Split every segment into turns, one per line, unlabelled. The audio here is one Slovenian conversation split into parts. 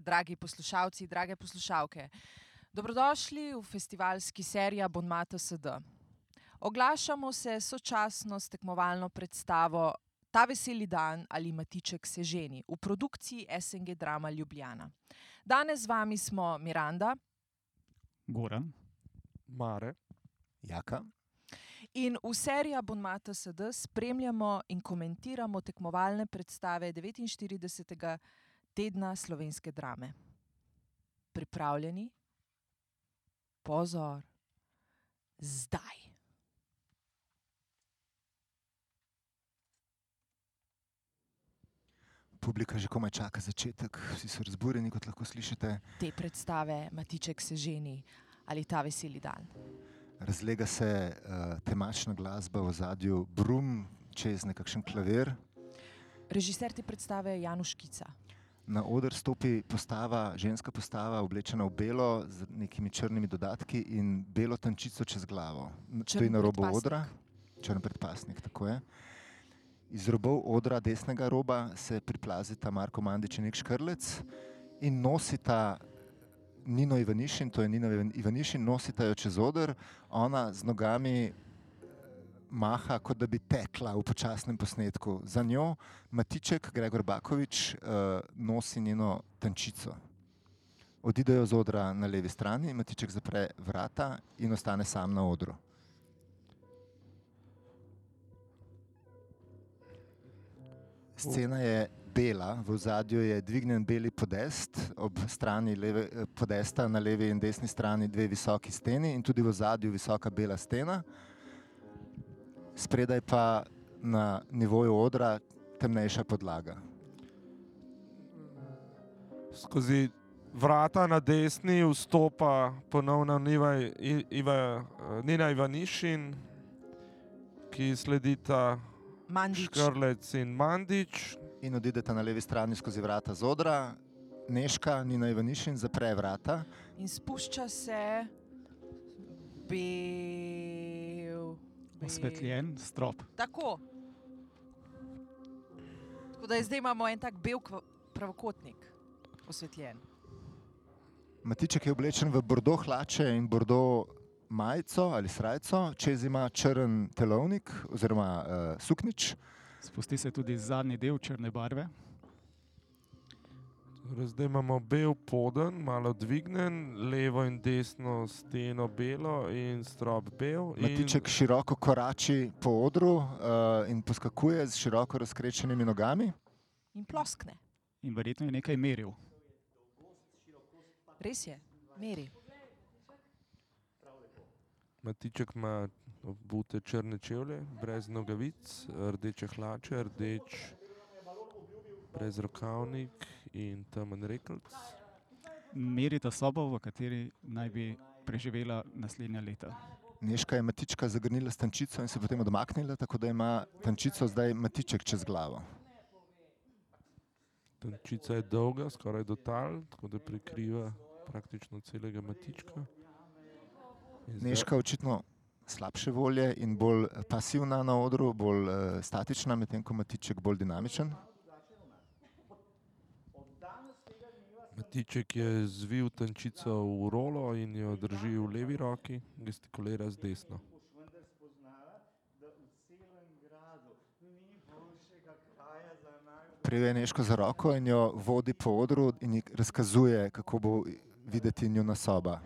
dragi poslušalci, drage poslušalke. Dobrodošli v festivalski seriji Abonmato SD. Oglašamo se sočasno s tekmovalno predstavo Ta veseli dan ali Matiček se ženi v produkciji SNG Drama Ljubljana. Danes z vami smo Miranda
Goran.
Mare.
Jaka.
in v seriji Abonmato SD spremljamo in komentiramo tekmovalne predstave 49. tedna slovenske drame. Pripravljeni? Pozor, zdaj.
Publika že komaj čaka začetek, vsi so razburjeni, kot lahko slišite.
te predstave, Matiček se ženi ali ta veseli dan.
Razlega se uh, temačna glasba v zadju, brum čez nekakšen klavir.
Režiser te predstave je Januš Kica.
Na oder stopi postava, ženska postava, oblečena v belo z nekimi črnimi dodatki in belo tančico čez glavo. N- To je
Črn
na robu
predpasnik.
odra, črn predpasnik, tako je. Iz robov odra, desnega roba, se priplazita Marko Mandič in Nik Škrlec in nosita Nino Ivanišin, to je Nina Ivan- Ivanišin, nosita jo čez oder, ona z nogami eh, maha, kot da bi tekla v počasnem posnetku. Za njo Matiček, Gregor Bakovič, uh, nosi njeno tančico. Odidejo z odra na levi strani, Matiček zapre vrata in ostane sam na odru. Scena je bela, v zadju je dvignen beli podest, ob strani leve, eh, podesta na levi in desni strani dve visoki steni in tudi v zadju visoka bela stena. Spredaj pa na nivoju odra temnejša podlaga.
Skozi vrata na desni vstopa ponovno Niva, I, Iva, eh, Nina Ivanišin, ki sledita
Mandič,
Škrlec in Mandič.
in odidete na levi strani skozi vrata z odra, Neška, Nina Ivanišin zapre vrata,
in spušča se bel. bel-
Osvetljen strop.
Tako. Tako da je zdaj imamo en tak bel kva- pravokotnik, osvetljen.
Matiček je oblečen v bordo hlače in bordo majico ali srajco, čez ima črn telovnik oziroma uh, suknič,
Spusti se tudi zadnji del črne barve.
Torej, Zdaj imamo bel poden, malo dvignen, levo in desno steno belo in strop bel. in-
Matiček široko korači po odru uh, in poskakuje z široko razkrečenimi nogami.
In ploskne,
In verjetno je nekaj meril.
res je, meri.
Matiček ima obute črne čevlje, brez nogavic, rdeče hlače, rdeč, brez rokavnik in temen rekelc.
Merita sobo, v kateri naj bi preživela naslednja leta.
Neška je Matička zagrnila s tančico in se potem odmaknila, tako da ima tančico zdaj Matiček čez glavo.
Tančica je dolga, skoraj do tal, tako da prekriva praktično celega matička. In zdaj-
Neška očitno slabše volje in bolj eh, pasivna na odru, bolj uh, statična, medtem ko Matiček bolj dinamičen.
Matiček je zvil tančico v rolo in jo drži v levi roki, gestikulira z desno.
Prije je Neško za roko in jo vodi po odru in ji razkazuje, kako bo videti njuna soba.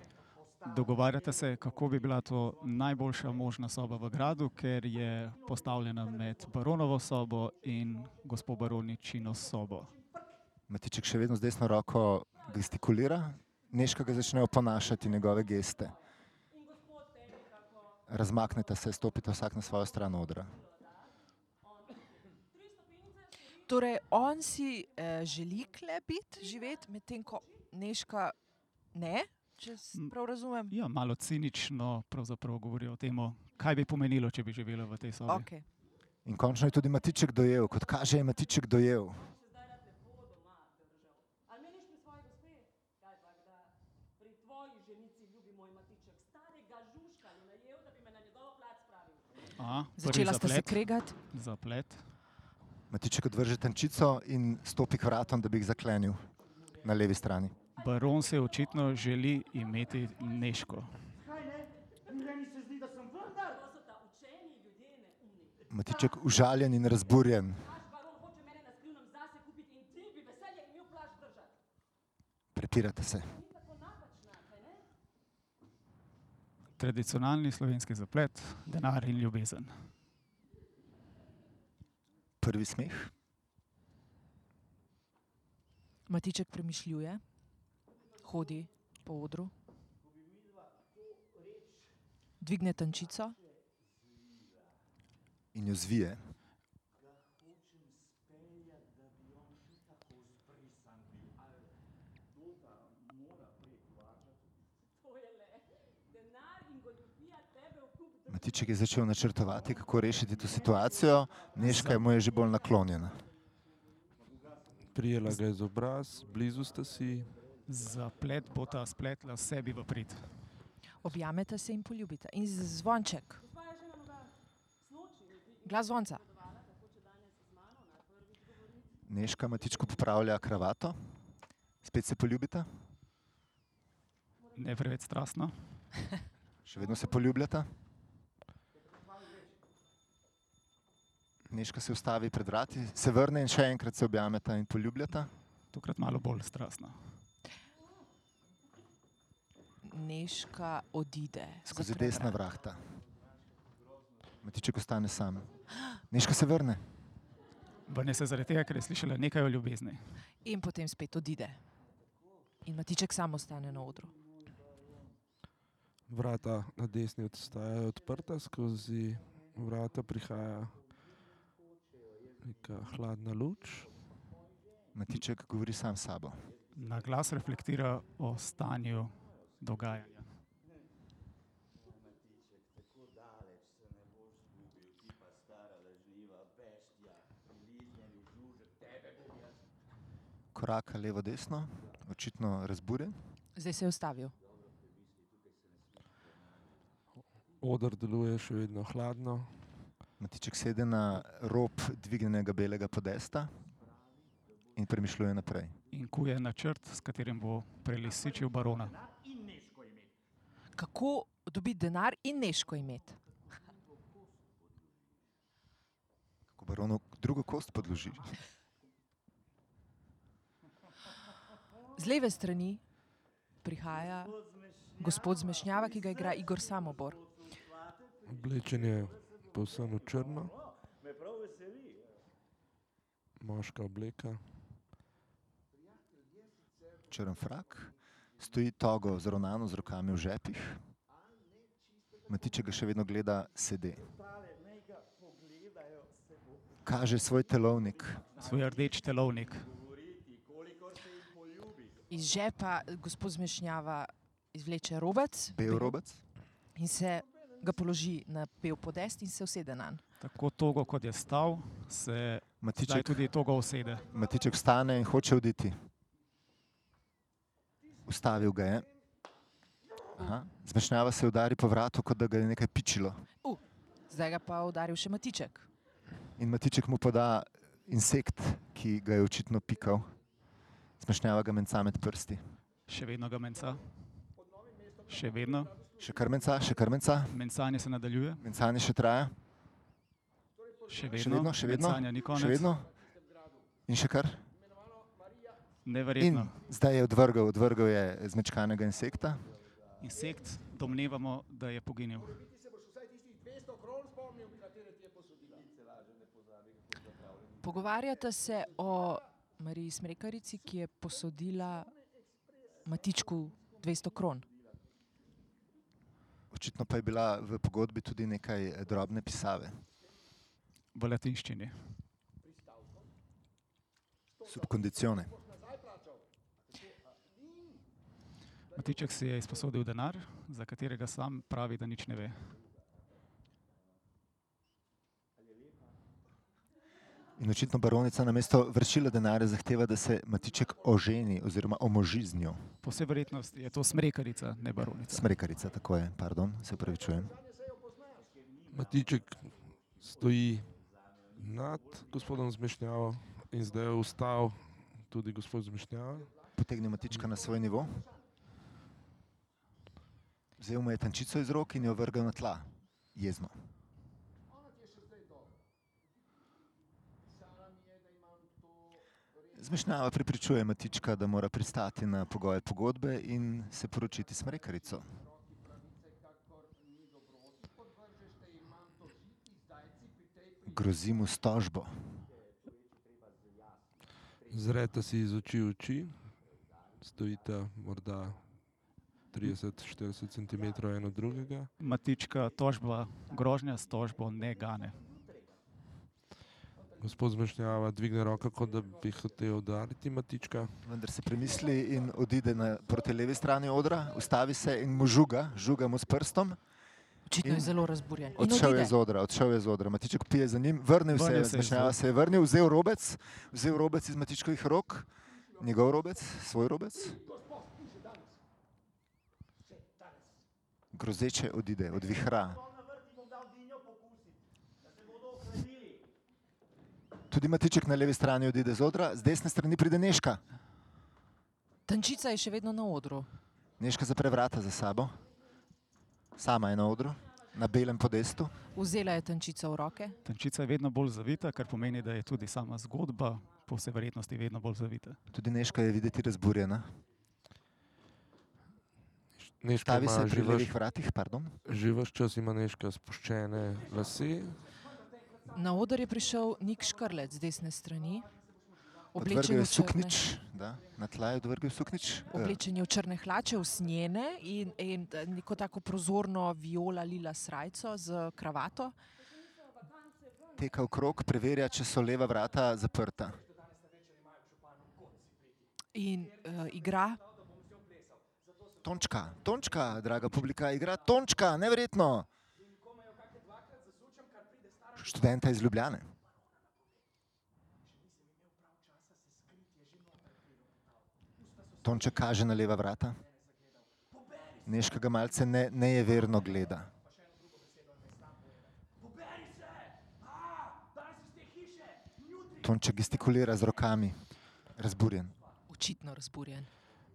Dogovarjate se, kako bi bila to najboljša možna soba v gradu, ker je postavljena med baronovo sobo in gospod baroničino sobo.
Matiček še vedno z desno roko gestikulira, Neška ga začne oponašati njegove geste. Razmaknete se, stopite vsak na svojo stran odra.
Torej, on si eh, želi klebiti, živeti, medtem ko neška ne, če s-
M.
prav razumem.
Ja, malo cinično pravzaprav govori o tem, kaj bi pomenilo, če bi živela v tej sobi.
Okay.
In končno je tudi Matiček dojel, kot kaže, je Matiček dojel.
Ali meniš pri svoji gospe? Kaj pa da pri tvoji ženici ljubi moj matiček, starega žužka je najel, da bi me na njegov plac spravil.
Aha, prvi
Začela sta se
zaplet,
kregati,
zaplet.
Matiček odvrže tančico in stopi k vratom, da bi jih zaklenil. na levi strani.
Baron se očitno želi imeti Neško.
To so ta učeni ljudje neumni.
Matiček užaljen in razburjen.
Naš baron hoče mene na skrivnem zase kupiti in ti bi veselje imel plaž držati.
Pretirate se.
Ni tako napačna, kaj ne?
Tradicionalni slovenski zaplet, denar in ljubezen.
Prvi smeh,
Matiček premišljuje, hodi po odru, dvigne tančico,
in jo zvije.
To je le. Denar in goljufija tebe v kup drži.
Matiček je začel načrtovati, kako rešiti to situacijo, Neška je mu je že bolj naklonjena.
Prijela ga je z obraz, blizu sta si.
Zaplet bo ta spletla sebi v prid.
objameta se in poljubita. In z- zvonček,
Gospa je že na noga. Snoči mi ti
glas zvonca.
izdelovala, kako če danes z mano na prvi govornici.
Neška Matičku popravlja kravato, spet se poljubita,
Ne preveč strastno.
še vedno se poljubljata. Neška se ustavi pred vrati, se vrne in še enkrat se objameta in poljubljata.
Tokrat malo bolj strastno.
Neška odide.
Skozi
zapre
desna
vrata.
vrata. Matiček ostane sam. Neška se vrne.
Vrne se zaradi tega, ker je slišala nekaj o ljubezni.
In potem spet odide. In Matiček samo ostane na odru.
Vrata na desni ostajajo odprta, skozi vrata prihaja neka hladna luč.
Matiček govori sam s sabo.
Na glas reflektira o stanju dogajanja.
Koraka levo, desno, očitno razburjen.
Zdaj se je ustavil.
Odr deluje še vedno hladno,
Matiček sedi na rob dvignjenega belega podesta in premišljuje naprej.
In kuje načrt, s katerim bo prelisičil barona.
Kako dobiti denar in neško imeti?
Ko baronu drugo kost podloži,
Z leve strani prihaja gospod Zmešnjava, ki ga igra Igor Samobor.
oblečen je povsem v črno. Moška obleka,
črn frak, stoji togo zravnano z rokami v žepih. Matiček ga še vedno gleda, sedi. Kaže svoj telovnik,
Svoj rdeč telovnik.
Iz žepa gospod Zmešnjava izvleče robec
bel robec,
in se ga položi na pev podest in se usede na njega.
Tako togo, kot je stal, se zdaj
Matiček,
tudi togo usede.
Matiček stane in hoče oditi. Ustavil ga je. Aha. Zmešnjava se udari po vratu, kot da ga je nekaj pičilo.
Zdaj ga pa udaril še Matiček.
In Matiček mu poda insekt, ki ga je očitno pikal. Zmešnjava ga menca med prsti.
Še vedno ga menca. Še vedno.
Še kar menca, še kar menca,
Mencanje se nadaljuje.
mencanje še traja,
Še vedno,
še vedno, še vedno,
mencanja ni konec.
še vedno. In še kar. In
Neverjetno.
zdaj je odvrgel, odvrgel je zmečkanega insekta.
Insekt, domnevamo, da je poginil.
Pogovarjata se o Mariji Smrekarici, ki je posodila Matičku 200 kron.
Očitno pa je bila v pogodbi tudi nekaj eh, drobne pisave.
V latinščini.
Subkondicione.
Matiček si je izposodil denar, za katerega sam pravi, da nič ne ve.
In očitno baronica na mesto vršila denarja zahteva, da se Matiček oženi oziroma omoži z njo.
Po vsej verjetnosti je to smrekarica, ne baronica.
Smrekarica, tako je, pardon, se upravičujem.
matiček stoji nad gospodom Zmešnjavo in zdaj je vstal tudi gospod Zmešnjavo.
potegne matička na svoj nivo. Vzel mu je tančico iz rok in jo vrgel na tla, jezno. Zmešnjava pripričuje Matička, da mora pristati na pogoje pogodbe in se poročiti s Mrekarico. Grozi mu s tožbo.
Zrete si iz oči v oči, stojite morda 30-40 cm en od drugega.
Matička tožba, grožnja s tožbo ne gane.
Gospod zmešnjava, dvigne roko, kot da bi hotel udariti matička.
Vendar se premisli in odide na, proti levi strani odra, ustavi se in mu žuga, žuga mu s prstom.
Očitno je
In-
zelo razburjen. In
Odšel je
odide.
z odra, odšel je z odra. Matiček pije za njim, vrnil se je,
Vrnil se je
zmešnjava
z-
se je vrnil, vzel robec, vzel robec iz Matičkovih rok, njegov robec, svoj robec. Grozeče odide, od vihra. Tudi Matiček na levi strani odide z odra, z desne strani pride Neška.
Tančica je še vedno na odru.
Neška zapre vrata za sabo, sama je na odru, na belem podestu.
Vzela je tančico v roke.
Tančica je vedno bolj zavita, kar pomeni, da je tudi sama zgodba po vsej verjetnosti vedno bolj zavita.
Tudi Neška je videti razburjena.
Neška
Stavi se
ima
pri
že vaš,
levih vratih, pardon.
že vaš čas ima neška spuščene lase,
Na oder je prišel Nik Škrlec z desne strani,
Odvrgel
oblečen v
je
črne,
suknič, da, na tla je odvrgel suknič. eh,
oblečen je v črne hlače, usnjene in, in eh, neko tako prozorno viola lila srajco z kravato.
Teka v krog, preverja, če so leva vrata zaprta.
In uh, igra,
Tončka, tončka, draga publika, igra tončka, neverjetno. Študenta iz Ljubljane. Tonček kaže na leva vrata. Neška ga malce ne, nejeverno gleda. Tonček gestikulira z rokami, razburjen.
očitno razburjen.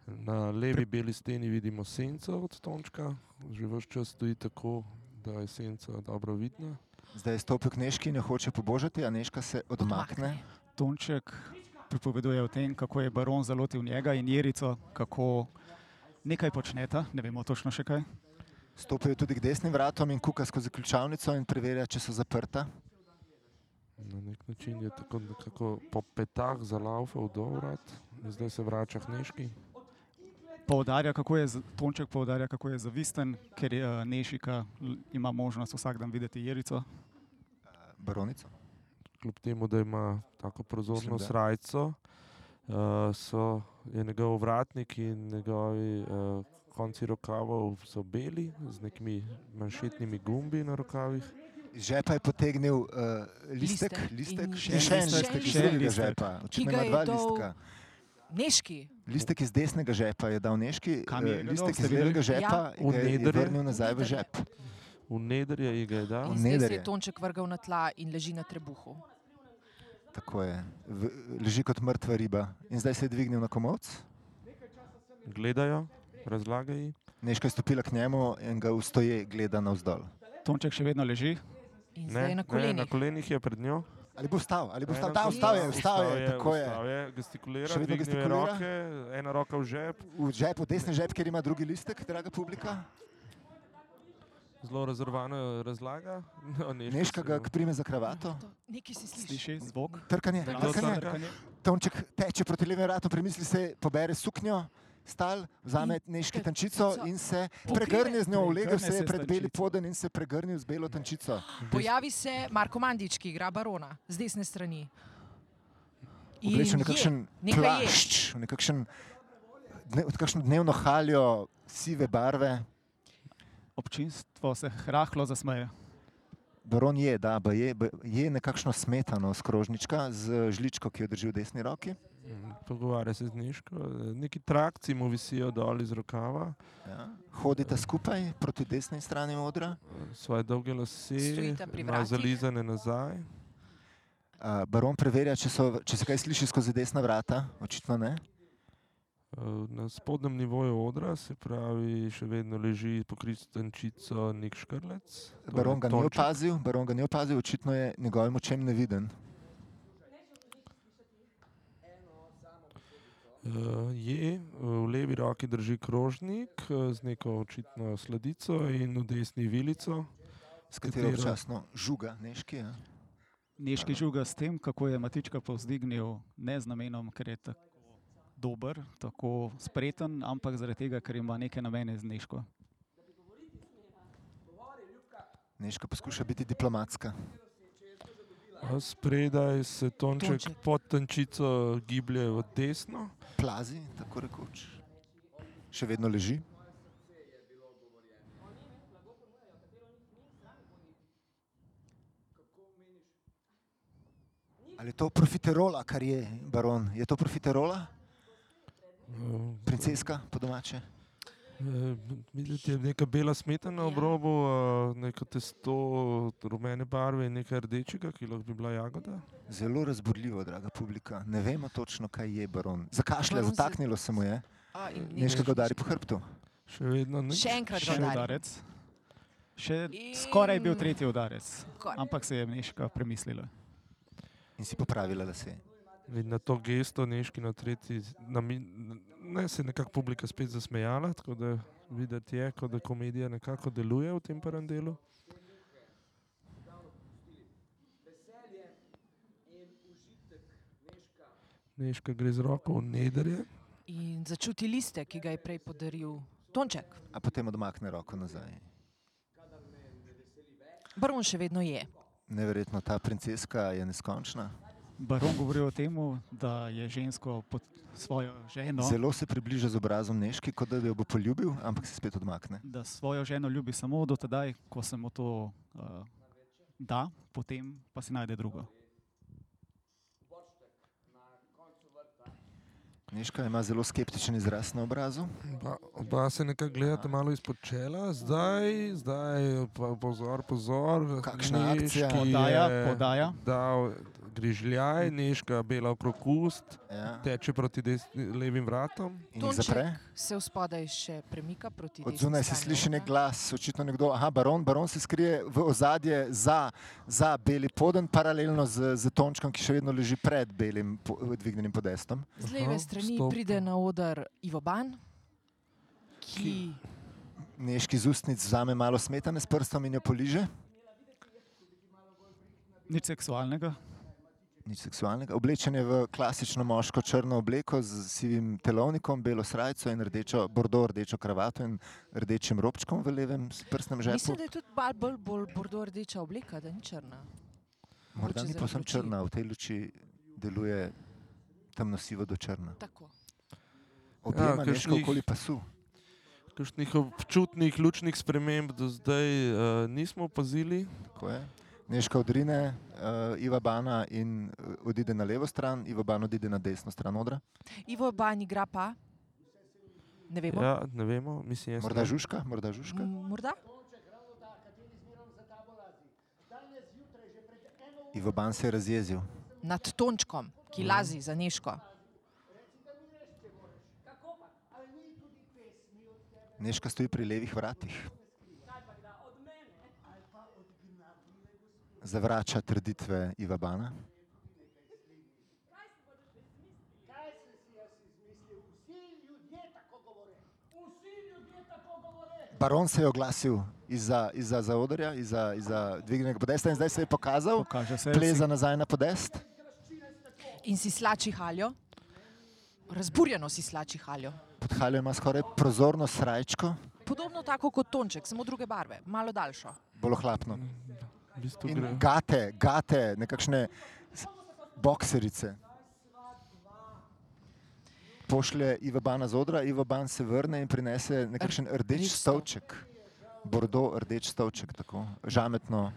na levi beli steni vidimo senco od tončka, že vaš čas stoji tako, da je senca dobro vidna.
Zdaj je stopil k Neški in jo hoče pobožati, a Neška se odmakne.
Tonček pripoveduje o tem, kako je baron zalotil njega in Jerico, kako nekaj počneta, ne vemo točno še kaj.
Stopijo tudi k desnim vratom in kuka skozi ključavnico in preverja, če so zaprta.
Na nek način je tako nekako po petah zalaufal do vrat, zdaj se vrača k neški.
Poudarja, kako je, z- Tonček poudarja, kako je zavisten, ker je eh, Nešika l- ima možnost vsak dan videti Jerico.
Baronico.
kljub temu, da ima tako
Mislim,
prozorno
da.
srajco, uh, so je njegov vratnik in njegovi uh, konci rokavov so beli z nekimi manšetnimi gumbi na rokavih.
Iz žepa je potegnil uh, listek,
Listek
listek,
in-
listek, še, še
Še en
en listek iz
listek.
drugega
Še en
žepa. Očitno
ga
ima
je
dva
dal-
listka.
Neški,
Listek iz desnega žepa je dal Neški,
Kam je
eh,
ga dal,
listek
ste
iz
videli?
levega žepa
Ja.
in ga je- je
Vnedrje.
vrnil nazaj v žep.
V nederje ji ga je dal.
in zdaj se
Neder
je
je.
Tonček vrgel na tla in leži na trebuhu.
Tako je. V, leži kot mrtva riba. In zdaj se je dvignil na komovc.
Gledajo, razlagajo ji.
Neška je stopila k njemu in ga ustoje gleda navzdol.
Tonček še vedno leži,
In zdaj je na
Ne, ne, na
kolenih.
kolenih je pred njo.
Ali bo vstal, ali bo
Ne,
vstal,
na
da,
kolenih.
vstal je, vstal je, tako je.
Vstal je, gestikulira,
Še vedno
dvigne
gestikulira.
roke, ena roka v žep.
V žepu, desni žep, kjer ima drugi listek, draga publika.
Zelo razrvano razlaga. No, Nežka
Neška
se
ga
jo-
prime za kravato.
To- Nekaj si sliši.
sliši zvok.
Trkanje,
Trkanje.
trkanje.
Trkanje.
Tonček teče proti levemu vratu, premisli se, pobere suknjo, stal, vzame neški tančico in se pregrne z njo, ulegel se je pred beli poden in se pregrnil z belo tančico.
Pojavi se Marko Mandič, ki igra barona z desne strani. In
Oblečen v
je,
nekakšen
nekaj je.
plašč, v nekakšen dne, v kakšno dnevno haljo sive barve.
Občinstvo se rahlo zasmeje.
Baron je, da, ba je, ba je nekakšno smetano z krožnička, z žličko, ki jo drži v desni roki.
Mhm, Pogovarja se z Neško, eh, neki trakci mu visijo dol iz rokava.
Ja. Hodita skupaj proti desni strani odra.
svoje dolge lase,
Stojita pri
ima
vratih.
zalizane nazaj. Eh,
A, Baron preverja, če, so, če se kaj sliši skozi desna vrata, očitno ne.
Na spodnjem nivoju odra se pravi, še vedno leži pokrit s tančico Nik Škrlec. torej
Baron ga ni
Tonček.
opazil, baron ga ni opazil, očitno je njegovim očem neviden.
Eh, Je, v levi roki drži krožnik eh, z neko očitno sladico in v desni vilico. s
Katero občasno žuga, neški. Ja.
Neški žuga s tem, kako je Matička povzdignil, ne z namenom, ker je tako dober, tako spreten, ampak zaradi tega, ker ima neke namene z Neško.
Neška poskuša biti diplomatska.
eh, Spredaj se tonček,
Tonček.
tonček pod tančico giblje v desno.
Plazi, tako rekoč. Še vedno leži. Ali je to profiterola, kar je baron? Je to profiterola,
Eh,
princeska po domače?
Eh, Videti je neka bela smetana na
Ja.
obrobu, eh, neko testo rumene barve in nekaj rdečega, ki lahko bi bila jagoda.
Zelo razburljivo, draga publika. Ne vemo točno, kaj je baron. Zakašlja,
Baron se-
zataknilo se mu je.
A, in nič.
Neška ga udari po hrbtu.
Še vedno ne.
Še enkrat
Še
ga udarim.
udarec. Še skoraj je bil tretji udarec,
Skoraj.
ampak se je Neška premislila.
In si popravila lase.
In na to gesto neški na tretji, na mi, ne, se je nekako publika spet zasmejala, tako da videti je, kot da komedija nekako deluje v tem prvem delu. Neška gre z roko v nederje.
In začuti liste, ki ga je prej podaril Tonček.
A potem odmakne roko nazaj.
Baron še vedno je.
Neverjetno, ta princeska je neskončna.
Baron govori o tem, da je žensko pod svojo ženo,
No. Zelo se približa z obrazom Neški, kot da jo bo poljubil, ampak se spet odmakne.
da svojo ženo ljubi samo do tedaj, ko se mu to uh, da, potem pa si najde drugo.
Neška ima zelo skeptičen izraz na obrazu.
Oba, oba se nekako
Ja.
gledata malo izpod čela, zdaj, zdaj pa pozor, pozor.
Kakšna
Nežki
akcija?
Podaja,
je
podaja.
Dal grižljaj, neška bela okrog ust,
Ja.
teče proti desni, levim vratom.
In jih zapre.
Tonček se spodaj še premika proti
Od
desni
zunaj se
strani
sliši nek
okna.
glas, očitno nekdo, aha, baron, baron se skrije v ozadje za, za beli poden, paralelno z, z Tončkom, ki še vedno leži pred belim po, dvignjenim podestom.
Z leve
Aha,
strani
vstop.
pride na oder Ivo Ban, ki
Neški z ustnic vzame malo smetane s prstom in jo poliže.
Nič seksualnega,
Nič seksualnega. Oblečen je v klasično moško črno obleko z sivim telovnikom, belo srajco in rdečo, bordo rdečo kravato in rdečim robčkom v levem s- prsnem
mislim,
žepu.
da je tudi mal bolj, bolj bordo-rdeča obleka, da ni črna. mogoče
Morda ni
zaradi
posem
luči.
črna, v tej luči deluje temno sivo do črna.
Tako.
Objema ja, nekaj
kakšnih-
okoli pasu.
Kakšnih občutnih, ključnih sprememb do zdaj uh, nismo opazili.
Tako je. Neška odrine uh, Iva Bana in eh, odide na levo stran, Iva Bana odide na desno stran odra.
Ivo Ban igra pa, ne vemo, ja.
Ja, ne vemo, mislim, jaz
Morda
ne.
žužka, morda žužka.
morda.
Iva Ban se je razjezil.
nad Tončkom, ki
Ja.
lazi za Neško.
Neška stoji pri levih vratih. Zavrača trditve Iva Bana. Baron se je oglasil izza, izza zaodrja, izza, izza dvignjenega podesta in zdaj se je pokazal,
Pokaže se,
pleza nazaj na podest.
In si slači haljo, razburjeno si slači haljo.
Pod haljo ima skoraj prozorno srajčko,
Podobno tako kot Tonček, samo druge barve, malo daljšo.
bolohlapno.
V bistvu gre.
In gate, gate, nekakšne s- bokserice. Pošlje Iva Bana z odra, Iva Ban se vrne in prinese nekakšen
rdeč
rdeč stolček. Bordo rdeč stolček, tako žametno.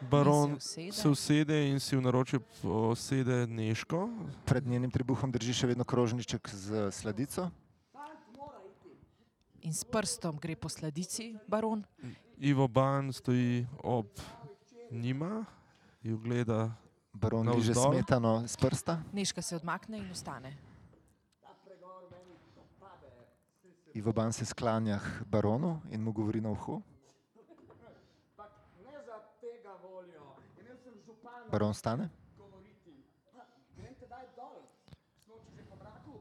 Baron
se usede.
se usede in si v naročje posede neško,
Pred njenim trebuhom drži še vedno krožniček z sladico.
In s prstom gre po sladici, baron.
Ivo Ban stoji ob njima in gleda.
Baron liže
Navzdol.
smetano s prsta.
Neška se odmakne in ostane.
Ivo Ban se sklanja k baronu in mu govori na uho.
Ne za tega voljo. Imel sem župana
Baron stane.
govoriti. Grem tedaj dol. Smo če že po mraku,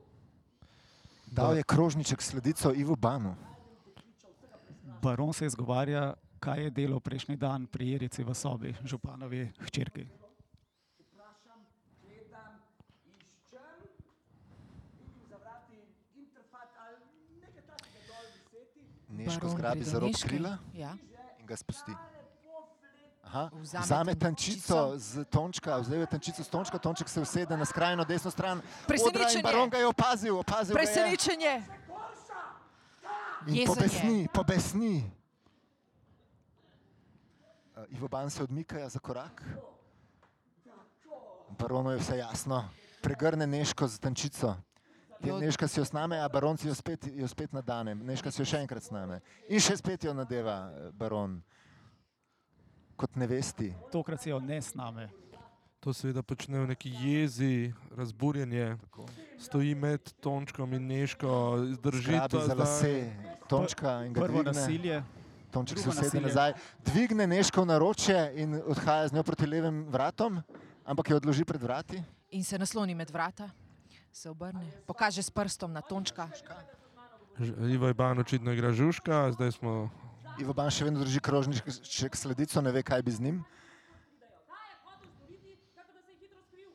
Dal je krožniček sledico Ivo Banu.
Baron se izgovarja, kaj je delo prejšnji dan pri Jerici v sobi, županovi hčerki.
vprašam, gledam, iščem. Vidim za vrati interfat ali nekaj takega dol viseti.
Neško
Baron
zgrabi
gre do
za rob
Nežke.
krila
Ja.
in ga spusti.
Lepo flet.
Aha,
Vzame
vzame
tančico.
tančico z tončka, vzame tančico z tončka, tonček se usede na skrajno desno stran. odra in
Presenečenje.
Baron ga je opazil, opazil ga je.
Presenečenje.
In
Jezen je.
pobesni, pobesni. Eh, Ivo Ban se odmika za korak. Baronu je vse jasno, pregrne Neško z tančico. Je
Jo-
Neška si jo sname, a baron si jo spet, jo spet nadane. Neška si jo še enkrat sname. In še spet jo nadeva eh, baron. Kot nevesti.
Tokrat se jo ne sname.
To seveda počne v neki jezi, razburjenje. Stoji med Tončkom in Neško, drži
Grabi
ta
za lase, tončka in ga
Prvo
dvigne.
nasilje,
Tonček se
Drugo
usede
nasilje.
nazaj, dvigne Neško v naročje in odhaja z njo proti levim vratom, ampak jo odloži pred vrati.
In se nasloni med vrata, se obrne, pokaže s prstom na Tončka.
Ž- Ivo Iban očitno igra žužka, zdaj smo
Ivo Ban še vedno drži krožniček sledico, ne ve, kaj bi z njim.
Kaj je hotel storiti, tako da se je hitro skril?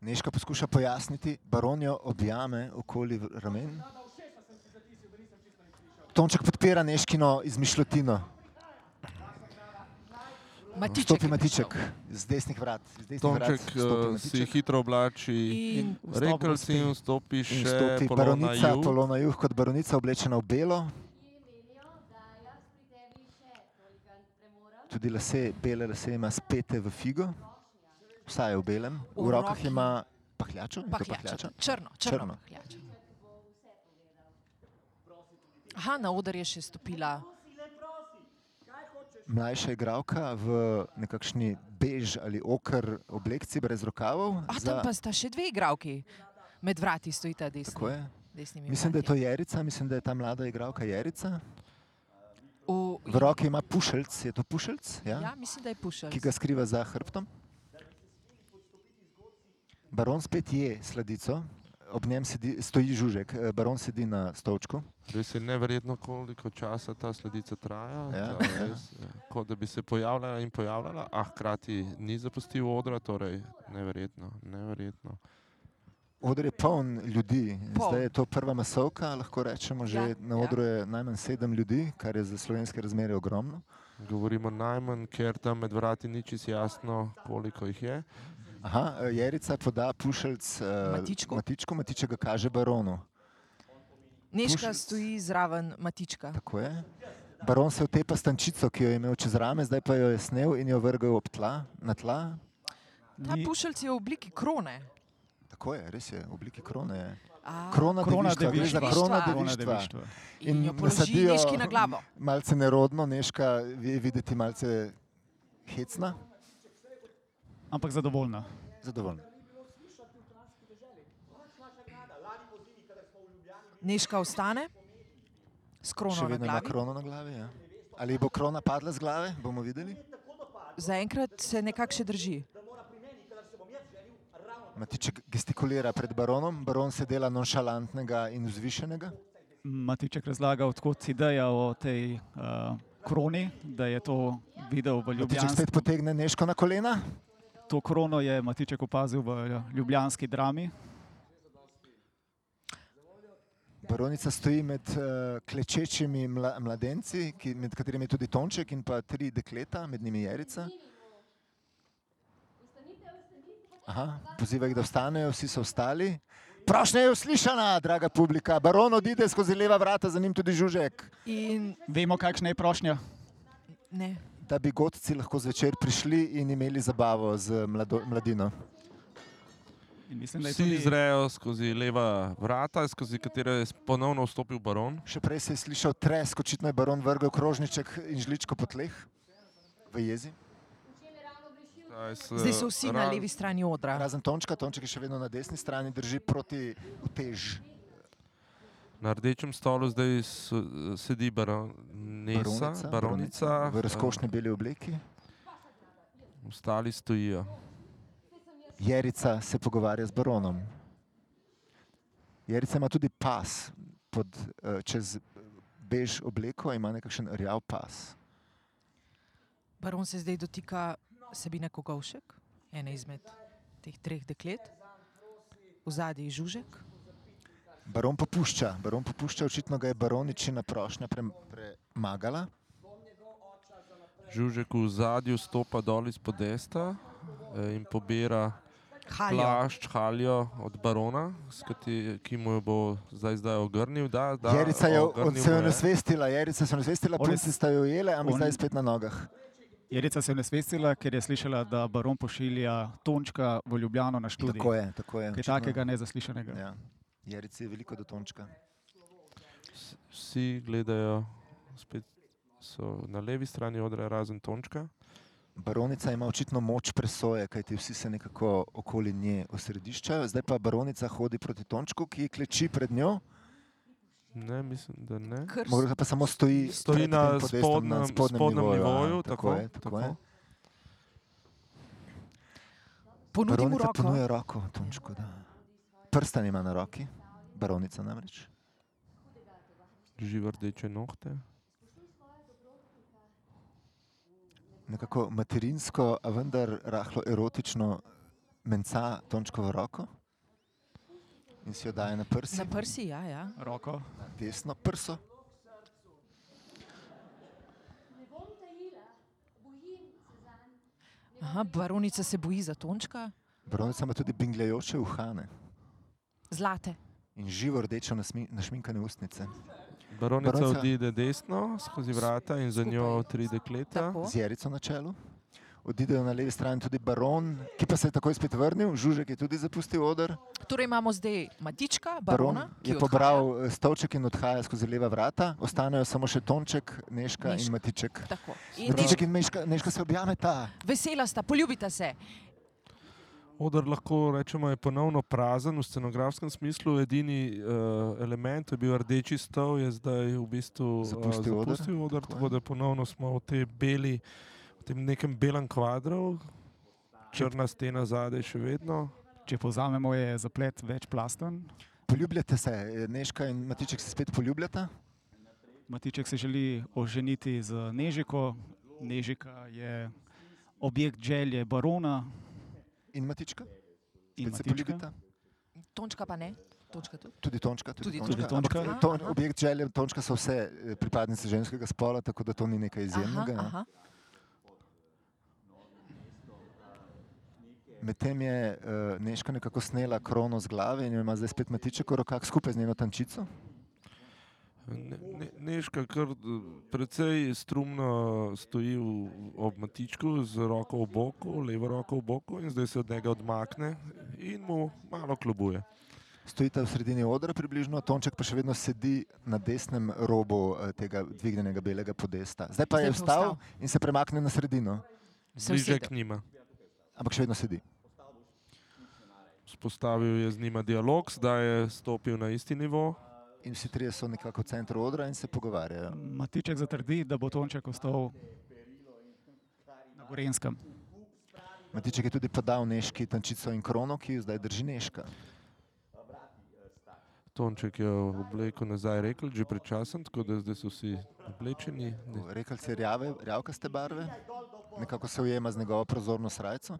Neška poskuša pojasniti, baron jo objame okoli v- ramen. Tonček podpira Neškino izmišljotino.
Matiček
Stopi
je
Matiček
prišel.
z desnih vrat. Z desnih vrat
Tonček
stopi
eh, si
Matiček.
hitro oblači.
In
vstop
Rekel
gospe.
si in vstopi
In
še
stopi
polona
baronica,
Ju.
Polona Juh kot baronica oblečena v belo, tudi lase, bele lase ima spete v figo, vsaj v belem, v
V
rokah
roki-
ima pahljačo, je to
Pahljača.
pahljača.
Črno,
Črno.
črno. pahljačo. Aha, na oder je še stopila.
Mlajša igralka v nekakšni bež ali okr oblekci brez rokavov.
A tam pa sta še dve igravki. Med vrati stojita desni.
Tako je.
Desnimi
Mislim, da je to
vrati.
Jerica, mislim, da je ta mlada igralka Jerica. V
V,
roki ima pušelc, je to pušelc,
ja,
ja?
mislim, da je pušel.
ki ga skriva za hrbtom. Baron spet je sladico, ob njem sedi, stoji žužek, eh, baron sedi na stolčku.
Res je neverjetno, koliko časa ta sledica traja.
Ja,
Ta
ja.
res, eh, Kot da bi se pojavljala in pojavljala, a hkrati ni zapustil odra, torej neverjetno. neverjetno.
Odr je poln ljudi,
Poln.
zdaj je to prva masovka, lahko rečemo, že
Ja,
na
ja.
odru je najmanj sedem ljudi, kar je za slovenske razmere ogromno.
Govorimo najmanj, ker tam med vrati ni čisto jasno, koliko jih je.
Aha, eh, Jerica poda pušelc eh,
Matičku.
Matičku, Matiček ga kaže baronu.
Neška
Pušelc.
stoji zraven Matička.
Tako je. Baron se otepa stančico, ki jo je imel čez rame, zdaj pa jo je snel in jo vrgel ob tla, na tla.
Ta
Ni-
pušelc je v obliki krone.
Tako je, res je, v obliki krone je.
A,
Krona
krona
devištva, gre za
devištva.
krona
polona
devištva.
devištva.
in jo položi
nasadijo
Neški na glavo.
Malce nerodno, neška je videti malce hecna,
Ampak zadovoljna.
zadovoljna.
Neška ostane s
Še
krono na
vedno ima
glavi.
krono na glavi, ja. Ali bo krona padla z glave, bomo videli.
Zaenkrat se nekako še drži.
Matiček gestikulira pred baronom, baron se dela nonšalantnega in vzvišenega.
Matiček razlaga, odkot ideja o tej uh, kroni, da je to videl v
Matiček
Ljubljanski.
spet potegne Neško na kolena,
To krono je Matiček opazil v eh, Ljubljanski drami.
baronica stoji med uh, klečečimi mla, mladenci, ki, med katerimi je tudi Tonček in pa tri dekleta, med njimi Jerica. Aha, poziva jih, da vstanejo, vsi so vstali. Prošnja je uslišana, draga publika. Baron odide skozi leva vrata, za njim tudi žužek.
In
Vemo, kakšna je prošnja.
ne,
Da bi gotci lahko zvečer prišli in imeli zabavo z mlado, mladino.
In mislim, da je
Vsi
tudi
zrejo skozi leva vrata, skozi katero je ponovno vstopil baron.
Še prej se je slišal tresk, očitno je baron vrgel krožniček in žličko po tleh v jezi.
Zdaj se-
zdaj so vsi na
ra-
levi strani odra.
Razen Tončka, Tonček je še vedno na desni strani, drži proti utež.
Na rdečem stolu zdaj s, sedi baronesa, baronica, baronica
v razkošni beli obleki.
eh, ostali stojijo.
Jerica se pogovarja z baronom. Jerica ima tudi pas, pod, eh, čez bež obleko ima nekakšen rjav pas.
Baron se zdaj dotika Sabine Kogovšek, ene izmed teh treh deklet, v zadnji žužek.
Baron popušča, baron popušča, očitno ga je baroničina prošnja pre, premagala.
Žužek v zadju stopa dol iz podesta eh, in pobira
Halja.
plašč haljo od barona, s kati, ki mu jo bo zdaj, zdaj ogrnil. Da, da,
Jerica je, on
ogrnil
se
mu
je nesvestila, Jerica se je nesvestila,
On je-
punci sta jo ujele, ampak
on-
zdaj je spet na nogah.
Jerica se je nesvestila, ker je slišala, da baron pošilja Tončka v Ljubljano na študij.
Tako je, tako je.
Kaj
očitno.
takega nezaslišanega.
Ja. Jerici je veliko do tončka.
S- Vsi gledajo, spet so na levi strani odra, razen Tončka.
Baronica ima očitno moč presoje, kajti vsi se nekako okoli nje osrediščajo. Zdaj pa baronica hodi proti Tončku, ki kleči pred njo,
Ne, mislim, da ne.
morda pa samo stoji,
Stoji
pred
na
tem podestom,
spodnjem- spodnjem nivoju,
Aha,
tako,
je, ja. tako,
tako.
Je.
Ponudi mu
Baronica
roko.
ponuja roko Tončku. Da. Prstan ima na roki, baronica namreč.
Živi rdeče nohte.
Nekako materinsko, a vendar rahlo erotično menca Tončkovo roko in si jo daje na prsi,
Na prsi, ja, ja.
Roko.
na desno prso.
Aha, baronica se boji za tončka,
Baronica ima tudi bingljajoče uhane.
zlate.
in živo rdečo nasmi- našminkane ustnice.
Baronica,
Baronica-
Baronica odide desno skozi vrata in za njo tri dekleta.
Tako.
Z jerico na čelu. Odidejo na levi strani tudi baron, ki pa se je takoj spet vrnil, Žužek je tudi zapustil odr.
Torej imamo zdaj matička,
Baron
barona, ki
je pobral eh, stolček in odhaja skozi leva vrata, ostanejo samo še Tonček, Neška
Neška.
in Matiček.
Tako. In
Matiček in Neška, Neška se objameta.
vesela sta, poljubita se.
Odr lahko rečemo, je ponovno prazen v scenografskem smislu. Edini uh, element, to je bil rdeči stol, je zdaj v bistvu eh,
Zapustil oder,
zapustil odr,
tako je.
tako da ponovno smo v tej beli, v tem nekem belem kvadru, črna stena zadaj še vedno.
Če povzamemo, je zaplet večplasten.
Poljubljate se, eh, Neška in Matiček se spet poljubljata.
Matiček se želi oženiti z Nežiko. Nežika je objekt želje barona
In Matička,
in
Spet se
Matička.
poljubita.
Tončka pa ne, tončka tudi.
Tudi Tončka, tudi,
Tudi
tončka.
Tončka.
Ampak,
Aha,
ton,
aha.
objekt želje Tončka so vse eh, pripadnice ženskega spola, tako da to ni nekaj
Aha,
izjemnega. ja.
aha.
Medtem je uh, Neška nekako snela krono z glave in jo ima zdaj spet matiček v rokah skupaj z njeno tančico.
Ne, ne, neška kar eh, precej strumno stoji v, ob matičku z roko v boku, levo roko v boku in zdaj se od njega odmakne in mu malo klobuje.
Stojite v sredini odra približno, Tonček pa še vedno sedi na desnem robu eh, tega dvignjenega belega podesta. Zdaj pa
Zdaj
je
pa
vstal
vstal.
in se premaknil na sredino,
Se
Bliže
usedel.
k njima.
ampak še vedno sedi.
Spostavil je z njima dialog, zdaj je stopil na isti nivo.
In vsi trije so nekako v centru odra in se pogovarjajo.
Matiček zatrdi, da bo Tonček ostal na Gorenskem.
Matiček je tudi podal Neški tančico in krono, ki jo zdaj drži Neška.
Tonček je obleko nazaj rekel, že pred časom, tako da zdaj so vsi oblečeni. Ne,
Rekel se rjave, rjavkaste barve, nekako se ujema z njegovo prozorno srajco.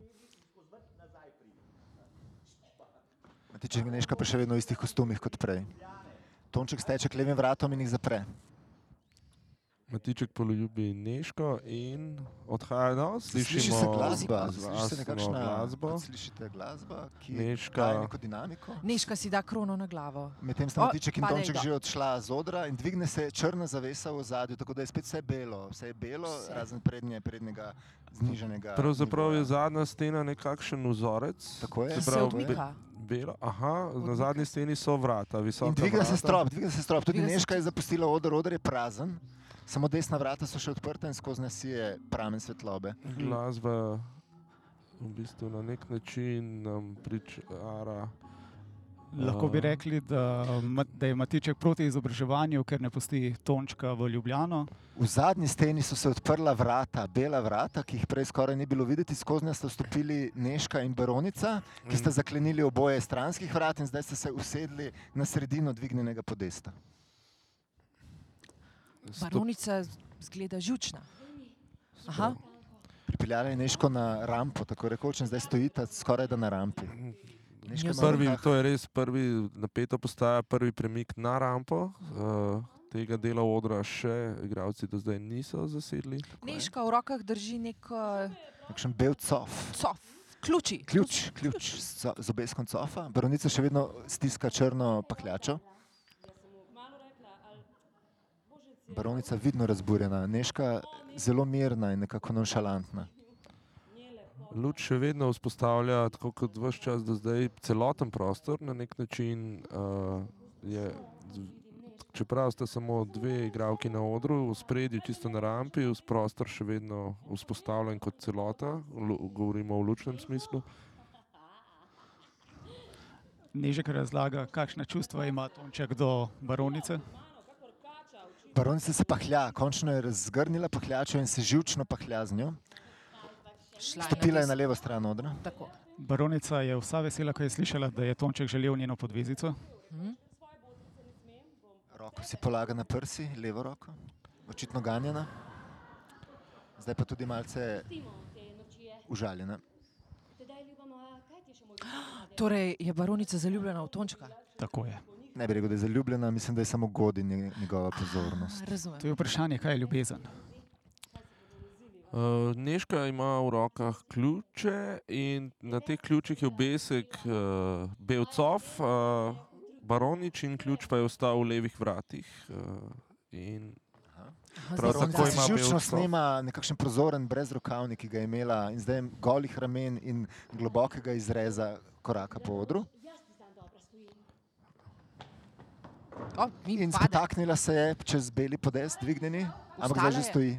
Matiček in Neška pa še vedno v istih kostumih kot prej. Tonček steče k levim vratom in jih zapre.
Matiček poljubi Neško in odhaja dol.
Sliši se
Slišimo
glasba, sliši se
glasno
nekakšna
glasba.
glasba. Slišite glasba, ki
Neška.
daje neko dinamiko.
Neška si da krono na glavo.
Medtem
O,
sta Matiček in
pade
Tonček
igra.
že odšla z odra in dvigne se črna zavesa v zadju, tako da je spet vse belo, vse je belo,
Vse.
razen prednje, prednjega zniženega.
Pravzaprav je
nivoja.
zadnja stena nekakšen vzorec.
Tako
Ki
je.
Se
se
pravi,
odmika.
Belo, aha, na zadnji steni so vrata, visoka.
In dviga se
vrata.
strop, dviga se strop. Tudi
Dviga se
Neška je zapustila odor, odor je prazen, samo desna vrata so še odprta in skozi nas je pramen svetlobe.
Glasba v bistvu na nek način nam pričara
Lahko bi rekli, da, ma- da je Matiček proti izobraževanju, ker ne pusti Tončka v Ljubljano.
V zadnji steni so se odprla vrata, bela vrata, ki jih prej skoraj ni bilo videti, skozi njo sta stopili Neška in Baronica, ki
Mm.
sta zaklenili oboje stranskih vrat in zdaj sta se usedli na sredino dvignjenega podesta.
Stop-
Baronica zgleda žučna. Aha,
Pripeljala je Neško na rampo, tako rekoč, in zdaj stojita skoraj da na rampi. Neška ima v
Prvi,
rokah-
to je res prvi napeto postaja, prvi premik na rampo. Uh, tega dela odra še igravci do zdaj niso zasedli. tako je.
Neška v rokah drži nek eh,
Kakšen bel cof.
cof, ključi.
Ključ, ključ z z obeskom cofa. Baronica še vedno stiska črno pakljačo. Baronica vidno razburjena, Neška zelo mirna in nekako nonšalantna.
Luč še vedno vzpostavlja, tako kot vse čas do zdaj, celoten prostor na nek način. Uh, je, čeprav sta samo dve igralki na odru, v spredju, čisto na rampi, vz prostor še vedno vzpostavljen kot celota, lu, govorimo v lučnem smislu.
Nežek razlaga, kakšna čustva ima Tonček do baronice.
Baronica se pahlja, končno je razgrnila pahljačo in se živčno pahlja z njo.
Šla
Stopila je na
desno.
levo stran odra.
Tako.
Baronica je vsa vesela, ko je slišala, da je Tonček želel njeno podvezico.
Roko si polaga na prsi, levo roko, očitno ganjena. Zdaj pa tudi malce užaljena.
Torej je baronica zaljubljena v Tončka.
Tako je.
Ne bi rekel, da je zaljubljena, mislim, da je samo godi nje- njegova
A,
pozornost.
razumem.
To je vprašanje, kaj je ljubezen.
Uh, Neška ima v rokah ključe in na teh ključih je obesek uh, Belcov, uh, baronič in ključ pa je ostal v levih vratih. Uh, in
Aha,
Prav
zdaj sem
tako
ga-
Baronica
ima
si živčno
bel
snema nekakšen prozoren brezrokavnik, ki ga je imela in zdaj je golih ramen in globokega izreza koraka po odru.
O, mi
In
pade.
spotaknila se je čez beli podest, dvignjeni, ampak zdaj že
je.
stoji.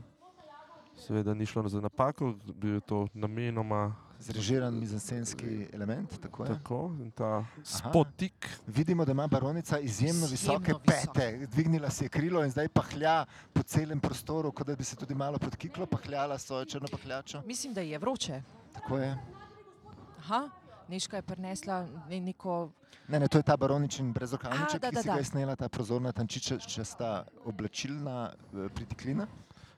seveda ni šlo za napako, bil je to namenoma
Zrežiran mizensenski element, tako je.
Tako, in ta spotik,
Vidimo, da ima baronica izjemno
Izjemno
visoke
visoke.
pete, dvignila si je krilo in zdaj pahlja po celem prostoru, kot da bi se tudi malo pod kiklo pahljala s svojo črno pahljačo.
Mislim, da je vroče.
Tako je.
Aha, Neška je prinesla ne- neko
Ne, ne, to je ta baroničin
A,
brezokavniček,
da,
ki
da,
si ga
da.
je snela ta prozorna tančičasta oblačilna eh, pritiklina.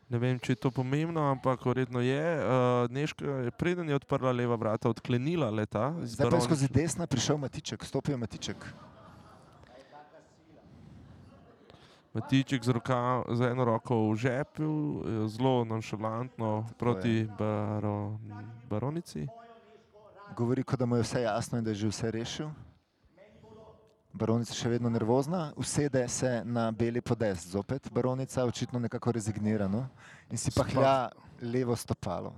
ne vem, če je to pomembno, ampak verjetno je. Uh, Neška je preden je odprla leva vrata, odklenila leta.
Zdaj pa je skozi desna prišel matiček, stopil je matiček.
Matiček z, roka, z eno roko v žepu, eh, zelo
Ja,
nonšalantno proti baron, baronici.
Govori, kot da mu je vse jasno in da je že vse rešil. Baronica še vedno nervozna, usede se na beli podest, zopet baronica očitno nekako rezignirano in si pahlja levo stopalo.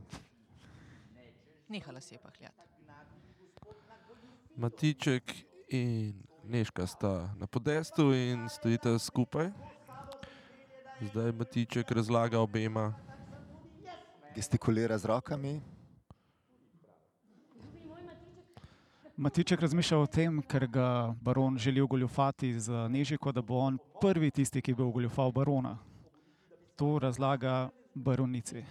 nehala si je pahljati.
Matiček in Neška sta na podestu in stojita skupaj. Zdaj Matiček razlaga obema.
Gestikulira z rokami,
Matiček razmišlja o tem, ker ga baron želi ogoljufati z Nežiko, da bo on prvi tisti, ki bo ogoljufal barona. To razlaga baronici.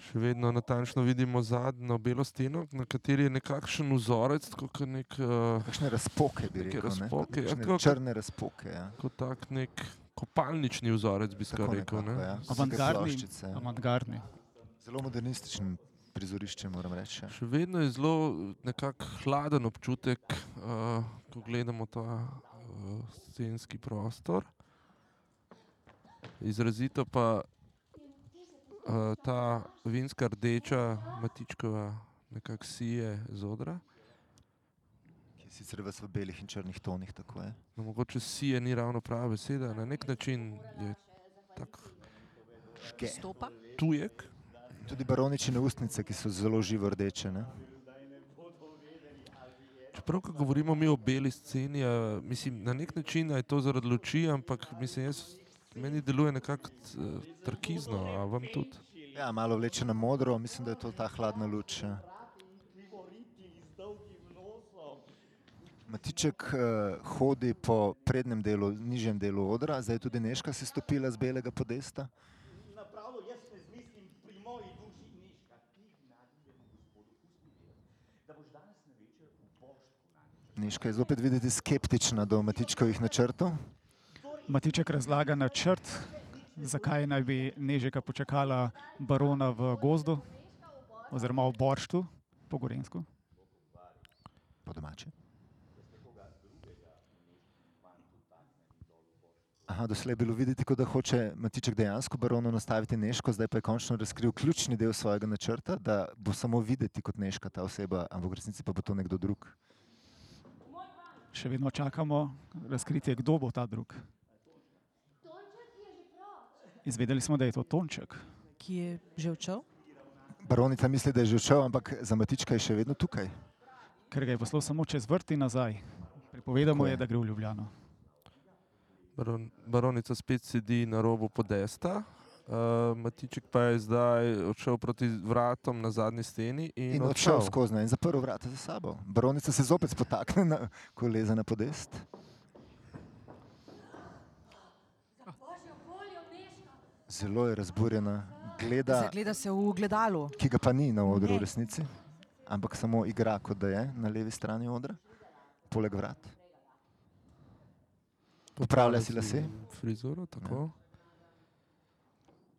Še vedno natančno vidimo zadnjo belo steno, na kateri je nekakšen vzorec, tako kot nek, eh,
kakšne razpoke bi
Neke
rekel. ne?
razpoke, ja,
Kakšne
tako-
črne razpoke. Ja.
kot tak nek kopalnični vzorec, bi
Tako
skoraj rekel.
nekako, ja.
Ne?
Vsake
Avantgardni.
ploščice, ja.
Avantgardni.
Zelo modernističen prizorišče, moram reči. ja.
Še vedno je zelo eh, nekako hladen občutek, uh, ko gledamo ta uh, scenski prostor. Izrazito pa uh, ta vinska rdeča matičkova nekako sije z odra.
Ki je Sicer vas v belih in črnih tonih tako je.
No, mogoče sije ni ravno prava beseda, na nek način je tako
Ške.
Stopa.
tujek.
Tudi baronične ustnice, ki so zelo živo rdeče. Ne?
Čeprav, Ja, ko govorimo mi o beli sceni, a, mislim, na nek način a je to zaradi luči, ampak mislim, jaz, meni deluje nekako eh, trkizno, a vam tudi.
Ja, malo vleče na modro, mislim, da je to ta hladna luč. ja. Matiček uh, hodi po prednjem delu, nižjem delu odra, zdaj je tudi Neška si stopila z belega podesta.
napravil, jaz ne zmislim pri moji duši ništa. Ti gnadljivemu gospodu pusti mir, da boš danes na večer v boštku na
Neška je zopet videti skeptična do Matičkovih načrtov.
Matiček razlaga načrt, zakaj naj bi Nežika počakala barona v gozdu oziroma v Borštu, po Gorensku.
po domače. Aha, doslej je bilo videti, kot da hoče Matiček dejansko baronu nastaviti Neško, zdaj pa je končno razkril ključni del svojega načrta, da bo samo videti kot Neška ta oseba, ampak v resnici pa bo to nekdo drug.
Še vedno čakamo razkritje, kdo bo ta drug. Izvedeli smo, da je to Tonček.
ki je že odšel.
Baronica misli, da je že odšel, ampak za Matička je še vedno tukaj.
ker ga je poslal samo čez vrt in nazaj. Pripovedal mu
Tako je.
je, da gre v Ljubljano.
Baron, baronica spet sedi na robu podesta, uh, Matiček pa je zdaj odšel proti vratom na zadnji steni in,
In odšel skozi ne, in zaprl vrata za sabo. Baronica se zopet spotakne na koleza na podest. Zelo je razburjena, gleda
Zagleda se v gledalu.
ki ga pa ni na odru
Ne.
v resnici, ampak samo igra, kot da je na levi strani odra, poleg vrat. Popravlja si lase. Ja.
Frizuro, tako.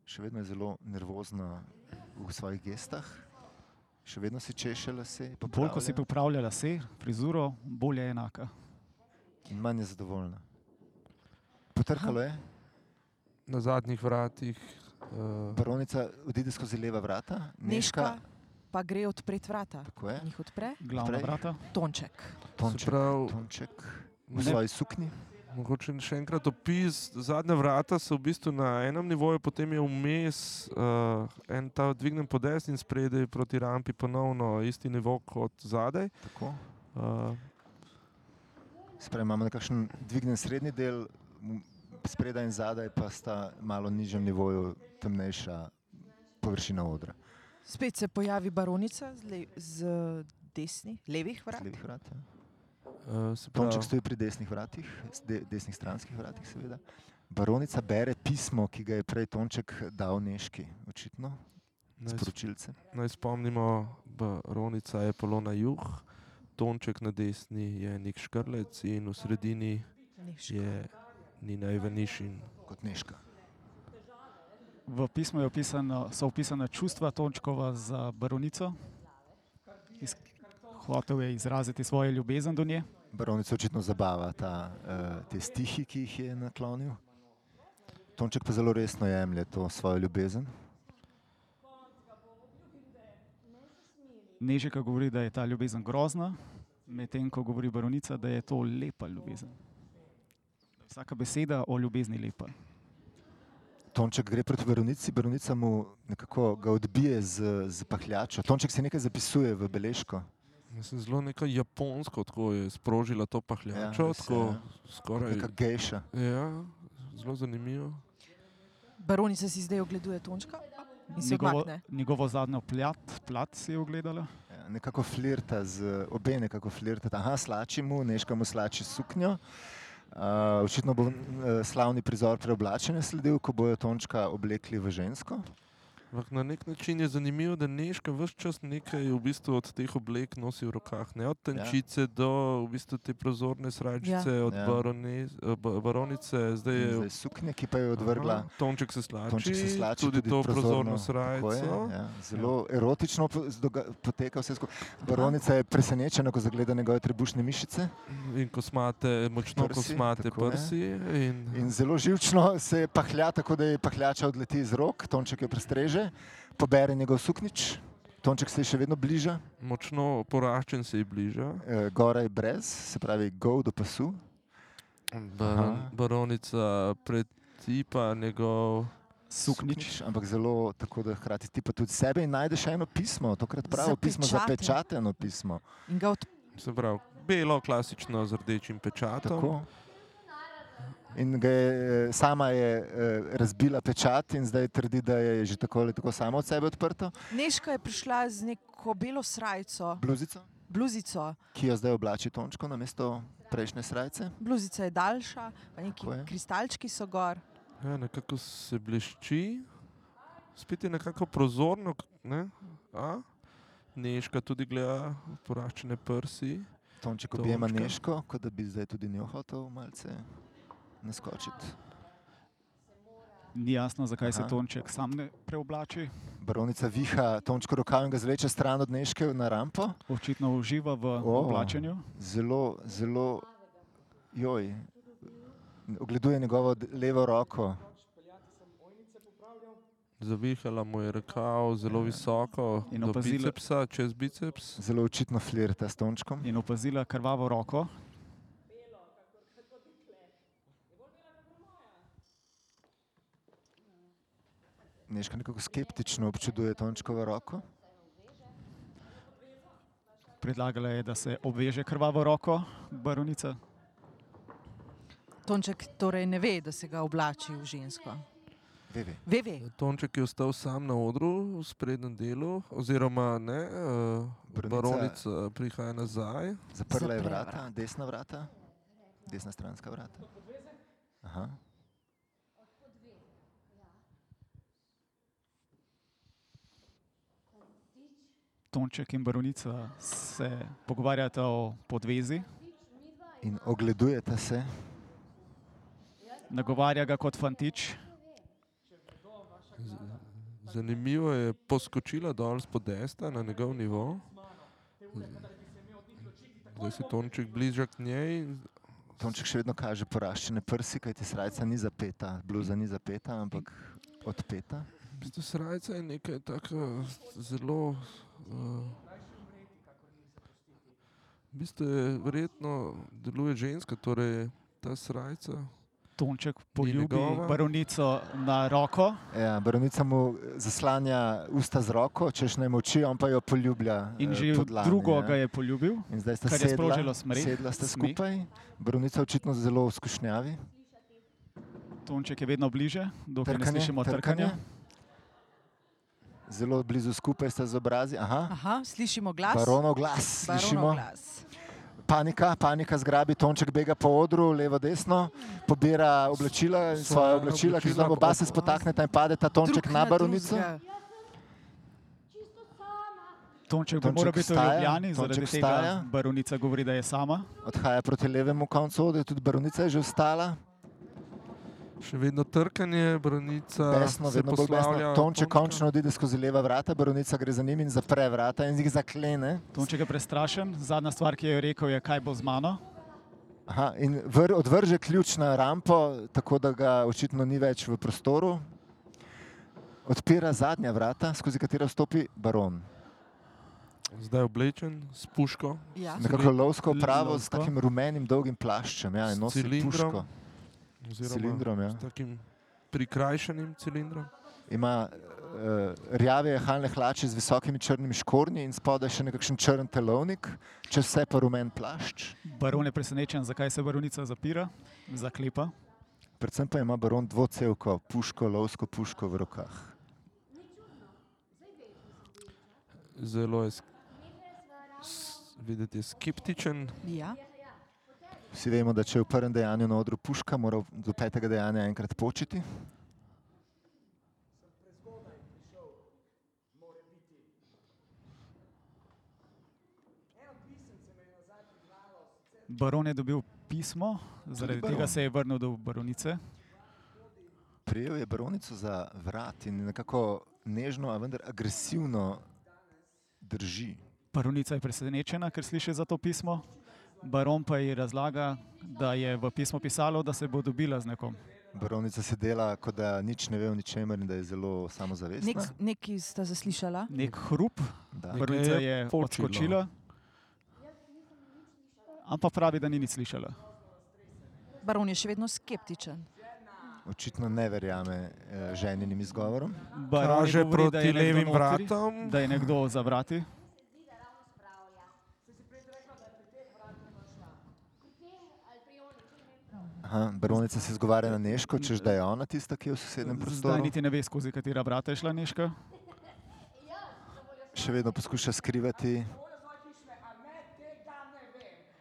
Še vedno je zelo nervozna v svojih gestah, še vedno si češe lase,
Bolj ko si
popravlja
popravlja lase, frizuro, bolj je enaka.
in manj je zadovoljna. Potrkalo je,
Na zadnjih vratih. Uh,
baronica odide skozi leva vrata,
Neška
neška,
pa gre odpreti vrata.
tako je,
In Jih odpre
Glavna
Prej.
vrata.
Tonček.
tonček,
pravi-
tonček v
Ne.
svoji suknji.
Mogoče še enkrat opis. Zadnja vrata so v bistvu na enem nivoju, potem je vmes uh, en ta dvignen podes in spredaj proti rampi ponovno isti nivo kot zadaj.
Tako.
Uh,
Spravi, imamo nekakšen dvignen srednji del, m, spredaj in zadaj pa sta malo nižjem nivoju temnejša površina odra.
Spet se pojavi baronica z, le, z desnih, levih
Z
vrat.
levih Vrat, ja.
uh, se
Tonček
pravi,
stoji pri desnih vratih, s de, desnih stranskih vratih seveda. Baronica bere pismo, ki ga je prej Tonček dal Neški, očitno,
naj, sp-
sporočilce.
naj spomnimo, baronica je polona juh, Tonček na desni je nek škrlec in v sredini
Neška.
je Nina Ivanišin.
Kot Neška.
V pismu je opisano, so opisana čustva Tončkova za baronico. Iz, hotel je izraziti svojo ljubezen do nje.
Baronica očitno zabava ta, eh, te stihi, ki jih je naklonil. Tonček pa zelo resno jemlje to svojo ljubezen.
Nežika govori, da je ta ljubezen grozna, medtem ko govori baronica, da je to lepa ljubezen. Vsaka beseda o ljubezni je lepa.
Tonček gre proti baronici, baronica mu nekako ga odbije z, z pahljačo. Tonček si nekaj zapisuje v beležko.
Mislim, zelo neko japonsko, tako je sprožila to pahljačo,
res
ja,
je,
tako skoraj.
Neka gejša.
Ja, zelo zanimivo.
Baronica si zdaj ogleduje Tončka in se
Njegovo,
odmakne.
njegovo zadnjo plat, plat si je ogledala.
Ja, Nekako flirta z obe, nekako flirta. Aha, slači mu, neška mu slači suknjo. Uh, očitno bo uh, slavni prizor preoblačenja sledil, ko bojo Tončka oblekli v žensko.
Ampak na nek način je zanimivo, da Neška vse čas nekaj v bistvu od teh oblek nosi v rokah. Ne? Od tenčice ja. do v bistvu te prozorne srajčice, ja. od
Ja.
ja. barone, eh, ba- baronice. Zdaj
In
je
Zdaj suknje, ki pa jo je odvrgla.
Aha, Tonček se slači,
Tonček se slači,
tudi, tudi to prozorno
tako je,
srajco.
ja. Zelo erotično po- zdoga- poteka vse skupaj. Baronica je presenečena, ko zagleda njegove trebušne mišice.
In kosmate, močno
Prsi,
kosmate
tako je.
prsi. In,
In zelo živčno se pahlja, tako da je pahljača odleti iz rok, Tonček jo prestreže, pobere njegov suknič, Tonček se ji še vedno bliža,
močno poraščen se ji bliža.
e, gora je brez, se pravi, go do pasu.
Baron,
Aha.
baronica pretipa njegov.
Suknič.
ampak zelo tako, da hkrati ti pa tudi sebe in najdeš še eno pismo, tokrat pravo pismo,
Zapečateno.
zapečateno pismo.
In ga odpre.
Se pravi, belo, klasično z rdečim pečatom.
Tako. In ga je, e, sama je e, razbila pečat in zdaj trdi, da je že tako ali tako sama od sebe odprta.
Neška je prišla z neko belo srajco,
Bluzico?
bluzico.
ki jo zdaj oblači Tončko na mesto prejšnje srajce.
Bluzica je daljša, pa neki
Tako je.
kristalčki so gor.
Ja, nekako se blešči, spet je nekako prozorno. k- Ne? A? Neška tudi gleda, poraščene prsi.
Tonček objema
Tončka.
Neško, kot da bi zdaj tudi njo hotel malce naskočiti.
Ni jasno, zakaj Aha. se
Aha.
Tonček sam ne preoblači.
Baronica viha Tončko rokav in ga zveče stran od Neške na rampo.
Očitno uživa v oh. oblačenju.
Zelo, zelo, joj, ogleduje njegovo d- levo roko.
Zavihala mu je rokav zelo visoko,
Ja. In
do
opazila-
bicepsa, čez biceps.
Zelo očitno flirta s Tončkom.
in opazila krvavo roko.
Neška nekako skeptično občuduje Tončkovo roko.
Predlagala je, da se obveže krvavo roko, baronica.
Tonček torej ne ve, da se ga oblači v žensko.
Ve, ve.
Ve, ve.
Tonček je ostal sam na odru, v sprednjem delu, oziroma ne, eh,
Baronica-
baronica prihaja nazaj.
Zaprla je
Zapre
vrata,
vrata.
desna vrata, desna stranska vrata. Aha.
Tonček in baronica se pogovarjata o podvezi,
In ogledujeta se,
nagovarja ga kot fantič,
Zanimivo je, poskočila dol s podesta na njegov nivo. Zdaj se Tonček bliža k njej,
Tonček še vedno kaže poraščene prsi, kajti srca ni zapeta, bluza ni zapeta, ampak odpeta.
V bistvu srca je nekaj tako zelo. Uh, v bistvu je verjetno deluje ženska, torej ta srca.
Tonček poljubi
njegova.
baronico na roko,
Ja, baronica mu eh, zaslanja usta z roko, češ naj moči, on pa jo poljublja.
in
eh,
že
pod lani,
drugo
ja.
ga je poljubil.
In zdaj sta
kar je
sedla,
sprožilo smreh,
sedla sta
smeh.
skupaj, baronica očitno zelo v skušnjavi.
Tonček je vedno bliže, dokler ne slišimo trkanja.
Zelo blizu skupaj sta z obrazi. Aha,
Aha, slišimo glas.
baronov glas,
Baronov
slišimo.
glas.
Panika, panika zgrabi, Tonček bega po odru, levo, desno, pobira oblačila,
Svoja
svoje oblačila, ki
oblačila,
so oba se
ob-
spotakneta in padeta Tonček
Drug
na baronico.
drugega.
Tonček, Tonček
Tonček
mora biti v
vstaja,
Ljubljani, zaradi
Tonček
tega
vstaja.
baronica govori, da je sama.
Odhaja proti levemu koncu, odra, tudi baronica je že vstala,
Še vedno trkanje, branica.
besno,
Ja, se
vedno bolj besno.
poslavlja
Tonček
Tončka.
končno odide skozi leva vrata, baronica gre za njim in zapre vrata in jih zaklene.
Tonček je prestrašen, zadnja stvar, ki jo je rekel, je kaj bo z mano.
Aha, in vr, odvrže ključ na rampo, tako da ga očitno ni več v prostoru. Odpira zadnja vrata, skozi katera vstopi baron.
Zdaj oblečen s puško.
Ja.
Nekako lovsko pravo s
lovsko.
takim rumenim dolgim plaščem, ja, in
S
nosi
cilindrom.
puško.
oziroma
cilindrom, ja.
S takim prikrajšanim cilindrom.
Ima uh, rjave halne hlače z visokimi črnimi škornji in spodaj še nekakšen črn telovnik, čez vse pa rumen plašč.
Baron je presenečen, zakaj se baronica zapira, zaklepa.
Predvsem pa ima baron dvocevko puško, lovsko puško v rokah.
Zelo je. sk- s- Videti je skeptičen,
Ja.
Vsi vemo, da če je v prvem dejanju na odru puška, mora do petega dejanja enkrat počiti.
Baron je dobil pismo, zaradi
baron.
tega se je vrnil do baronice.
Prijel je baronico za vrat in jo nekako nežno, a vendar agresivno drži.
Baronica je presenečena, ker sliši za to pismo. Baron pa ji razlaga, da je v pismu pisalo, da se bo dobila z nekom.
Baronica se dela, kot da nič ne ve o ničemer in da je zelo samozavestna.
Nek, nekaj sta zaslišala.
Nek hrup,
Da.
Nek-
baronica
je
je
počilo.
odskočila, ampak pravi, da ni nič slišala.
Baron je še vedno skeptičen.
Očitno ne verjame eh, ženjenim izgovorom.
Baron je
Kaže
govori, da
proti
je nekdo
levim
notri,
vratom.
Da je nekdo za vrati.
Aha, baronica se zgovarja na Neško, češ da je ona tista, ki je v sosednjem
Zdaj
prostoru.
niti ne ve, skozi katera vrata je šla Neška.
Še vedno poskuša skrivati
Moraš svoje hišne,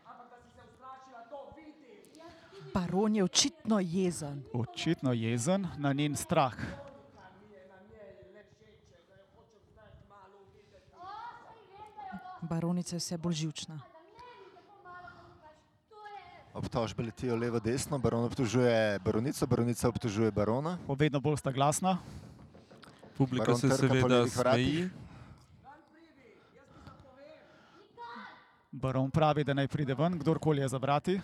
a ne
Baron je očitno jezen.
Očitno jezen na njen strah.
Baronica je vse bolj živčna.
Obtožbe letijo levo, desno, baron obtožuje baronico, baronica obtožuje barona.
Vedno bolj sta glasna.
Publika
Baron
se
trka po
seveda
levih vratih.
smeji.
Baron pravi, da naj pride ven, kdorkoli je za vrati.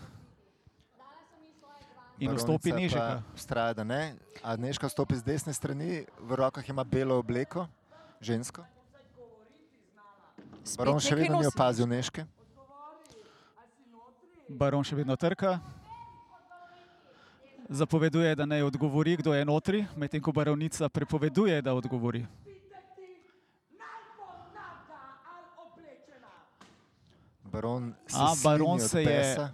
In vstopi
Baronica
Nežika.
pa Vztraja, da ne. A Nežka stopi z desne strani, v rokah ima belo obleko, žensko.
Spet
Baron še
nekaj
vedno ni
nosi.
opazil Nežke.
Baron še vedno trka. Zapoveduje, da naj odgovori, kdo je notri, medtem ko baronica prepoveduje, da odgovori.
Baron se,
A, baron
slini od
se je-
besa.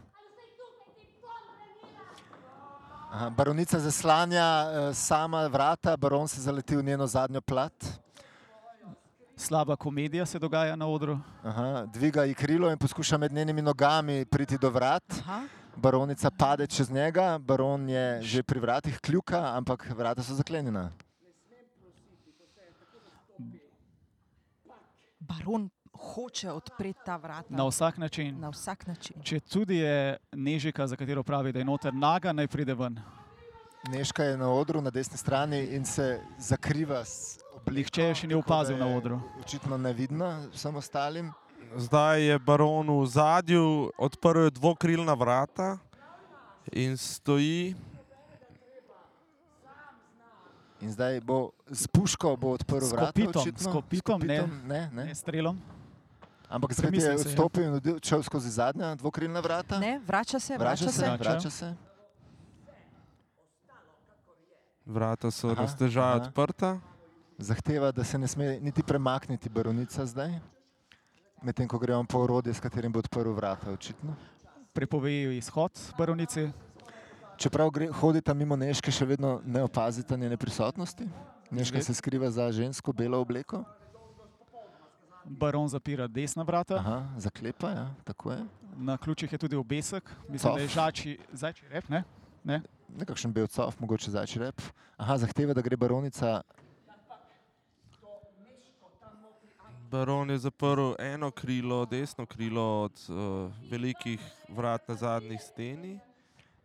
Aha, baronica zaslanja eh, sama vrata, baron se zaleti v njeno zadnjo plat.
Slaba komedija se dogaja na odru.
Aha, dviga ji krilo in poskuša med njenimi nogami priti do vrat.
Aha.
Baronica pade čez njega, baron je že pri vratih kljuka, ampak vrata so zaklenjena.
Baron hoče odpreti ta vrata
Na vsak način.
na vsak način.
Če tudi je Nežika, za katero pravi, da je noter naga, naj pride ven.
Neška je na odru na desni strani in se zakriva s obleko.
Nihče je še ni
tako da
opazil na
je
odru.
Očitno nevidna vsem ostalim.
Zdaj je baron v zadju, odprl je dvokrilna vrata in stoji.
In zdaj bo z puško bo odprl
S
vrata.
kopitom,
očitno.
s kopitom, ne.
ne, ne.
Ne, strelom.
Ampak spet je
Premislil se ja. je.
odstopil in odil- odšel skozi zadnja dvokrilna vrata.
Ne, vrača se, vrača,
vrača se,
Vrača.
vrača se.
Vrata so
Aha,
raztežaja
aha.
odprta.
Zahteva, da se ne sme niti premakniti baronica zdaj. Medtem ko gremo po orodje, s katerim bo odprl vrata, očitno.
Prepovejo izhod baronici.
Čeprav gre, hodita mimo Neške, še vedno ne opazita njene prisotnosti. Neška
Zgled.
se skriva za žensko belo obleko,
Baron zapira desna vrata.
Aha, zaklepa, ja, tako je.
Na ključih je tudi obesek, mislim,
Cof.
da je žači, zajči rep. Ne?
Nekakšen bel cov, mogoče zači rep. Aha, zahteva, da gre baronica.
Baron je zaprl eno krilo, desno krilo od uh, velikih vrat na zadnji steni.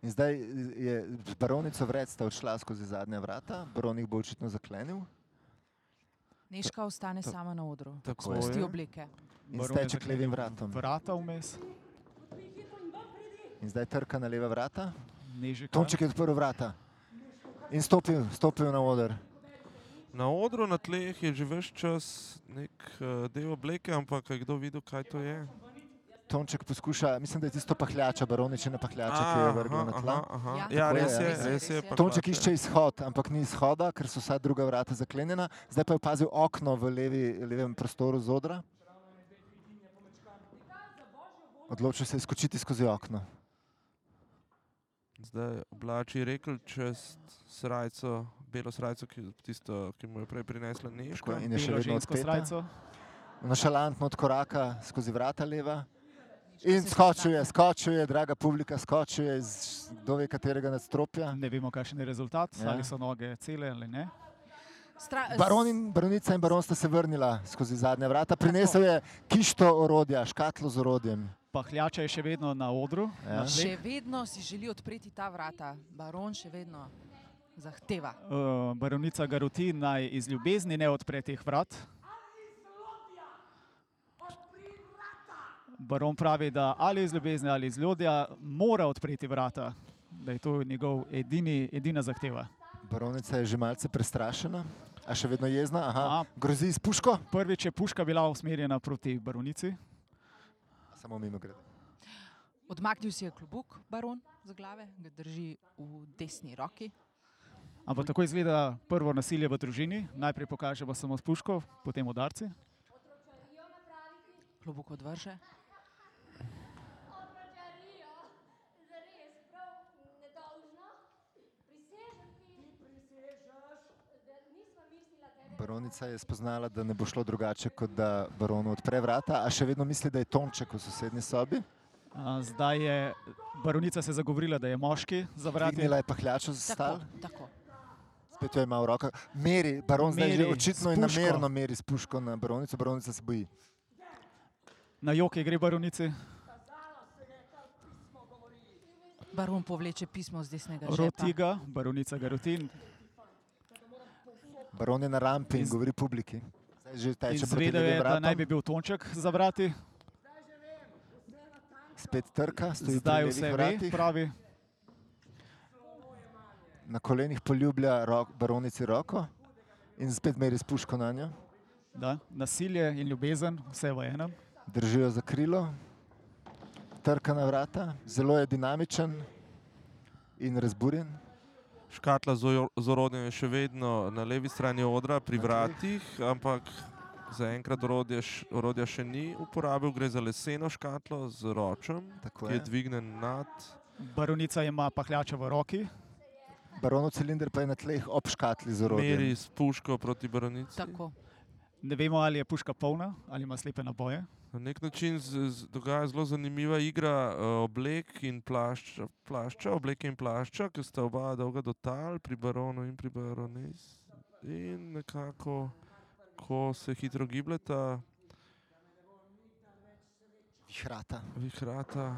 In zdaj je z baronico vred sta odšla skozi zadnja vrata, baron jih bo očitno zaklenil.
Neška ostane sama na odru.
Tako
Pusti
je.
obleke.
In
Baron je
steče k
zaklenil
levim vratom.
Vrata vmes,
In zdaj trka na leva vrata.
nežika.
Tonček je odprl vrata in stopil, stopil na oder.
Na odru na tleh je že več čas nek uh, del obleke, ampak je kdo videl, kaj to je?
Tonček poskuša, mislim, da je tisto pahljača, baroničina pahljača, ki jo Ja, je vrgel na tla.
aha.
Ja,
Ja,
tako je,
res
ja.
je,
je,
Res
res je.
res je.
pa
Tonček
hlače.
išče izhod, ampak ni izhoda, ker so vsa druga vrata zaklenjena. Zdaj pa je opazil okno v levi, levem prostoru z odra. Odločil se je skočiti skozi okno.
Zdaj oblači rekel čez srajco, belo srajco, ki, tisto, ki mu je prej prinesla
Tako
Neška.
je, In je še
Belo
vedno
žensko
odprta.
srajco.
Nošalantno odkoraka skozi vrata leva. In skočil je, skočil je, draga publika, skočil je iz kdo ve katerega nadstropja.
Ne vemo, kakšen je rezultat,
Ja.
ja. ali so noge cele ali ne.
Stra-
Baron in baronica in baron sta se vrnila skozi zadnja vrata. Prinesel je kišto orodja, škatlo z orodjem.
Pahljača je še vedno na odru.
Ja.
Na
Še
tleh.
vedno si želi odpreti ta vrata. Baron še vedno zahteva.
Uh, baronica ga roti naj iz ljubezni ne odpre teh vrat. Baron pravi, da ali iz ljubezni ali iz ljudja mora odpreti vrata, da je to njegov edini, edina zahteva.
Baronica je že malce prestrašena, a še vedno jezna. Aha,
A.
grozi s puško,
Prvič je puška bila usmerjena proti baronici,
samo mimo grede.
Odmaknil si je klobuk, baron za glave, ga drži v desni roki.
ampak tako izgleda prvo nasilje v družini. Najprej pokažemo samo s puško, potem udarci.
Klobuk odvrže.
Baronica je spoznala, da ne bo šlo drugače, kot da baronu odpre vrata, a še vedno misli, da je Tonček v sosednji sobi.
A, Zdaj je baronica se zagovorila, da je moški za vrati.
Dvignila je pahljačo za stal,
Tako, tako.
spet jo ima v rokah. Meri, baron zdaj že
Meri
očitno
s
in
puško.
namerno meri s puško na baronico, baronica se boji.
Na joke gre baronici.
Baron povleče pismo z desnega žepa.
Roti ga, baronica ga roti in
Baron je na rampi in
Iz-
govori publiki. Zdaj že teče proti
izvedel je,
levim
da
vratom,
naj bi bil tonček za vrati.
spet trka, stoji pri
Zdaj
levih
vse ve,
vratih,
pravi.
na kolenih poljublja rok, baronici roko in spet meri s puško na njo.
Da, nasilje in ljubezen, vse v enem.
Držijo za krilo, trka na vrata, zelo je dinamičen in razburjen.
Škatla z ojo- z orodjem je še vedno na levi strani odra, pri
Na tleh.
vratih, ampak zaenkrat orodje š- orodja še ni uporabil. Gre za leseno škatlo z ročem,
Tako
ki je
je.
dvignen nad.
Baronica ima pahljača v roki,
Baronov cilinder pa je na tleh ob škatli z orodjem.
Meri s puško proti baronici.
Tako.
ne vemo, ali je puška polna ali ima slepe naboje.
Na nek način se dogaja zelo zanimiva igra eh, oblek in plašča, plašča, obleke in plašča, ki sta oba dolga do tal, pri baronu in pri baronici. In nekako, ko se hitro gibljeta,
Vihrata.
vihrata.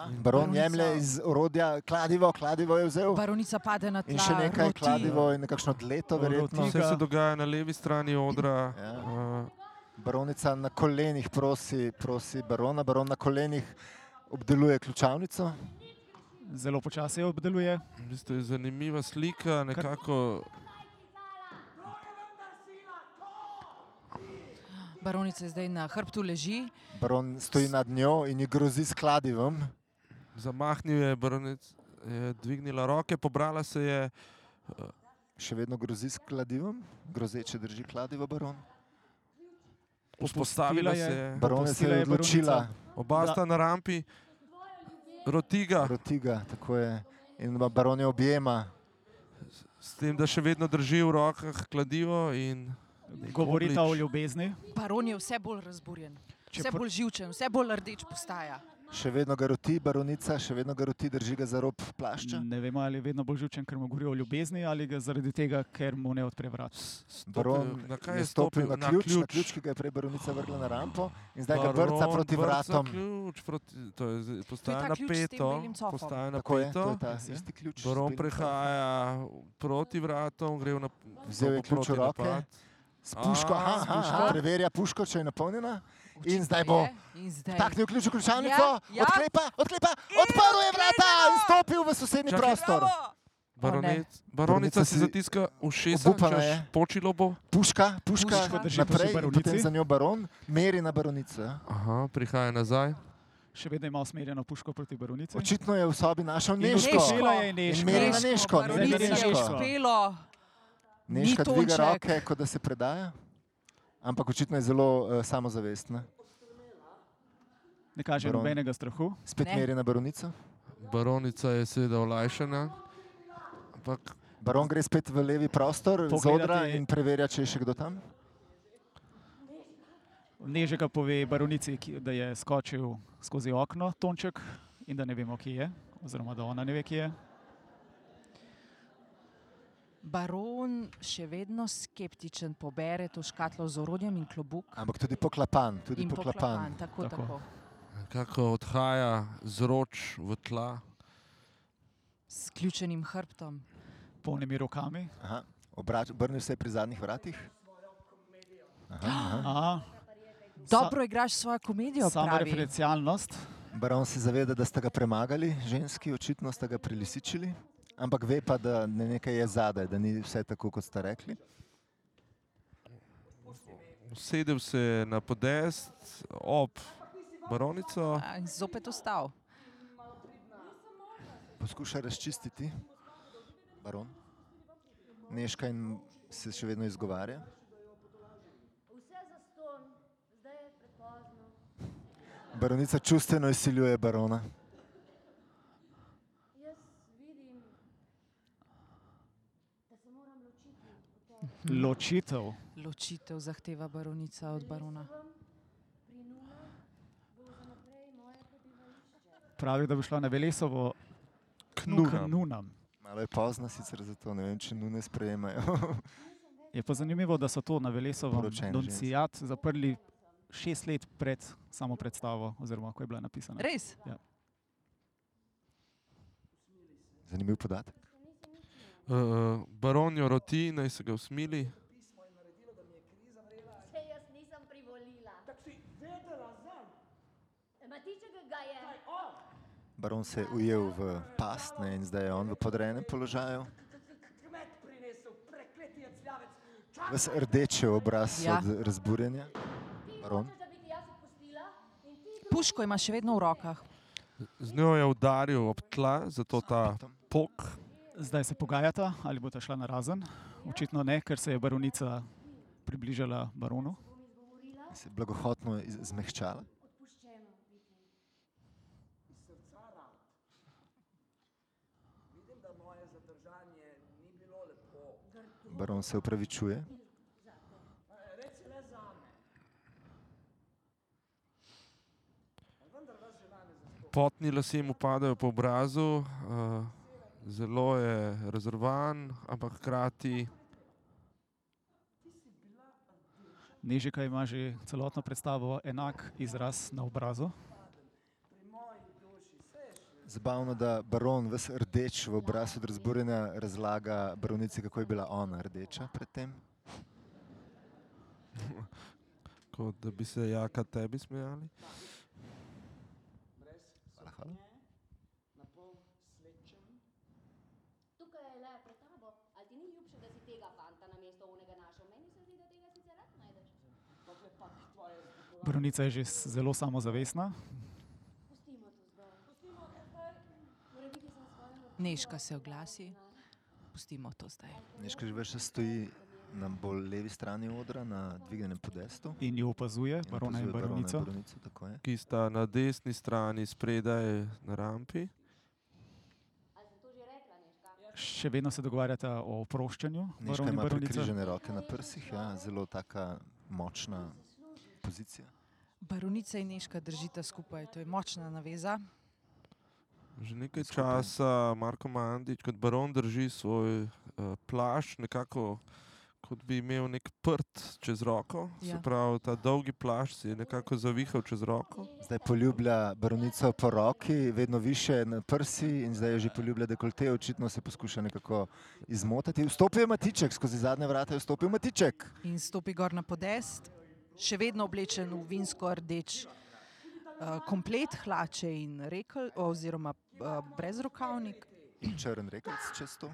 Baron
Baronica-
jemlje iz orodja kladivo, kladivo je vzel.
Baronica pade na tla.
In še nekaj
roti.
kladivo in nekakšno dleto, verjetno.
Roti.
Vse se dogaja na levi strani odra.
Ja.
eh,
Baronica na kolenih prosi, prosi barona, baron na kolenih obdeluje ključavnico.
Zelo počasi jo obdeluje.
V bistvu je zanimiva slika, nekako
Baronica zdaj na hrbtu leži.
Baron stoji nad njo in ji grozi s kladivom.
zamahnil je baronec, je dvignila roke, pobrala se je.
Še vedno grozi s kladivom, grozeče drži kladivo baron.
Vzpostavila
je.
se je.
Barona se
Opustila
je
je
odločila,
baronica.
Oba
Da.
sta na rampi, rotiga,
rotiga, tako je. In baron jo objema.
s tem, da še vedno drži v rokah kladivo. in nek
Govorita o
oblič.
ljubezni.
Baron je vse bolj razburjen,
Če
vse
pr-
bolj živčen, vse bolj rdeč postaja.
Še vedno ga roti baronica, še vedno ga roti, drži ga za rob plašča.
Ne vemo, ali je vedno bolj živčen, ker mu govori o ljubezni ali ga zaradi tega, ker mu ne odpre vrat.
S- stopil-
Baron
na kaj
je
je
stopil na ključ, na
ključ.
ključ, ki ga je prej baronica vrgla na rampo in zdaj ga vrca
Baron
proti
brca
vratom.
Ključ proti, to je, zdaj- postaja
ta ključ s tem
napeto.
belim cofom.
Postaja
Tako je, to
napeto.
je ta
Ja.
isti ključ.
Baron
s belim
prehaja proti vratom, gre v nap-
Vzel je
bo
ključ v
proti
roke.
napad.
S puško,
A,
aha,
s
aha, aha,
puško.
preverja puško, če je napolnjena. In
Očitno
zdaj E, bo
je, in zdaj.
vtaknil ključ v ključavnico,
Ja, ja.
odklepa, odklepa, odprl je vrata in
odklenjeno!
stopil v sosednji
Čakaj.
prostor.
Bravo!
Baronet,
Baronica
baronica si
si
zatiska ušesa,
obupana
češ,
je.
počilo bo.
Puška, puška,
Puško
drži
naprej,
proti
in
baronici.
potem za njo baron, meri na baronico. ja.
Aha, prihaja nazaj.
Še vedno ima usmerjeno puško proti baronici.
Očitno je v sobi našel
In
Neško.
uspela je
In
neško.
meri na
Neško,
Neško. meri na
Zdaj
Baronici je
Neško.
uspelo. Ni
Neška dviga
tonček.
roke, kot da se predaja, ampak očitno je zelo eh, samozavestna.
Ne kaže
Baron.
nobenega strahu.
Spet
Ne.
meri na baronico.
Baronica je seveda olajšana, ampak
Baron gre spet v levi prostor,
Pogledati-
zodra in preverja, če je še kdo tam.
Nežega pove baronici, ki- da je skočil skozi okno Tonček in da ne vemo, kje je, oziroma da ona ne ve, kje je.
Baron še vedno skeptičen pobere to škatlo z orodjem in klobuk.
Ampak tudi poklapan, tudi
In
poklapan.
poklapan, tako,
Tako.
tako.
nekako odhaja z roč v tla.
S ključenim hrbtom.
Polnimi rokami.
Aha, obrač, obrnil se je pri zadnjih vratih. Aha, aha.
Aha,
Dobro igraš svojo komedijo,
sama
pravi.
referencialnost.
Baron se zaveda, da ste ga premagali, ženski, očitno ste ga prelisičili, ampak ve pa, da ne nekaj je zadaj, da ni vse tako, kot ste rekli.
Usedel se je na podest ob baronico.
A, In zopet ostal.
Poskuša razčistiti, baron. Neška in se še vedno izgovarja.
Vse za ston, zdaj je prepozno.
Baronica čustveno izsiljuje barona.
Jaz vidim, da se moram ločiti od tebe.
Ločitev.
Ločitev zahteva baronica od barona.
Prinula bo za naprej moje prebivališče.
pravi, da bi šla na Velesovo k
Nunam.
nuk- nunam.
Malo je pozno, sicer zato ne vem, če nune sprejemajo.
Je pa zanimivo, da so to na Velesovo
Poročene
Doncijat zaprli šest let pred samo predstavo, oziroma ko je bila napisana.
Res?
Zanimiv podatek.
Uh, baron jo roti, naj se ga usmili.
Se jaz nisem privolila.
Tako si vedela zanj,
Matiček ga je.
kaj on.
Baron se je ujel v past ne, in zdaj je on v podrejenem položaju.
Kmet prinesel, prekleti je cljavec.
Ves rdeče obraz
Ja.
ja. od razburjenja.
Ti
Baron?
hočeš, da bi ti jaz opustila? In ti drugi-
Puško ima še vedno v rokah.
Z njo je udaril ob tla, zato ta pok.
Zdaj se pogajata, ali bosta šla na razen. Očitno ne, ker se je baronica približala baronu.
Se je blagohotno iz- zmehčala.
Odpuščeno biti.
Vidim, da moje zadržanje ni bilo lepo.
Baron se upravičuje.
Eh, Reci le zame. Vendar vas že danes
Potni lasje mu padajo po obrazu, uh, zelo je rezervan, ampak hkrati
Nežika ima že celotno predstavo enak izraz na obrazu.
Zabavno, da baron ves rdeč v obrazu od razburjenja razlaga baronici, kako je bila ona rdeča predtem.
kot da bi se jaka tebi smejali.
Hvala, hvala.
Tukaj je le pred tabo. Ali ti ni ljubše, da si tega fanta namesto onega našel? Meni se zdi, da tega sicer rad najdeš.
Baronica je že s- zelo samozavestna,
Pustimo to zdaj. Pustimo to zdaj. Mora biti za svojo
Neška se oglasi. Pustimo to zdaj.
Neška že več stoji na bolj levi strani odra, na dvignjenem podestu.
in jo opazuje,
In
barona in
opazuje barona
baronica.
baronico, tako je.
Ki sta na desni strani, spredaj na rampi.
Ali si to že rekla, Neška?
Še vedno se dogovarjata o oproščanju.
Neška
baron in
ima
baronica.
prekrižene roke na prsih, ja, zelo taka močna pozicija.
Baronica in Neška držita skupaj, to je močna naveza.
Že nekaj
Skupaj.
časa Marko Mandič kot baron drži svoj uh, plašč, nekako kot bi imel nek prt čez roko. Ja.
Ja.
Se pravi, ta dolgi plašč si je nekako zavihal čez roko.
Zdaj poljublja baronico po roki, vedno više na prsi in zdaj jo že poljublja dekolte, očitno se poskuša nekako izmotati. Vstopil je Matiček, skozi zadnje vrata je vstopil Matiček.
In stopi gor na podest, še vedno oblečen v vinsko rdeč. eh, Komplet hlače in rekel, oziroma eh, brezrokavnik.
Črn rekelc čez to.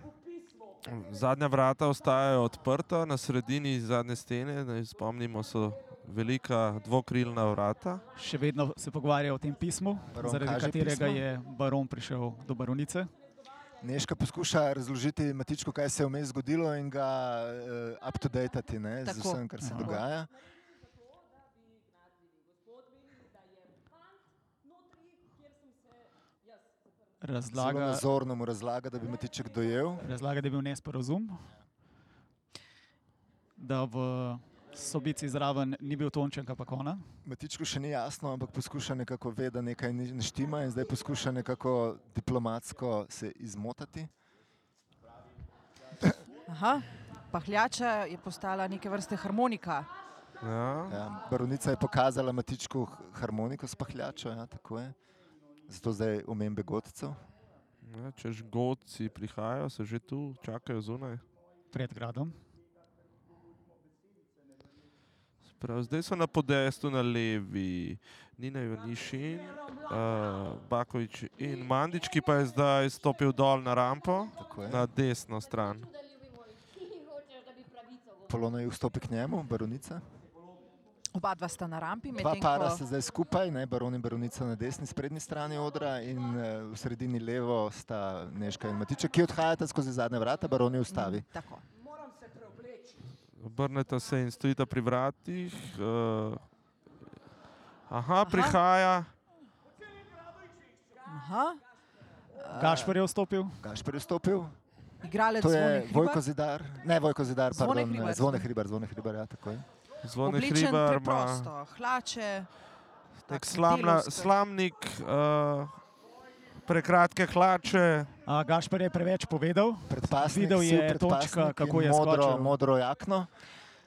Zadnja vrata ostajajo odprta, na sredini zadnje stene, naj spomnimo, so velika dvokrilna vrata.
Še vedno se pogovarjajo o tem pismu,
Baron
zaradi
kaže
katerega
pismo.
je baron prišel do baronice.
Neška poskuša razložiti Matičku, kaj se je vmes zgodilo in ga uh, up-to-datati z
Tako.
vsem, kar se
Tako.
dogaja. Zelo
Razlaga,
nazorno mu razlaga, da bi Matiček dojel.
razlaga, da je bil nesporazum, da v sobici zraven ni bil Tonček, ampak ona.
Matičku še ni jasno, ampak poskuša nekako vedeti, da nekaj ni- ne štima in zdaj poskuša nekako diplomatsko se izmotati.
Aha, pahljača je postala neke vrste harmonika.
Ja.
Ja, baronica je pokazala Matičku h- harmoniko s pahljačo, ja, tako je. Zato zdaj omembe godcev.
Ja, če žgoci prihajajo, se že tu čakajo zunaj.
Pred gradom.
Se Prav, zdaj so na podestu na levi, Nina Janišin, uh, Bakovič in Mandič, ki pa je zdaj stopil dol na rampo,
Tako je.
na desno stran.
Čuda, ljubi moj. Ti hočeš, da bi pravico govorila.
Polona je vstopi k njemu, baronica.
Oba dva sta na rampi,
Dva
medtem
para
ko
sta zdaj skupaj, ne, baron in baronica na desni, sprednji strani odra in eh, v sredini levo sta Neška in Matiček, ki odhajata skozi zadnja vrata, baron jo ustavi.
Mhm, tako.
Moram se preobleči.
Obrneta se in stojita pri vratih. Uh, aha, prihaja.
Aha,
Gašpor je vstopil,
Gašper je vstopil,
igralec
to je
Zvone Hribar.
Vojko Zidar, ne Vojko Zidar,
Zvone
pardon,
Hribar.
eh, Zvone Hribar, Zvone Hribar, ja, tako je.
Zvone
Oblečen
Hribar ima
preprosto, hlače.
nek
tak
slamna,
delavsko.
slamnik, uh, prekratke hlače.
A, Gašper je preveč povedal.
Predpasnik,
Videl je
siv predpasnik
Tončka, kako
in
je
modro,
skočil.
modro jakno.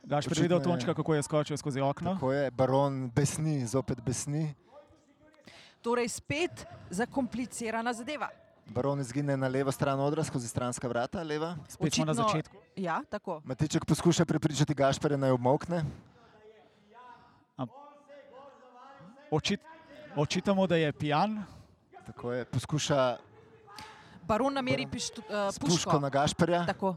Gašper je
Očitno
videl
je-
Tončka, kako je skočil skozi okno.
Tako je, baron besni, zopet besni.
Torej, spet zakomplicirana zadeva.
Baron izgine na levo stran odra, skozi stranska vrata, leva.
Spet smo na
Očitno-
začetku.
Ja, tako.
Matiček poskuša prepričati Gašpere naj obmokne.
Očit, očitamo, da je pijan.
Tako je, poskuša
Baron nameri pištu, uh,
s puško
puško.
na Gašperja,
Tako.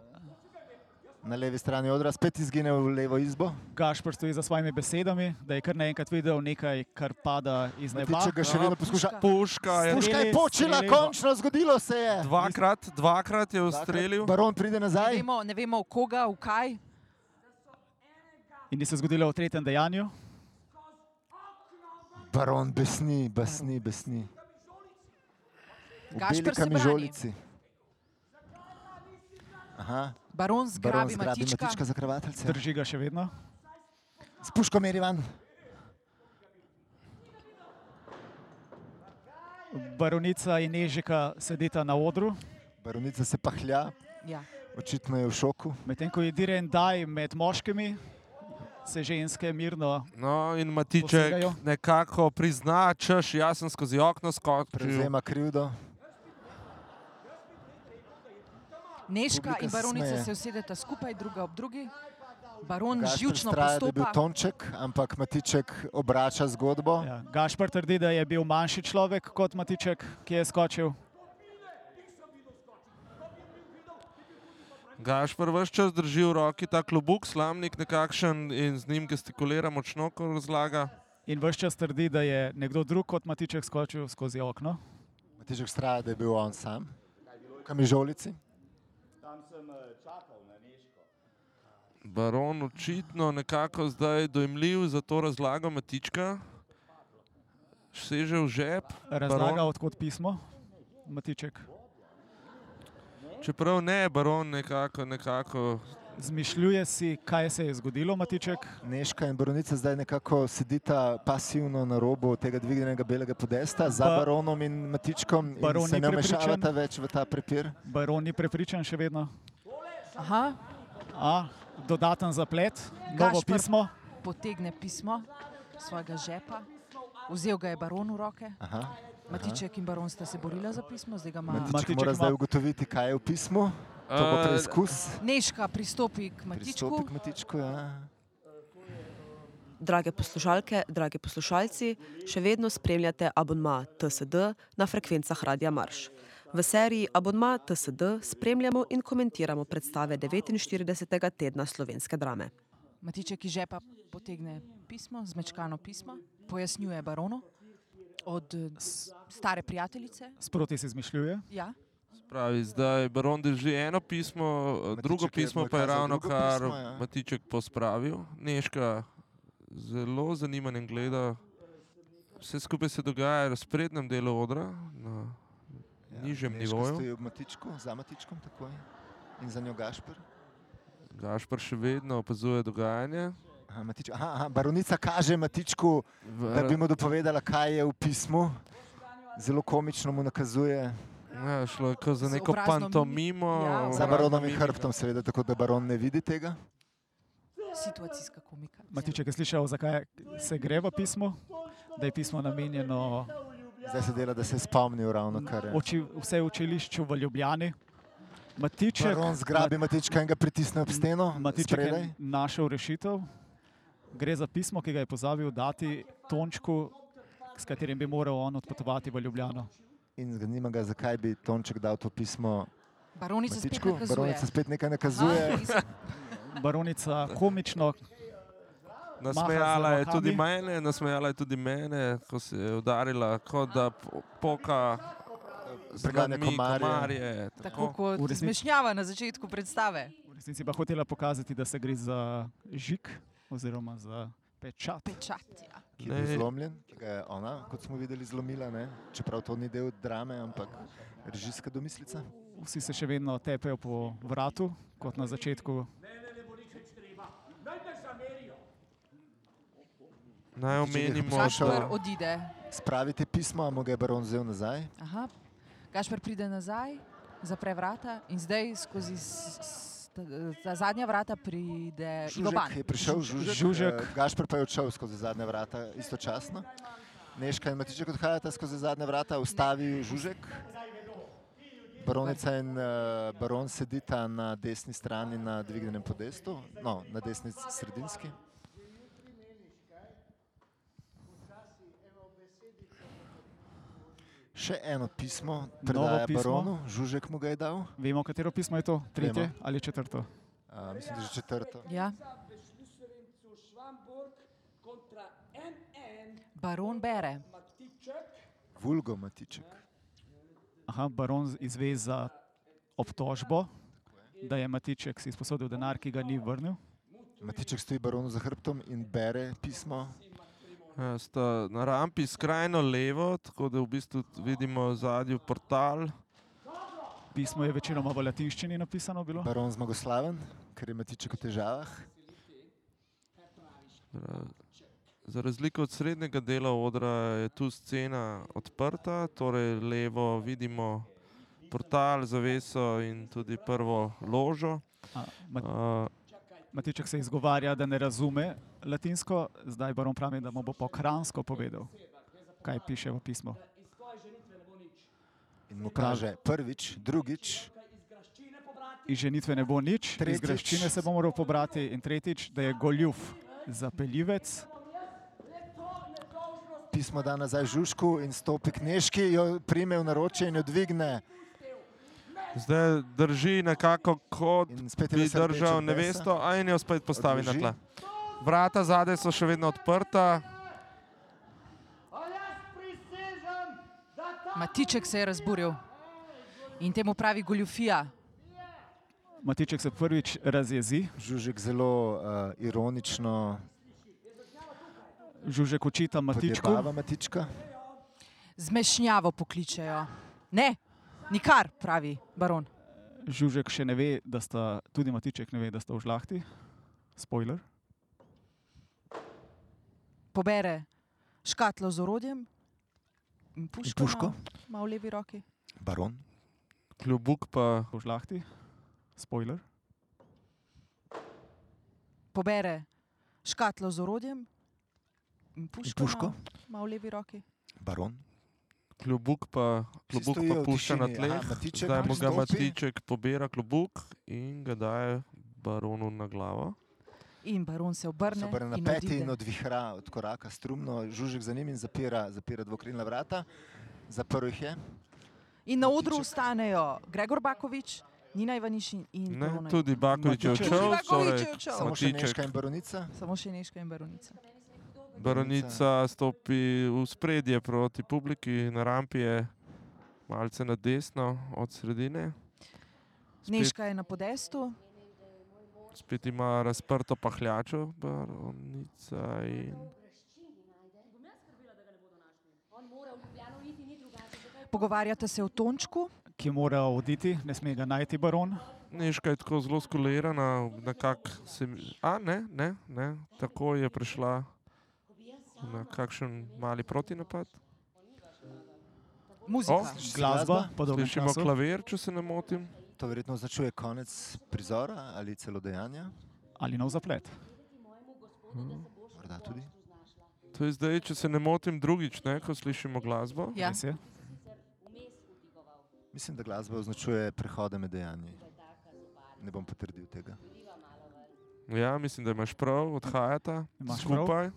na levi strani odra, spet izgine v levo izbo.
Gašper stoji za svojimi besedami, da je kar naenkrat videl nekaj, kar pada iz neba.
Matiček ga še vedno poskuša.
Puška je
Puška je
Streli,
počela,
streli.
končno zgodilo se je.
dvakrat, dvakrat je ustrelil.
Baron pride
Ne
nazaj.
vemo, ne vemo, v koga, v kaj.
In ni se zgodilo v tretjem dejanju.
Baron besni, besni, besni. V
Gašper
beli
se brani.
kamižolici. Aha,
Baron
baron
zgrabi,
zgrabi
matička.
matička za kravateljce.
Drži ga še vedno.
S puško meri van.
Baronica in Nežika sedita na odru,
Baronica se pahlja,
Ja.
očitno je v šoku.
medtem ko je Diren Daj med moškimi, se ženske mirno.
No, in Matiček
Posegajo.
nekako prizna, češ, jaz sem skozi okno skočil.
Prevzema krivdo.
Neška
Publika
in
se
baronica
smeje.
se usedeta skupaj, druga ob drugi. Baron
Gašper
živčno
straja, da je bil
postopa.
Tonček, ampak Matiček obrača zgodbo.
Ja. Gašpar trdi, da je bil manjši človek kot Matiček, ki je skočil.
Gašpr vse čas drži v roki ta klobuk, slamnik nekakšen in z njim gestikulira močno, ko razlaga.
In vse čas trdi, da je nekdo drug kot Matiček skočil skozi okno.
Matiček straja, da je bil on sam. V kamižolici.
Tam sem eh, čakal na Neško.
Baron očitno nekako zdaj dojemljiv za to razlago Matička. Seže v žep,
Razlaga,
Baron-
odkot pismo. Matiček
čeprav ne, baron nekako, nekako
zmišljuje si, kaj se je zgodilo, Matiček.
Neška in Baronica zdaj nekako sedita pasivno na robu tega dvignjenega belega podesta za
Ba-
baronom in matičkom,
Baron
in se
ni
ne
prepričan.
vmešavata več v ta prepir.
Baron ni prepričan še vedno.
Aha,
A, dodaten zaplet, novo
Gašper.
pismo.
potegne pismo iz svojega žepa. Vzel ga je baron v roke.
Ah, Aha.
Matiček in baron sta se borila za pismo, zdaj ga ima.
Matiček
Matiček, Matiček mora
ima-
zdaj ugotoviti, kaj je v pismu. To bo
Eh,
preizkus.
Neška pristopi k
Pristopi
Matičku.
k Matičku. Ja.
Drage poslušalke, dragi poslušalci, še vedno spremljate abonma TSD na frekvencah Radia Marš. V seriji Abonma TSD spremljamo in komentiramo predstave 49. tedna slovenske drame.
Matiček iz žepa potegne pismo, zmečkano pismo, pojasnjuje baronu od eh, stare prijateljice.
Sproti si izmišljuje.
Ja.
Pravi, zdaj Baron drži eno pismo, eh,
Matiček
drugo
je
pismo
mu
pa je
kazal
ravno
drugo
kar
pismo, ja.
Matiček pospravil. Neška zelo zanimanjem gleda. Vse skupaj se dogaja v sprednjem delu odra, na nižjem
Ja, Neška
nivoju.
Stoji ob Matičku, za Matičkom takoj. In za njo Gašper.
Gašpr še vedno opazuje dogajanje.
Aha, Matiček. Aha, aha, baronica kaže Matičku,
V-
da bi mu dopovedala, kaj je v pismu. Zelo komično mu nakazuje.
Ja, šlo je kot za
Z
neko
obrazno mimi-
pantomimo.
ja,
Za
Obrazna
baronom in
mimika.
hrbtom, seveda, tako da baron ne vidi tega.
Situacijska komika.
Matiček je slišal, zakaj se gre v pismu, da je pismo namenjeno
Zdaj se dela, da se je spomnil ravno kar. je.
oči, vse učilišču v Ljubljani. Matiček,
Baron zgrabi Matička in ga pritisne ob steno.
Matiček
spredaj.
je našel rešitev. Gre za pismo, ki ga je pozabil dati Tončku, s katerim bi moral on odpotovati v Ljubljano.
In zanima ga, zakaj bi Tonček dal to pismo
Baronica spet
Matičku.
nakazuje.
Baronica spet nekaj
Aha,
nakazuje.
iz-
Baronica komično
Nasmejala je
rokami.
tudi mene, nasmejala je tudi mene, ko se je udarila, kot da po- poka z
Preganja
dlanmi
komarje.
komarje.
Tako
Tako.
kot
V resnici-
zmešnjava na začetku predstave.
V resnici pa hotela pokazati, da se gre za žig oziroma za pečat.
Pečat. Ja.
ki je
Ne.
bil zlomljen, ki ga je ona, kot smo videli, zlomila. Ne? Čeprav to ni del drame, ampak režijska domislica.
Vsi se še vedno tepejo po vratu, kot na začetku.
Naj omenimo,
Poslušal-
da
Gašper odide.
Spravite pismo, a mu ga je baron vzel nazaj.
Aha. Gašpr pride nazaj, zapre vrata in zdaj skozi s- s- ta- ta zadnja vrata pride Ivan.
Žužek je prišel, Žužek,
Žužek.
eh, Gašper pa je odšel skozi zadnja vrata istočasno. Neška in Matiček odhajata skozi zadnja vrata, ustavi Žužek. Baronica in eh, baron sedita na desni strani na dvignjenem podestu, no, na desni sredinski. Še eno pismo, predaja
pismo.
baronu, Žužek mu ga je dal,
Vemo, katero pismo je to? Tretje
Vemo.
ali četrto?
a, mislim, da že četrto.
Ja,
Beschlüsselin zu Schwamburg kontra MN
baron bere.
Matiček.
Vulgo Matiček.
Aha, baron izve za obtožbo, da je Matiček si izposodil denar, ki ga ni vrnil.
Matiček stoji baronu za hrbtom in bere pismo.
Ja, sta na rampi skrajno levo, tako da v bistvu t- vidimo zadnji portal.
Pismo je večinoma v latinščini napisano bilo.
Baron zmagoslaven, ker je Matiček v težavah.
Ra- Za razliko od srednjega dela odra je tu scena odprta, torej levo vidimo portal, zaveso in tudi prvo ložo.
A, Ma-
Uh,
Matiček se izgovarja, da ne razume latinsko, zdaj baron pravi, da mu bo po kransko povedal, kaj piše v pismu.
In mu kaže prvič, drugič,
Iz ženitve ne bo nič, iz
Tretjič.
greščine se bo moral pobrati in tretjič, da je goljuf zapeljivec.
pismo da nazaj Žužku in stopi k Neški, jo prime v naročje in jo dvigne.
zdaj drži nekako kot
In spet je
bi
ves rdeč
držal
od besa.
nevesto, a in jo spet postavi na
Odloži.
tla. Vrata zadaj so še vedno odprta.
A jaz prisežem, da ta
Matiček se je razburil in temu pravi goljufija.
Matiček se prvič razjezi,
Žužek zelo uh, ironično
žužek očita Matičku,
podjebava Matička.
Zmešnjavo pokličejo. Ne, nikar, pravi baron.
žužek še ne ve, da sta, tudi Matiček ne ve, da sta v žlahti. Spoiler.
Pobere škatlo z orodjem in puško. ima-
puško.
Ima v levi roki.
Baron.
Kljubuk pa
V žlahti. Spoiler.
Pobere škatlo z orodjem in puško.
puško.
ima- Ima v levi roki.
Baron.
Klobuk pa, klobuk
stojijo
pa
v
pušča na
tišini.
tleh,
Aha, Matiček
zdaj mu ga
pristopi.
Matiček pobira klobuk in ga daje baronu na glavo.
In baron se obrne.
Se obrne na
in
peti
odide.
in odvihra od koraka strumno, Žužek za njim in zapira, zapira dvokrilna vrata. Zaprl jih je.
In na odru
Matiček.
ostanejo Gregor Bakovič, Nina Ivanišin in
Ne,
Barona.
tudi Bakovič je
Matiček.
odšel,
Tudi Baković
torej
je odšel.
Samo še
Matiček.
Neška in baronica.
Samo še Neška in Baronica.
baronica stopi v spredje proti publiki, na rampi je malce na desno od sredine. Spet,
Neška je na podestu,
spet ima razprto pahljačo, baronica in
On mora v Ljubljano iti, ni drugače. Zakaj
pogovarjate se o Tončku,
ki mora oditi, ne sme ga najti baron.
Neška je tako zelo skulirana, nekako se mi. A ne, ne, ne, tako je prišla na kakšen mali protinapad.
muzika.
O,
Sliši se
Glasba, podobno
Slišimo klavir, če se ne motim.
To verjetno označuje konec prizora ali celo dejanja.
ali nov zaplet.
Morda tudi.
To je zdaj, če se ne motim, drugič, ne, ko slišimo glasbo.
Ja.
Res je.
Mislim, da glasba označuje prehode med dejanji. Ne bom potrdil tega.
Ja, mislim, da imaš prav, odhajata
Imaš prav.
skupaj.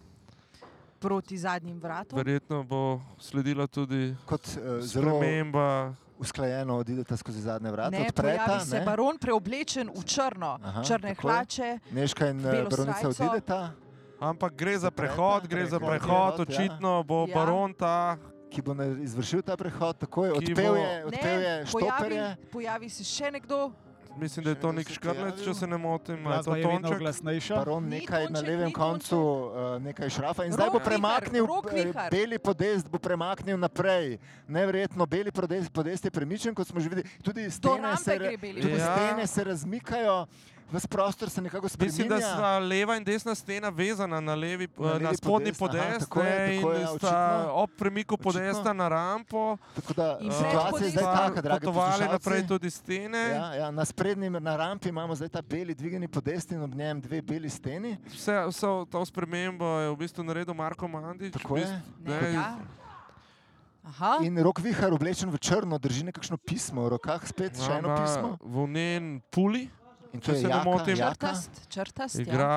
proti zadnjim vratom.
Verjetno bo sledila tudi
Kot uh, zelo
sprememba.
usklajeno odidete skozi zadnje vrata,
Ne,
odpreta,
pojavi se
ne?
baron preoblečen v črno, Aha,
Aha,
črne
tako je.
hlače,
Neška in eh,
belo
baronica
srajco.
odideta,
Ampak gre za
Odpreta,
prehod, gre za
prehod,
prehod,
ja.
očitno bo
Ja.
baron ta
ki bo na- izvršil ta prehod, tako je,
Ki
odpel
bo-
je, odpel je
pojavi,
štoperje.
pojavi se še nekdo,
Mislim, da je
Še
to
kdo
nek
se je
škrlec, če
prijavil?
se ne motim. a Je to
Glasba je vedno
tonček.
glasnejša.
Baron
Ni
nekaj na
Tonček,
levem
ni
koncu, eh, nekaj šrafa in zdaj
Rok
bo
Vihar,
premaknil,
Rok
eh,
Vihar.
beli podest bo premaknil naprej. Neverjetno, beli podest, podest je premičen, kot smo že videli. Tudi stene
rampe
se, ra-
gre beli
tudi
podest. Ja.
stene se razmikajo, Ves prostor se nekako
Mislim, da
spremenja.
sta leva in desna stena vezana na, levi,
Na
na,
levi
na spodnji
podest, aha,
podest,
tako je,
ne, in
tako je,
sta
očitno.
ob premiku
Očitno.
podesta na rampo.
Tako da
In
situacija je
predhodnik-
zdaj taka, dragi
potovali naprej
poslušalci.
tudi stene.
Ja, ja, na sprednji na rampi imamo zdaj ta beli dvigani podest in ob njem dve beli steni.
Vse, vso to spremembo je v bistvu naredil Marko Mandić. v
Tako je.
bistvu,
Ne, ja. Aha,
In rok vihar oblečen v črno drži nekakšno pismo, v rokah spet še eno
ima
pismo.
Volnen puli.
In
Ja, če
to je
se ne
jaka,
motim.
jaka.
črtast, črtast. Ja.
Igra,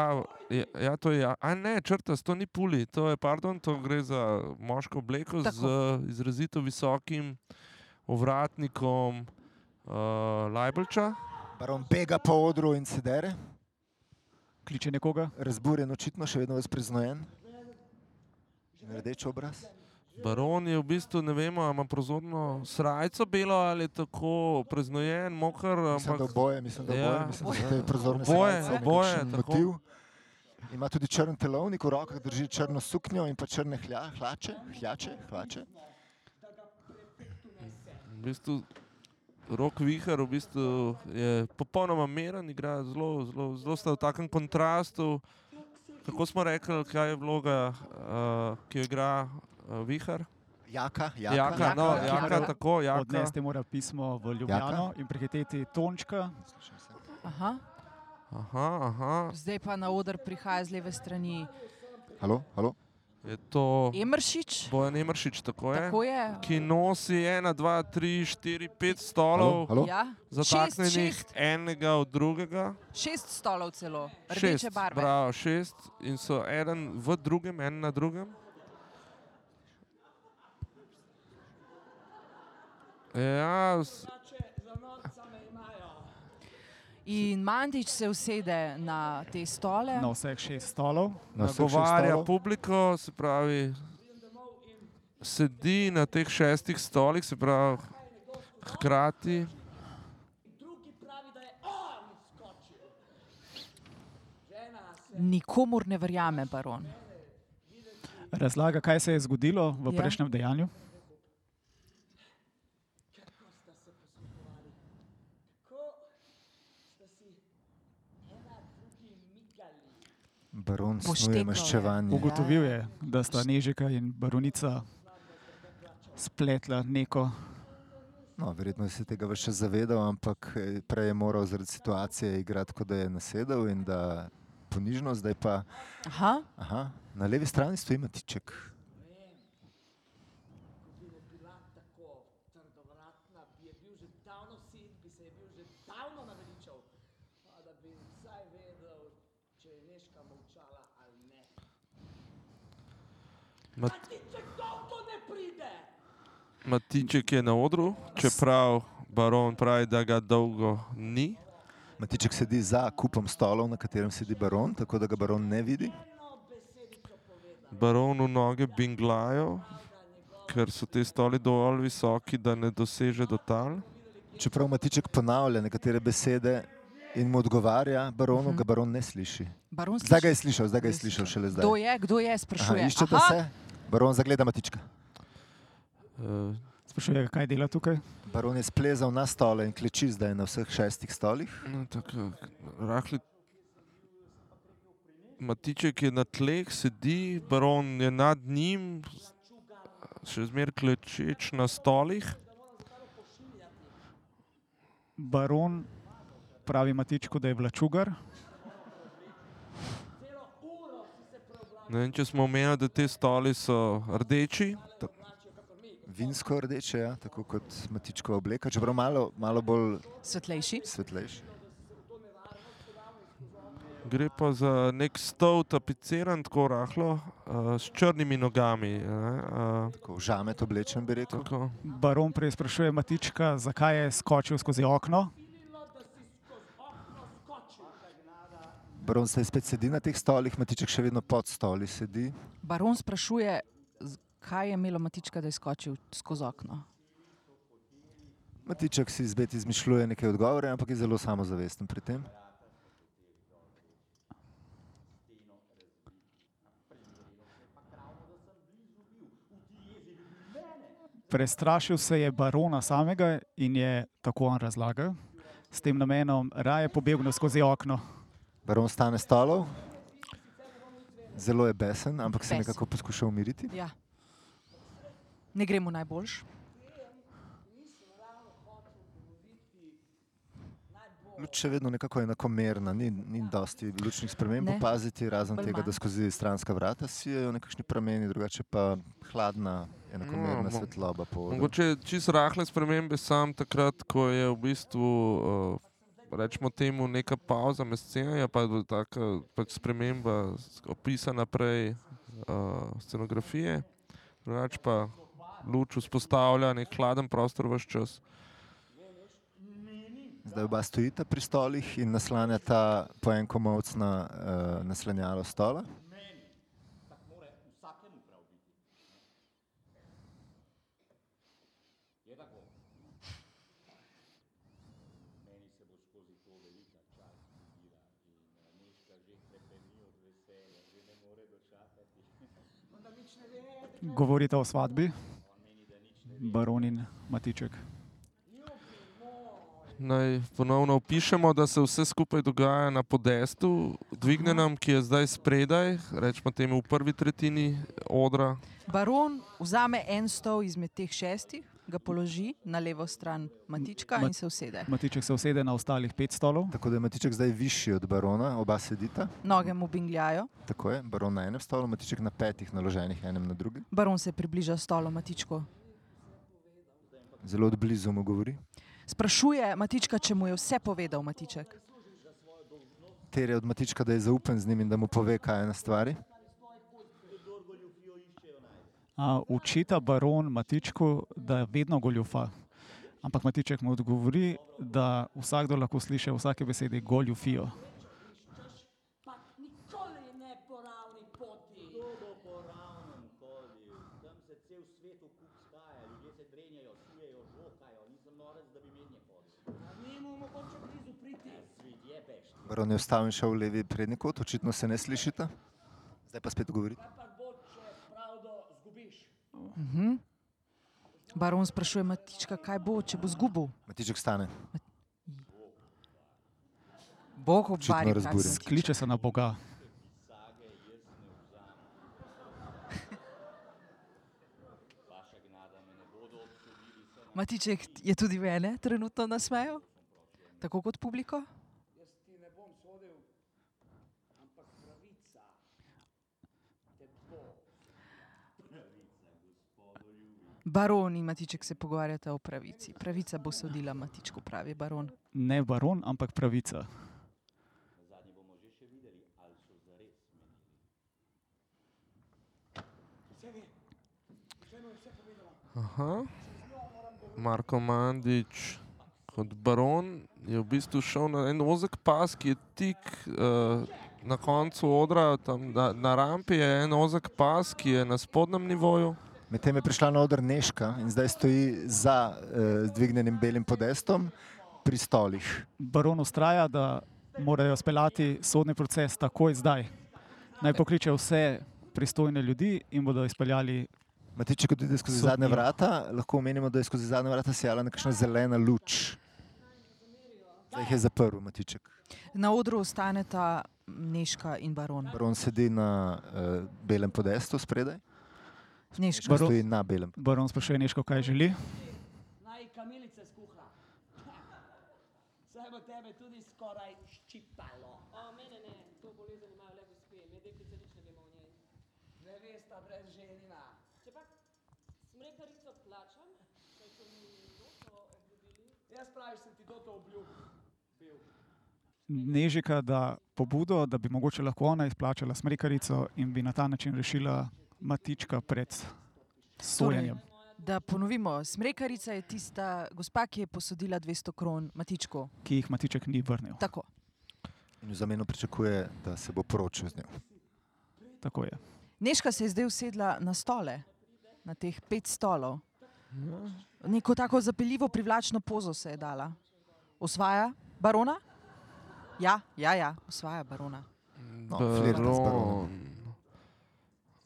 ja, ja, to je, ja- a ne, črtas, to ni puli, to je, pardon, to gre za moško obleko z
Tako.
eh, izrazito visokim ovratnikom uh, Lajbelča.
Baron bega po odru in se dere,
Kliče nekoga,
razburjen očitno, še vedno vas priznojen. In Rdeč obraz.
Baron je v bistvu, ne vemo, ali ima prozorno srajco belo ali je tako preznojen, mokr,
Mislim,
ampak
da oboje, mislim, da
Ja.
oboje, mislim, da so te prozorne
Oboje,
srajce,
oboje,
nekakšen
tako.
motiv. Ima tudi črn telovnik, v rokah drži črno suknjo in pa črne hlja, hlače, hlače, hlače.
v bistvu Rok Vihar v bistvu je popolnoma meren, igra zelo, zelo, zelo sta v takem kontrastu. Kako smo rekli, kaj je vloga, uh, ki jo igra uh, Vihar?
Jaka, jaka,
Jaka, no,
Jaka,
jaka,
jaka.
tako, jaka.
odnesti mora pismo v Ljubljano in prehiteti Tončka.
Aha.
Aha, aha.
Zdaj pa na oder prihaja z leve strani
Halo, halo.
Je to
Emršič.
Bojan Emršič, tako je?
Tako je.
Ki nosi 1, 2, 3, 4, 5 stolov,
halo, halo.
Ja. Šest,
zataknjenih
šest,
enega od drugega.
šest stolov celo, rdeče
Šest,
barve.
bravo, šest in so eden v drugem, en na drugem. Ja, s-
In Mandič se usede na te stole.
Na
No.
vseh šest stolov,
Na vseh šest
nagovarja
stolov.
publiko, se pravi, sedi na teh šestih stolih, se pravi, hkrati.
Nikomur ne verjame, baron.
razlaga, kaj se je zgodilo v
Ja.
prejšnjem dejanju.
Baron snuje
Poštekal je.
maščevanje.
Ugotovil je, da sta Nežika in baronica spletla neko
No, verjetno se tega več zavedal, ampak eh, prej je moral zaradi situacije igrati, kot da je nasedel in da ponižno, zdaj pa
Aha,
aha, na levi strani stoji Matiček.
Mat Matiček je na odru, čeprav baron pravi, da ga dolgo ni.
Matiček sedi za kupom stolov, na katerem sedi baron, tako da ga baron ne vidi.
Baronu noge binglajo, ker so ti stoli dovolj visoki, da ne doseže do tal.
Čeprav Matiček ponavlja nekatere besede in mu odgovarja, baronu, ga baron ne sliši.
baron
Zdaj
sliši.
ga je slišal, Mhm. zdaj ga je slišal, šele zdaj.
Kdo je, kdo je,
Aha,
sprašuje.
iščete
Aha,
se, baron zagleda Matička.
Eh,
Sprašuje, ga, kaj dela tukaj.
Baron je splezal na stole in kleči zdaj na vseh šestih stolih.
No, tako, rahli. Matiček je na tleh, sedi, baron je nad njim, še zmeraj klečeč na stolih.
Baron pravi Matičku, da je vlačugar.
Ne vem, če smo omenili, da ti stoli so rdeči.
Vinsko rdeče, ja, tako kot Matičkova obleka, čeprav malo, malo bolj
svetlejši.
svetlejši.
Gre pa za nek stol, tapiciran tako rahlo, eh, s črnimi nogami. ne, eh,
Tako žamet oblečen, bi rekel.
Tako.
Baron prej sprašuje Matička, zakaj je skočil skozi okno.
Baron se spet sedi na teh stolih, Matiček še vedno pod stoli sedi.
Baron sprašuje, z- kaj je imelo Matička, da je skočil skozi okno.
Matiček si zbet izmišljuje neke odgovore, ampak je zelo samozavesten pri tem.
Prestrašil se je barona samega in je tako on razlagal. s tem namenom raje pobegnil skozi okno.
Baron stane stolov, zelo je besen, ampak se
Besen.
nekako poskuša umiriti.
Ja. Ne gre mu najboljš.
Luč še vedno nekako enakomerna, ni, ni dosti lučnih sprememb
Ne.
opaziti, razen
Bolj
tega,
manj.
da skozi stranska vrata sijajo nekakšni prameni, drugače pa hladna, enakomerna
No, mo-
svetloba po odru.
Mogoče čisto rahle spremembe, sam takrat, ko je v bistvu, uh, rečemo temu, neka pauza med scenami, pa je tako pač sprememba s- opisa naprej uh, scenografije, drugače pa luč vzpostavlja nek hladen prostor v vse čas.
Zdaj oba stojita pri stolih in naslanjata po en komovc na uh, naslanjalo stola.
Govorite o svatbi, baron in matiček.
Naj ponovno opišemo, da se vse skupaj dogaja na podestu, dvignenem, ki je zdaj spredaj, rečemo temu v prvi tretjini odra.
Baron vzame en stol izmed teh šestih, ga položi na levo stran Matička
Ma-
in se usede.
Matiček se usede na ostalih pet stolov.
Tako da je Matiček zdaj višji od barona, oba sedita.
Noge mu bingljajo,
Tako je, baron na enem stolu, Matiček na petih, naloženih enem na drugem.
baron se približa stolu Matičku.
Zelo od blizu mu govori.
Sprašuje Matička, če mu je vse povedal Matiček.
Terje od Matička, da je zaupen z njim in da mu pove, kaj je na stvari.
A, učita baron Matičku, da vedno goljufa. Ampak Matiček mu odgovori, da vsakdo lahko sliši vsake besede goljufijo.
Nikoli ne po ravni poti.
Baron je vstal in šel v levi prednji kot, očitno se ne slišita. Zdaj pa spet govorite.
Baron sprašuje Matička, kaj bo, če bo zgubil.
Matiček stane.
Bog obvari,
Očitno razburjen.
Kliče se na Boga.
Matiček je tudi mene trenutno nasmejal, tako kot publiko. Baron in Matiček se pogovarjata o pravici. Pravica bo sodila Matičku, pravi baron.
Ne baron, ampak pravica.
Aha. Marko Mandič kot baron je v bistvu šel na en ozek pas, ki je tik uh, na koncu odra, tam na, na rampi je en ozek pas, ki je na spodnjem nivoju.
Medtem je prišla na oder Neška in zdaj stoji za eh, dvignjenim belim podestom pri stolih.
Baron ustraja, da morajo speljati sodni proces takoj zdaj. Naj pokliče vse pristojne ljudi in bodo izpeljali.
Matiček odide skozi
Sodni.
zadnja vrata, lahko omenimo, da je skozi zadnja vrata sijala nekakšna zelena luč. Zdaj jih je zaprl Matiček.
Na odru ostaneta Neška in baron.
Baron sedi na uh, belem podestu spredaj,
Neška.
Baron.
Baron-
stoji na belem.
Baron sprašuje Neško, kaj želi.
Naj kamilice skuha. Saj bo tebe tudi skoraj ščipalo. O, mene ne, to bolezen imajo le gospe, me deklice nič ne vemo o njej. Ne veste, brez ženina. Če pa smrekarico plačam, saj so mi doto obljubili. Jaz praviš, sem ti doto obljubil.
Nežika da pobudo, da bi mogoče lahko ona izplačala smrekarico in bi na ta način rešila matička pred sojenjem.
Da ponovimo, smrekarica je tista gospa, ki je posodila 200 kron Matičku.
ki jih Matiček ni vrnil.
Tako.
In v zameno pričakuje, da se bo poročil z njo.
Tako je.
Neška se je zdaj usedla na stole, na teh pet stolov. Neko tako zapeljivo, privlačno pozo se je dala. Osvaja barona? Ja, ja, ja osvaja barona.
No, flirta z baronom.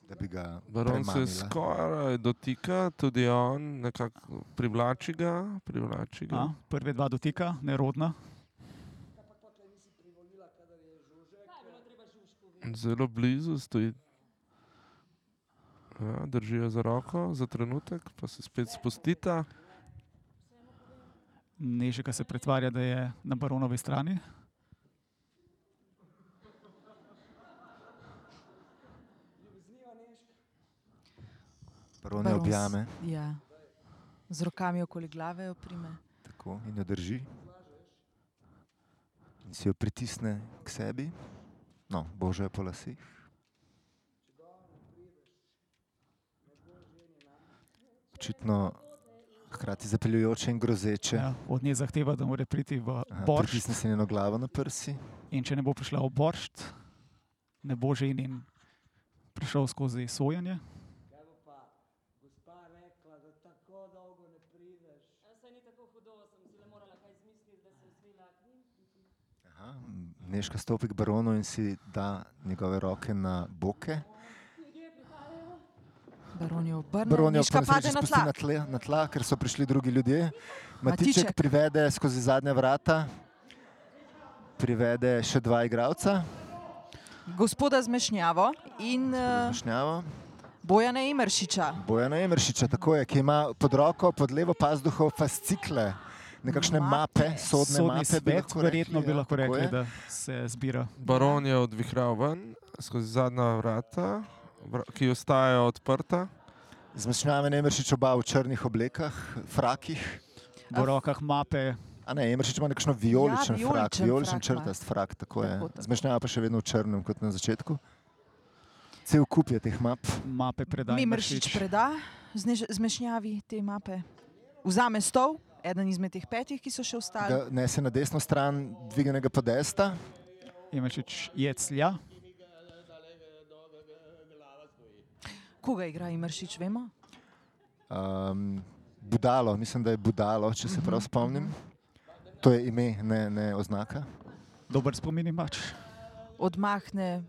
Da bi ga
Baron se
premamila.
skoraj dotika, tudi on nekako privlači ga. Privlači ga.
Ja.
A, prve dva dotika, nerodna,
Zelo blizu stoji. Ja, držijo za roko za trenutek, pa se spet spustita.
Nežika se pretvarja, da je na baronovi strani.
Barone
Baron s-
objame
Ja. Z rokami okoli glave jo prime.
tako, in jo drži. In si jo pritisne k sebi, no, božje po lasih. Očitno hkrati zapeljujoče in grozeče.
Ja, od nje zahteva, da mora priti v
Aha,
boršt.
Pritisne si njeno glavo na prsi.
In če ne bo prišla v boršt, ne bo že in prišel skozi sojenje.
Kaj bo pa gospa rekla, da tako dolgo ne prideš?
Saj ni tako hudo, sem si le morala kaj izmisliti, da sem zvila k njim.
Aha, Neška stopi k baronu in si da njegove roke na boke.
Baron jo obrne,
Baron je
No, Miška
ob
pade
koncu
na
spusti
tla.
na, tle, na tla, ker so prišli drugi ljudje. Matiček,
Matiček.
Matiček privede skozi zadnja vrata, privede še dva igralca,
Gospoda z mešnjavo in uh,
Šnjavo,
Bojana Imršiča.
Bojana Emršiča, tako je, ki ima pod roko, pod levo pazduho fascikle, nekakšne
Mape.
mape, sodne
Sodni
mape. bi
svet,
lahko rekli,
verjetno bi
ja,
lahko
tako
rekli,
je.
da se zbira.
Baron je odvihral ven skozi zadnja vrata, vra- ki ostajajo odprta.
Zmešnjaven Emršič oba v črnih oblekah, frakih.
V rokah mape,
A ne, Emršič ima nekakšno vijoličen,
Ja,
ja, frak,
vijoličen
vijoličen
frak ima.
črtast frak, tako je.
Tako, tako.
Zmešnjava pa še vedno v črnem, kot na začetku. Cel kup je teh map.
mape predaj.
Mimršič preda znež- zmešnjavi te mape. Vzame stol, eden izmed teh petih, ki so še ostali.
Ga nese na desno stran dvignjenega podesta,
Imršič je clja,
Koga igra Imršič, vemo?
um, budalo, mislim, da je budalo, če se prav
Mhm.
spomnim. To je ime, ne, ne oznaka.
dober spomin imaš.
Odmahne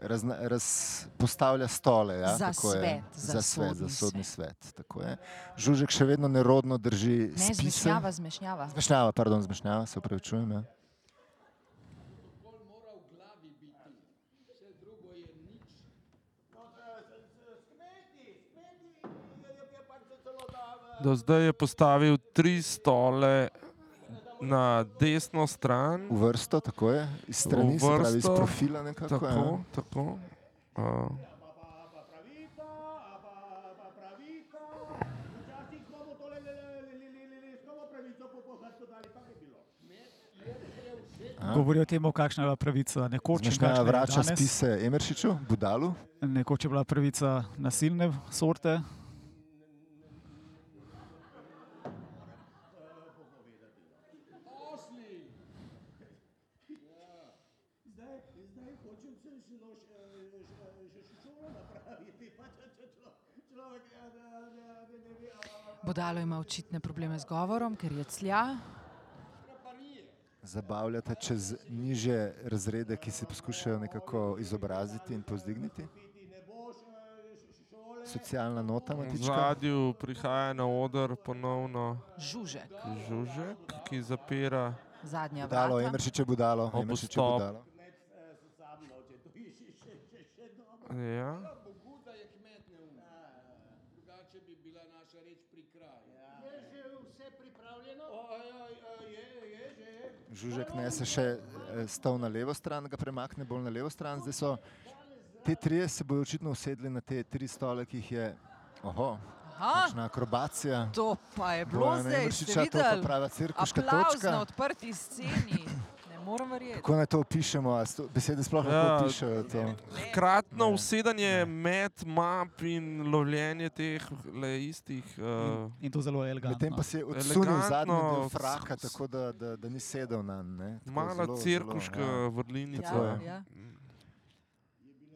Razna, raz, postavlja stole ja,
Za
tako je.
svet, za
za svet,
sodni
za sodni svet. tako je. Žužek še vedno nerodno drži
ne
spise.
zmešnjava, zmešnjava.
Zmešnjava, pardon, zmešnjava, se upravičujem. Ja.
Do zdaj je postavil tri stole na desno stran,
V vrsto, tako je, iz strani,
V
se pravi iz
vrsto,
profila nekako. ja.
tako, tako. Uh,
Ja.
Govori o tem, kakšna je bila pravica nekoč. in
Zmešnjava
kakšna je
vrača
danes.
spise Emeršiču, Budalu.
Nekoč je bila pravica nasilne sorte,
Bodalo ima očitne probleme z govorom, ker je clja.
Zabavljate čez niže razrede, ki se poskušajo nekako izobraziti in povzdigniti. Socialna nota,
v
matička.
zadju prihaja na oder ponovno
Žužek,
Žužek, ki zapira
zadnja
Budalo,
vrata.
Emeršič je budalo,
Ob
Emeršič je
vstop.
budalo.
ja,
Žužek nese še eh, stol na levo stran, ga premakne bolj na levo stran. Zdaj so te trije se bodo očitno usedli na te tri stole, ki jih je. Oho,
Aha,
kakšna akrobacija.
to pa je bilo
Bojana
zdaj, Ah! ste
Emeršiča, to je
videli?
pa prava cirkuška
Aplauz
točka.
na odprti sceni. Ne morem verjeti.
Kako naj to opišemo? A sto- Besede sploh lahko
Ja.
opišajo. To.
Kratno usedanje med map in lovljenje teh le istih. Uh,
in to zelo elegantno.
Medtem pa si je odsunil zadnji del
Elegantno,
fraka,
s- s-
tako da, da, da ni sedel na ne. Tako
Mala
zelo,
cirkuška
Zelo,
ja. vrlinica.
Tako
Ja,
je.
ja.
ja.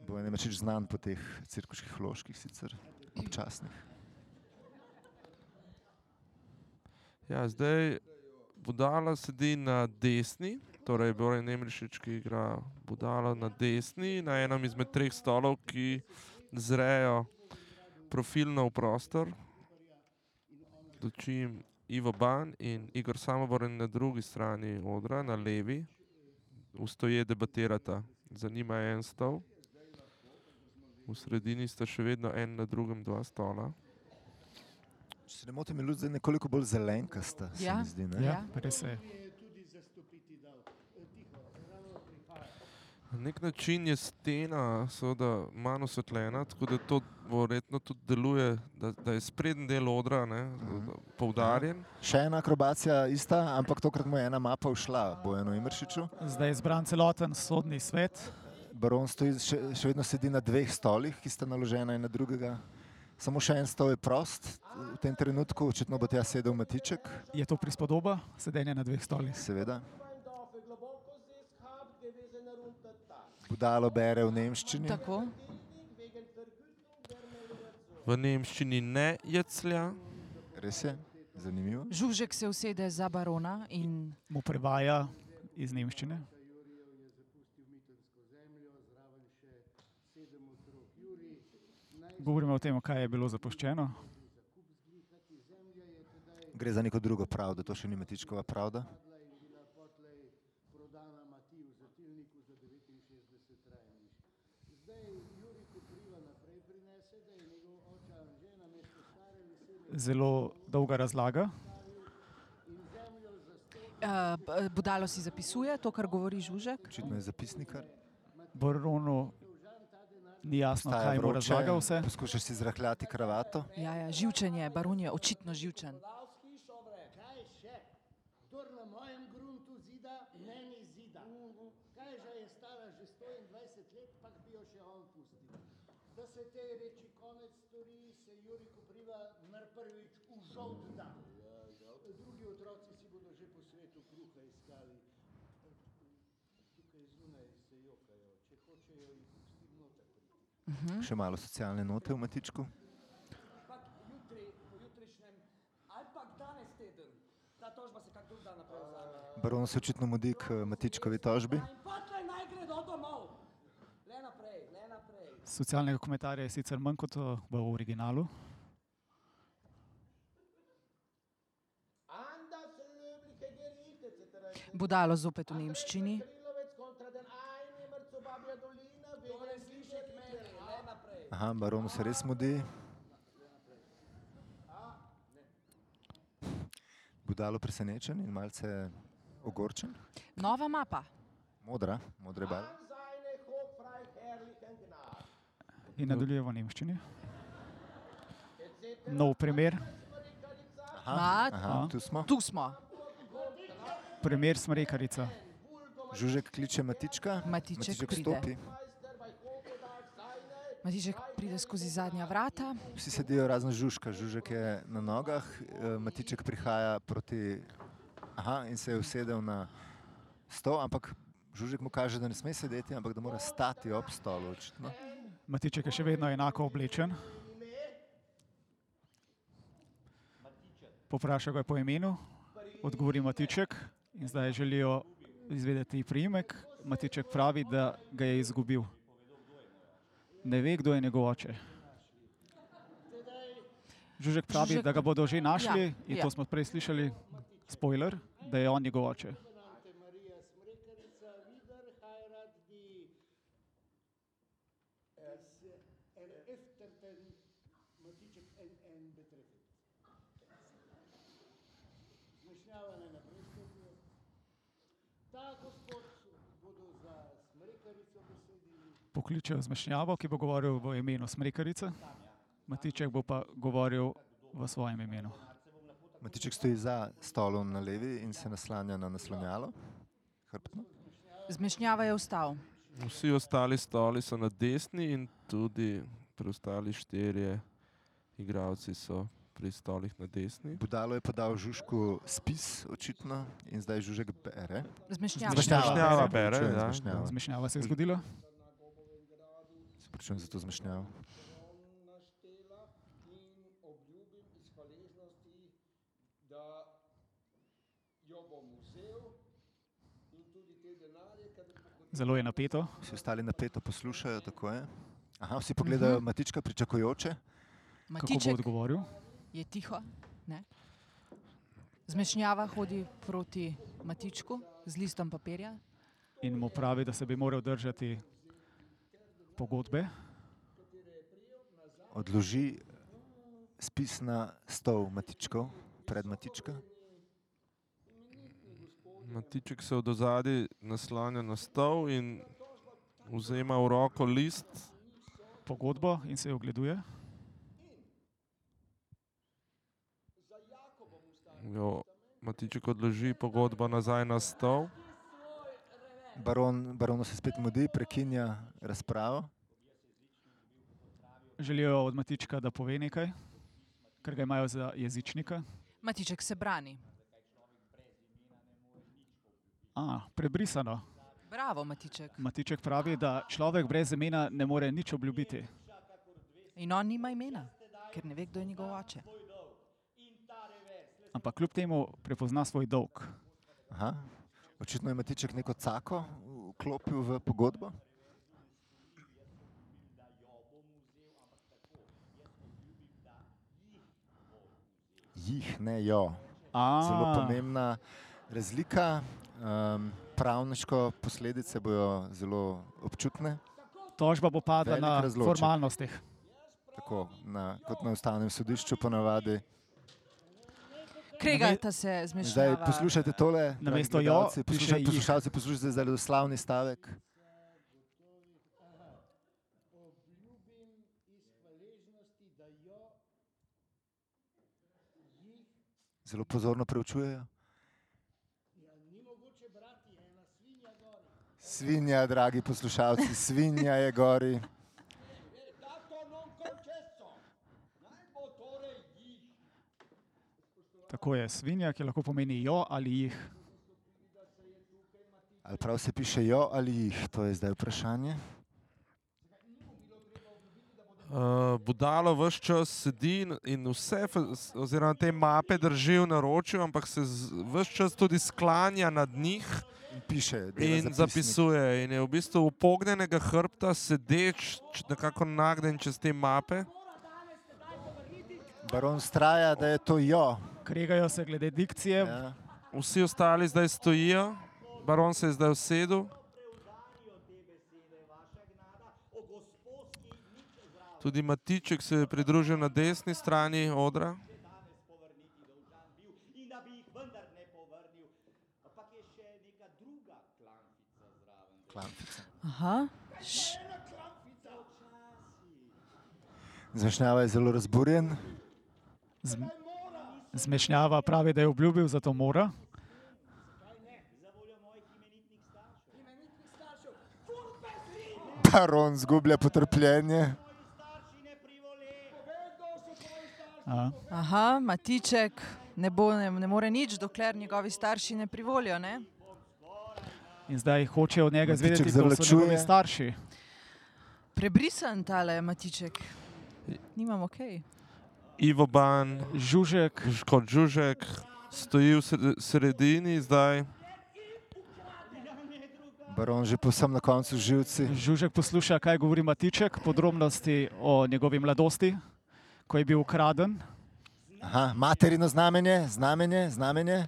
Bo ne več znan po teh cirkuških loških, sicer občasnih.
Ja, zdaj Budala sedi na desni, torej Borej Nemrišič, ki igra Budala na desni, na enem izmed treh stolov, ki zrejo profilno v prostor. Dočim Ivo Ban in Igor Samoboren na drugi strani odra, na levi. Ustoje debatirata, za njima je en stol, v sredini sta še vedno en na drugem dva stola.
Če se ne motim, je luč zdaj nekoliko bolj zelenkasta. se
Ja.
mi Zdi, ne?
Ja, res je.
Na nek način je stena seveda manj osvetljena, tako da to verjetno tudi deluje, da, da je sprednji del odra ne,
Mhm.
poudarjen.
Še ena akrobacija, ista, ampak tokrat mu je ena mapa ušla, Bojanu Imršiču.
Zdaj je izbran celoten sodni svet.
Baron stoji, še, še vedno sedi na dveh stolih, ki sta naložena en na drugega. Samo še en stol je prost, v tem trenutku očitno bo tja sedel Matiček,
Je to prispodoba sedenja na dveh stolih?
seveda. Budalo bere v nemščini.
Tako.
V nemščini ne jeclja,
Res je, zanimivo.
Žužek se usede za barona in
Mu prevaja iz nemščine. Govorimo o tem, kaj je bilo zapuščeno.
Gre za neko drugo pravdo, to še ni Matičkova pravda.
Zelo dolga razlaga.
uh, Budalo si zapisuje to, kar govori Žužek.
Očitno je zapisnikar.
Baronu ni jasno,
Vstaja
No, kaj bo
vroče,
razlagal vse.
Poskušaš si zrahljati kravato.
Ja, ja, živčen je, baron je očitno živčen.
Kaj še? Kdor na mojem gruntu zida, meni zida.
Mhm.
Kaj že je stara že 120 let, pa bi jo še on pustil. Da se tej reči konec stori, se Juri Kopriva na prvič užal da. Drugi otroci si bodo že po svetu kruha iskali. Tukaj zunaj se jokajo, če hočejo jih pustim noter.
Mhm.
Še malo socialne note v Matičku.
Ampak jutri, pojutrišnjem, ali pa danes teden, ta tožba se kak drug dan naprej vzame.
Baron se očitno mudi k eh, Matičkovi tožbi.
In potlej naj gredo domov. Le naprej, le naprej.
Socialnega komentarja je sicer manj kot eh, v originalu.
Budalo zopet v nemščini.
Aha, baronu se res mudi. Budalo presenečen in malce ogorčen.
Nova mapa.
Modra, modre barve.
In nadaljuje v nemščini. Nov primer,
Ma-
aha, tu smo.
Tu smo,
primer smrekarica.
Žužek kliče Matička.
Matiček pride.
stopi.
Matiček pride skozi zadnja vrata,
Vsi sedijo razen žužka. Žužek je na nogah, eh, Matiček prihaja proti. Aha, in se je usedel na stol, ampak žužek mu kaže, da ne sme sedeti, ampak da mora stati ob stolu. Očitno.
Matiček je še vedno enako oblečen. Poprašal ga je po imenu, odgovori Matiček in zdaj želijo izvedeti priimek. Matiček pravi, da ga je izgubil. Ne ve, kdo je njegov oče. Žužek pravi,
Žužek-
da ga bodo že
Ja,
našli in
ja.
to smo prej slišali, spoiler, da je on njegov oče. Pokličejo zmešnjavo, ki bo govoril v imenu smrekarice, Matiček bo pa govoril v svojem imenu.
Matiček stoji za stolom na levi in se naslanja na naslonjalo. Hrbtno.
zmešnjava je vstal.
vsi ostali stoli so na desni in tudi preostali štirje igravci so pri stolih na desni.
Budalo je podal žužku spis, očitno, in zdaj žužek bere.
Zmešnjava.
Zmešnjava.
Zmešnjava bere,
Zmešnjava,
ja.
zmešnjava.
Zmešnjava se je zgodila.
Se pričujem za to zmešnjavo.
naštela in obljubim iz hvaležnosti, da jo bom vzel in tudi te denarje, kadar bo hotel.
Zelo je napeto.
Vsi ostali napeto poslušajo, tako je. Aha, vsi pogledajo Matička pričakujoče.
Kako bo
Matiček
odgovoril?
je tiho. Ne? Zmešnjava hodi proti Matičku z listom papirja.
in mu pravi, da se bi moral držati pogodbe.
Odloži spis na stol matičkov, pred matička.
Matiček se od zadaj naslanja na stol in vzema v roko list.
Pogodbo in se jo ogleduje.
Jo, Matiček odloži pogodbo nazaj na stol.
Baron, baronu se spet mudi, prekinja razpravo.
Želijo od Matička, da pove nekaj, ker ga imajo za jezičnika.
Matiček se brani.
A, prebrisano.
Bravo, Matiček.
Matiček pravi, da človek brez imena ne more nič obljubiti.
In on nima imena, ker ne ve, kdo je njegov oče.
Ampak kljub temu prepozna svoj dolg.
Aha. Očitno je Matiček neko cako vklopil v pogodbo. Jih ne jo.
A,
Zelo pomembna razlika. Um, pravniško posledice bojo zelo občutne,
Tožba bo padla
Velik
na
razloček.
formalnostih.
tako na, kot na ustavnem sodišču, ponavadi.
Kregata se
Zdaj
zmešava.
poslušajte tole, dragi
Namesto jo
gledalci,
piše
poslušajte,
jih.
poslušalci, poslušajte zdaj doslavni stavek.
Obljubim iz hvaležnosti, da jo jih
Zelo pozorno preučujejo.
ja, ni mogoče brati, ena svinja gori.
Svinja, dragi poslušalci, svinja je gori.
Dato non concesso. Naj bo torej jih.
Tako je svinja, ki lahko pomeni jo ali jih.
Ali prav se piše jo ali jih, to je zdaj vprašanje.
Uh, budalo vse čas sedi in- in vse, f- s- oziroma te mape drži v naročju, ampak se vse čas tudi sklanja nad njih.
In piše, da je
In zapisuje, in je v bistvu upognjenega hrbta sedeč, č- nekako nagnjen čez te mape.
Baron straja, da je to jo.
Kregajo se glede dikcije, ja.
Ja.
Vsi ostali zdaj stojijo, baron se je zdaj usedel. Tudi Matiček se je pridružil na desni strani odra.
in da bi jih vendar ne povrnil. Ampak je še neka druga klanfica zraven.
Aha. Š,
Zmešnjava je zelo razburjen.
zmešnjava pravi, da je obljubil, zato mora.
Baron zgublja potrpljenje.
A,
aha, Matiček ne, bo, ne, ne more nič, dokler njegovi starši ne privolijo. Ne?
in zdaj hoče od njega
Matiček
izvedeti, kdo so
zavlačuje.
njegovi starši.
Prebrisan tale Matiček. Nimamo kaj.
Ivo Ban,
Žužek
Ž- kot Žužek, stoji v sred- sredini zdaj.
Baron že povsem na koncu živci.
Žužek posluša, kaj govori Matiček, podrobnosti o njegovi mladosti, ko je bil ukraden.
Aha, materino znamenje, znamenje, znamenje.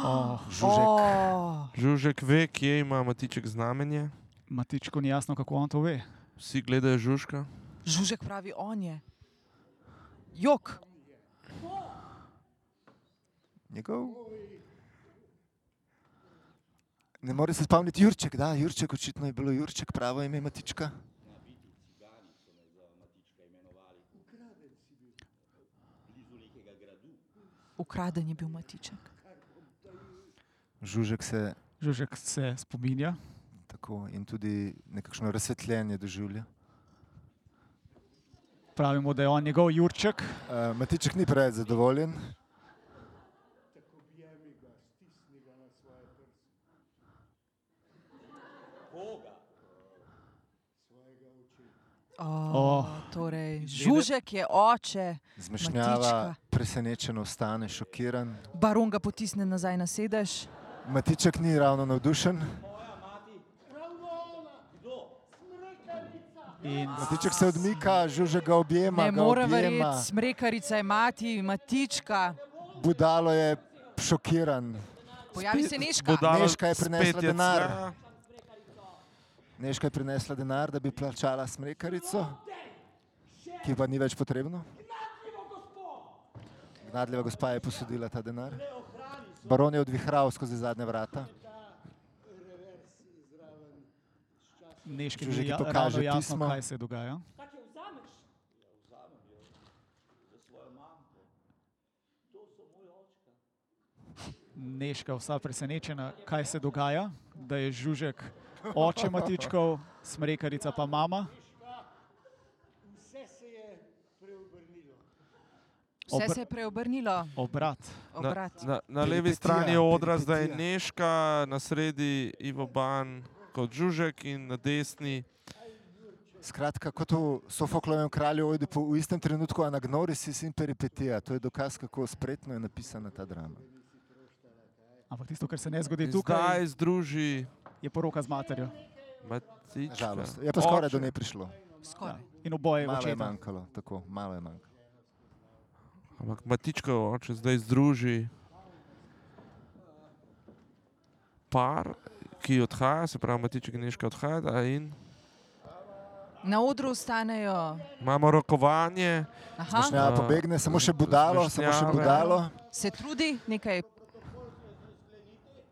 Oh,
Žužek.
Oh,
Žužek ve, kje ima Matiček znamenje.
Matičku ni jasno, kako on to ve.
Vsi gledajo Žužka.
žužek pravi, on je. Jok.
Njegov. Ne more se spomniti Jurček, da Jurček očitno je bilo Jurček, pravo ime Matička.
Ukraden je bil Matiček.
Žužek se
Žužek se spominja,
tako in tudi nekakšno razsvetljenje doživlja.
pravimo, da je on njegov Jurček.
Uh, Matiček ni preveč zadovoljen.
Oh,
Oh.
torej, žužek je oče,
Zmešnjava,
Matička.
Matička. presenečen ostane, šokiran.
baron ga potisne nazaj na sedež.
Matiček ni ravno navdušen,
In
Matiček se odmika, žuže ga objema,
Ne
ga
more
objema.
verjeti, smrekarica je mati, matička.
Budalo je šokiran,
Pojavi se Nežka.
Bo dala
Nežka je
spet
prinesla
jecla.
denar. Neška je prinesla denar, da bi plačala smrekarico, ki pa ni več potrebno. Gnadljiva gospa je posodila ta denar. Baron je odvihral skozi zadnja vrata.
Neški že
Žužek
ja,
pokaže
pokaže jasno,
pismo.
kaj se dogaja. Neška vsa presenečena, kaj se dogaja, da je Žužek oče Matičkov, smrekarica pa mama.
Vse se je preobrnilo.
Vse
Obr-
se je preobrnilo,
Obrat.
Na,
obrat.
na, na levi strani je
Peripetija,
odra, zdaj je
peripetija.
Neška, na sredi Ivo Ban kot Žužek in na desni
Skratka, kot v Sofoklovem kralju Oedipu, v istem trenutku anagnorisis in peripetija. To je dokaz, kako spretno je napisana ta drama.
Ampak tisto, kar se ne zgodi
zdaj
tukaj,
združi
je poroka z materjo.
Matička.
Nažalost, je pa skoraj do nje prišlo.
Ja.
Skoraj.
In oboje
Malo je
očeta.
manjkalo, tako, malo je manjkalo.
Ampak Matička oče zdaj združi par, ki odhaja, se pravi Matička in Neška odhajata in
Na odru ostanejo.
imamo rokovanje.
Aha,
Žnjava
A,
Ja, pobegne, samo še budalo, samo še
zmešnjave.
budalo.
se trudi nekaj.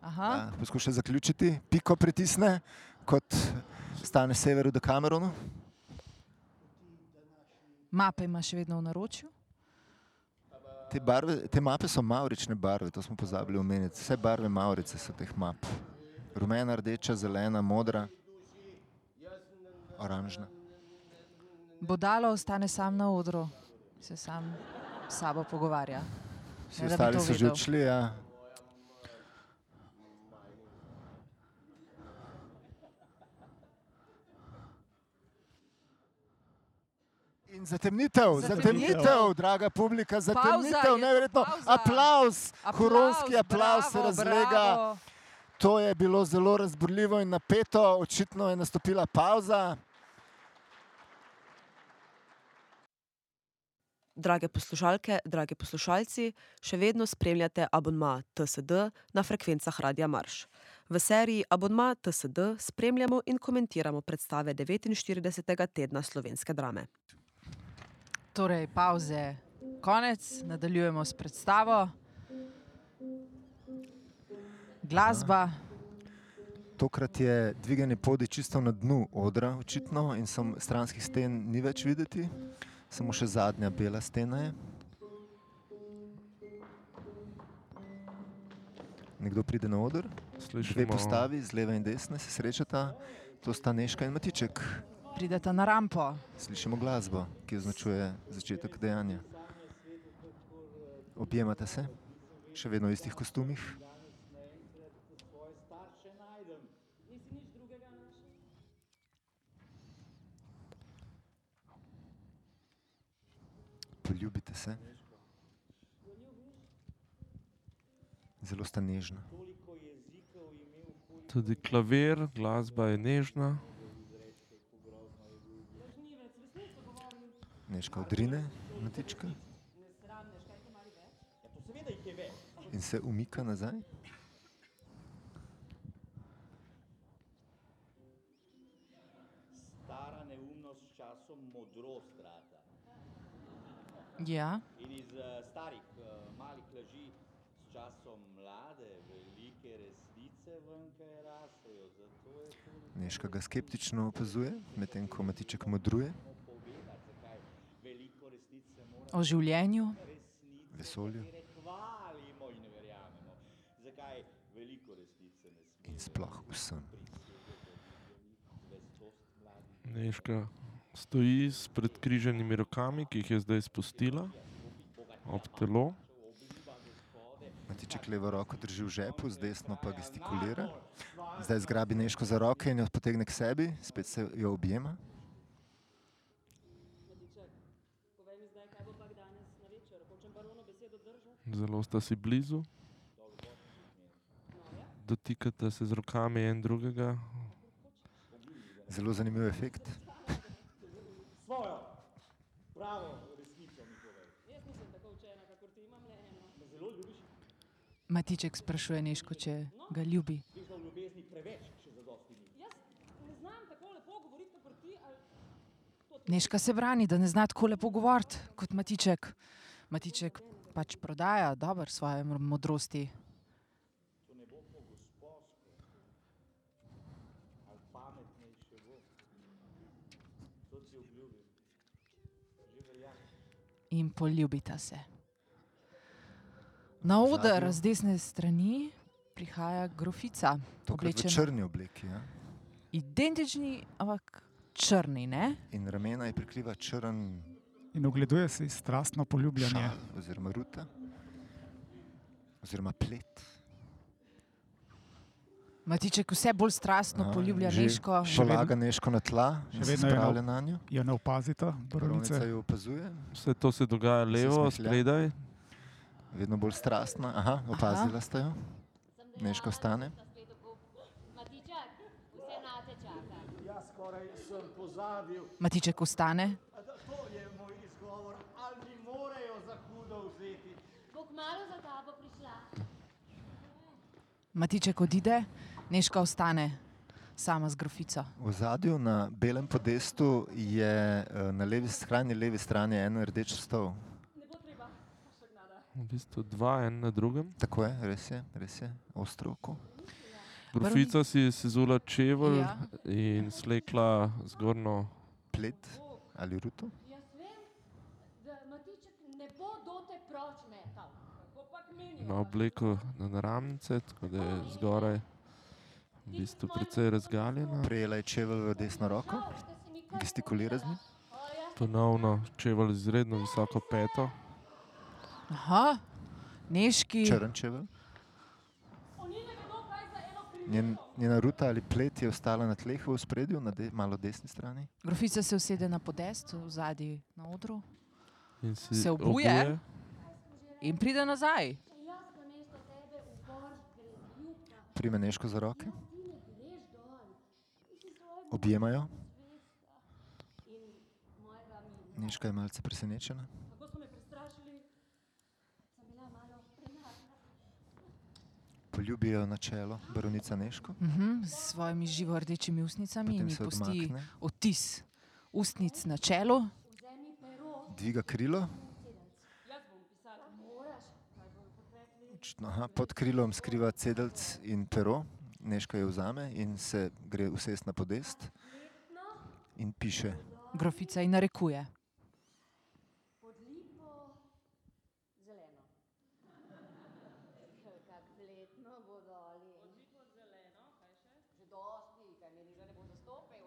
Aha,
Ja, poskuša zaključiti, piko pritisne, kot stane severu do Kamerona.
mape ima še vedno v naročju.
Te, barve, te mape so maurične barve, to smo pozabili omeniti. Vse barve maurice so teh map. Rumena, rdeča, zelena, modra, oranžna.
Bodalo ostane sam na odru, se sam s sabo pogovarja.
Vsi
Ne, da bi
ostali
to
so že
vedel.
odšli. Ja. In zatemnitev, zatemnitev, zatemnitev, draga publika, zatemnitev,
je-
neverjetno.
pavza.
Aplavz,
Aplavz,
huronski aplavz se
bravo,
razlega.
bravo.
To je bilo zelo razburljivo in napeto, očitno je nastopila pauza.
Drage poslušalke, dragi poslušalci, še vedno spremljate abonma TSD na frekvencah Radia Marš. V seriji Abonma TSD spremljamo in komentiramo predstave 49. tedna slovenske drame.
Torej, pauze, konec, nadaljujemo s predstavo. Glasba,
Tokrat je dviganje podi čisto na dnu odra, očitno, in sem, stranskih sten ni več videti, samo še zadnja bela stena je. Nekdo pride na oder, dve
Slišimo
postavi, z leve in desne se srečata, to sta Neška in Matiček.
pridete na rampo.
Slišimo glasbo, ki označuje začetek dejanja. Objemate se, še vedno v istih kostumih. Poljubite se. Zelo sta nežna.
tudi klavir, glasba je nežna.
Neška odrine, matička. In se umika nazaj.
Stara neumnost s časom modrost rata.
Ja,
In iz eh, starih eh, malih laži s časom mlade, velike resnice venkaj rasejo. Zato je to
Neška ga skeptično opazuje, medtem ko matiček modruje.
povedati, zakaj veliko resnice mora
o življenju,
resnice,
Vesolju.
katere hvalimo in ne verjamemo. Zakaj veliko resnice ne smemo.
in sploh vsem.
Neška stoji s predkriženimi rokami, ki jih je zdaj spustila ob telo.
Matiček levo roko drži v žepu, z desno pa gestikulira. Zdaj zgrabi Neško za roke in jo potegne k sebi, spet se jo objema.
Zelo sta si blizu. Dotikata se z rokami en drugega.
Zelo zanimiv efekt.
Svojo, pravo resnico mi povej. Jaz nisem tako učena, kakor ti imam le eno. Me zelo ljubiš.
Matiček sprašuje Neško, če ga ljubi. Neška se brani, da ne zna tako lepo govoriti kot Matiček. Matiček pač prodaja dobro svoje mr- modrosti. In poljubita se. Na oder z desne strani prihaja grofica,
Tokrat v
oblečena
črni obleki. Ja?
identični, ampak črni. Ne?
In ramena je prikriva črn
In ogleduje si strastno poljubljanje.
šal, oziroma ruta, oziroma plet.
Matiček vse bolj strastno
Aha,
poljublja
že
Neško.
Polaga neško na tla,
Še
in se
vedno je na-
spravlja na njo.
Jo ne opazita,
Baronica
baronice.
jo opazuje,
Vse to se dogaja levo,
smehlja.
spredaj.
vedno bolj strastna. Aha, opazila ste jo. Neško stane.
Matičak, vse nate čaka.
Jaz skoraj sem pozabil.
Matiček ostane,
A da, To je moj izgovor, ali mi morajo za hudo vzeti.
Bo kmalo za tabo prišla.
Matiček odide, Neška ostane sama z grofico.
V zadju na belem podestu je eh, na levi strani, levi strani en rdeč stol.
V bistvu dva, en na drugem.
Tako je, res je, res je, ostro oko.
Grofica si je sezula čevelj
Ja.
in slekla zgornjo.
Plet ali ruto.
Jaz vem, da Matiček ne bo dote proč metal.
na obleko na naramnice, tako da je zgoraj v bistvu precej razgaljena.
Prejela je čevelj v desno roko,
Žal, da si mi kar
gestikulira z njim.
Ponovno čevelj z izredno visoko peto.
Aha, Neški
Črn čevelj. Njen, njena ruta ali plet je ostala na tleh v spredju, na de, malo desni strani.
grofica se usede na podest, v zadnji na odru
In si
Se obuje? in pride nazaj.
Jaz namesto tebe v bor grem jutra.
Prime neško za roke,
Ti ne greš dol. Ti si svoj
objemajo.
zvesta. In mojega mi.
Neška je malce presenečena.
Kako so me prestrašili? Sem bila malo premagna.
Poljubijo na čelo, baronica Neško.
Mhm, s svojimi živo rdečimi usnicami
Potem
in ji
se
pusti
odmakne.
odtis ustnic na čelu.
Vzemi pero.
Dviga krilo. Očitno, aha, Pod krilom skriva cedelc in pero, Neška jo vzame in se gre usest na podest in piše.
Grofica ji narekuje.
Podlipo zeleno. Kak letno bo doli. Podlipo zeleno, kaj še? Že dosti, kaj mi nikdo ne bo zastopil.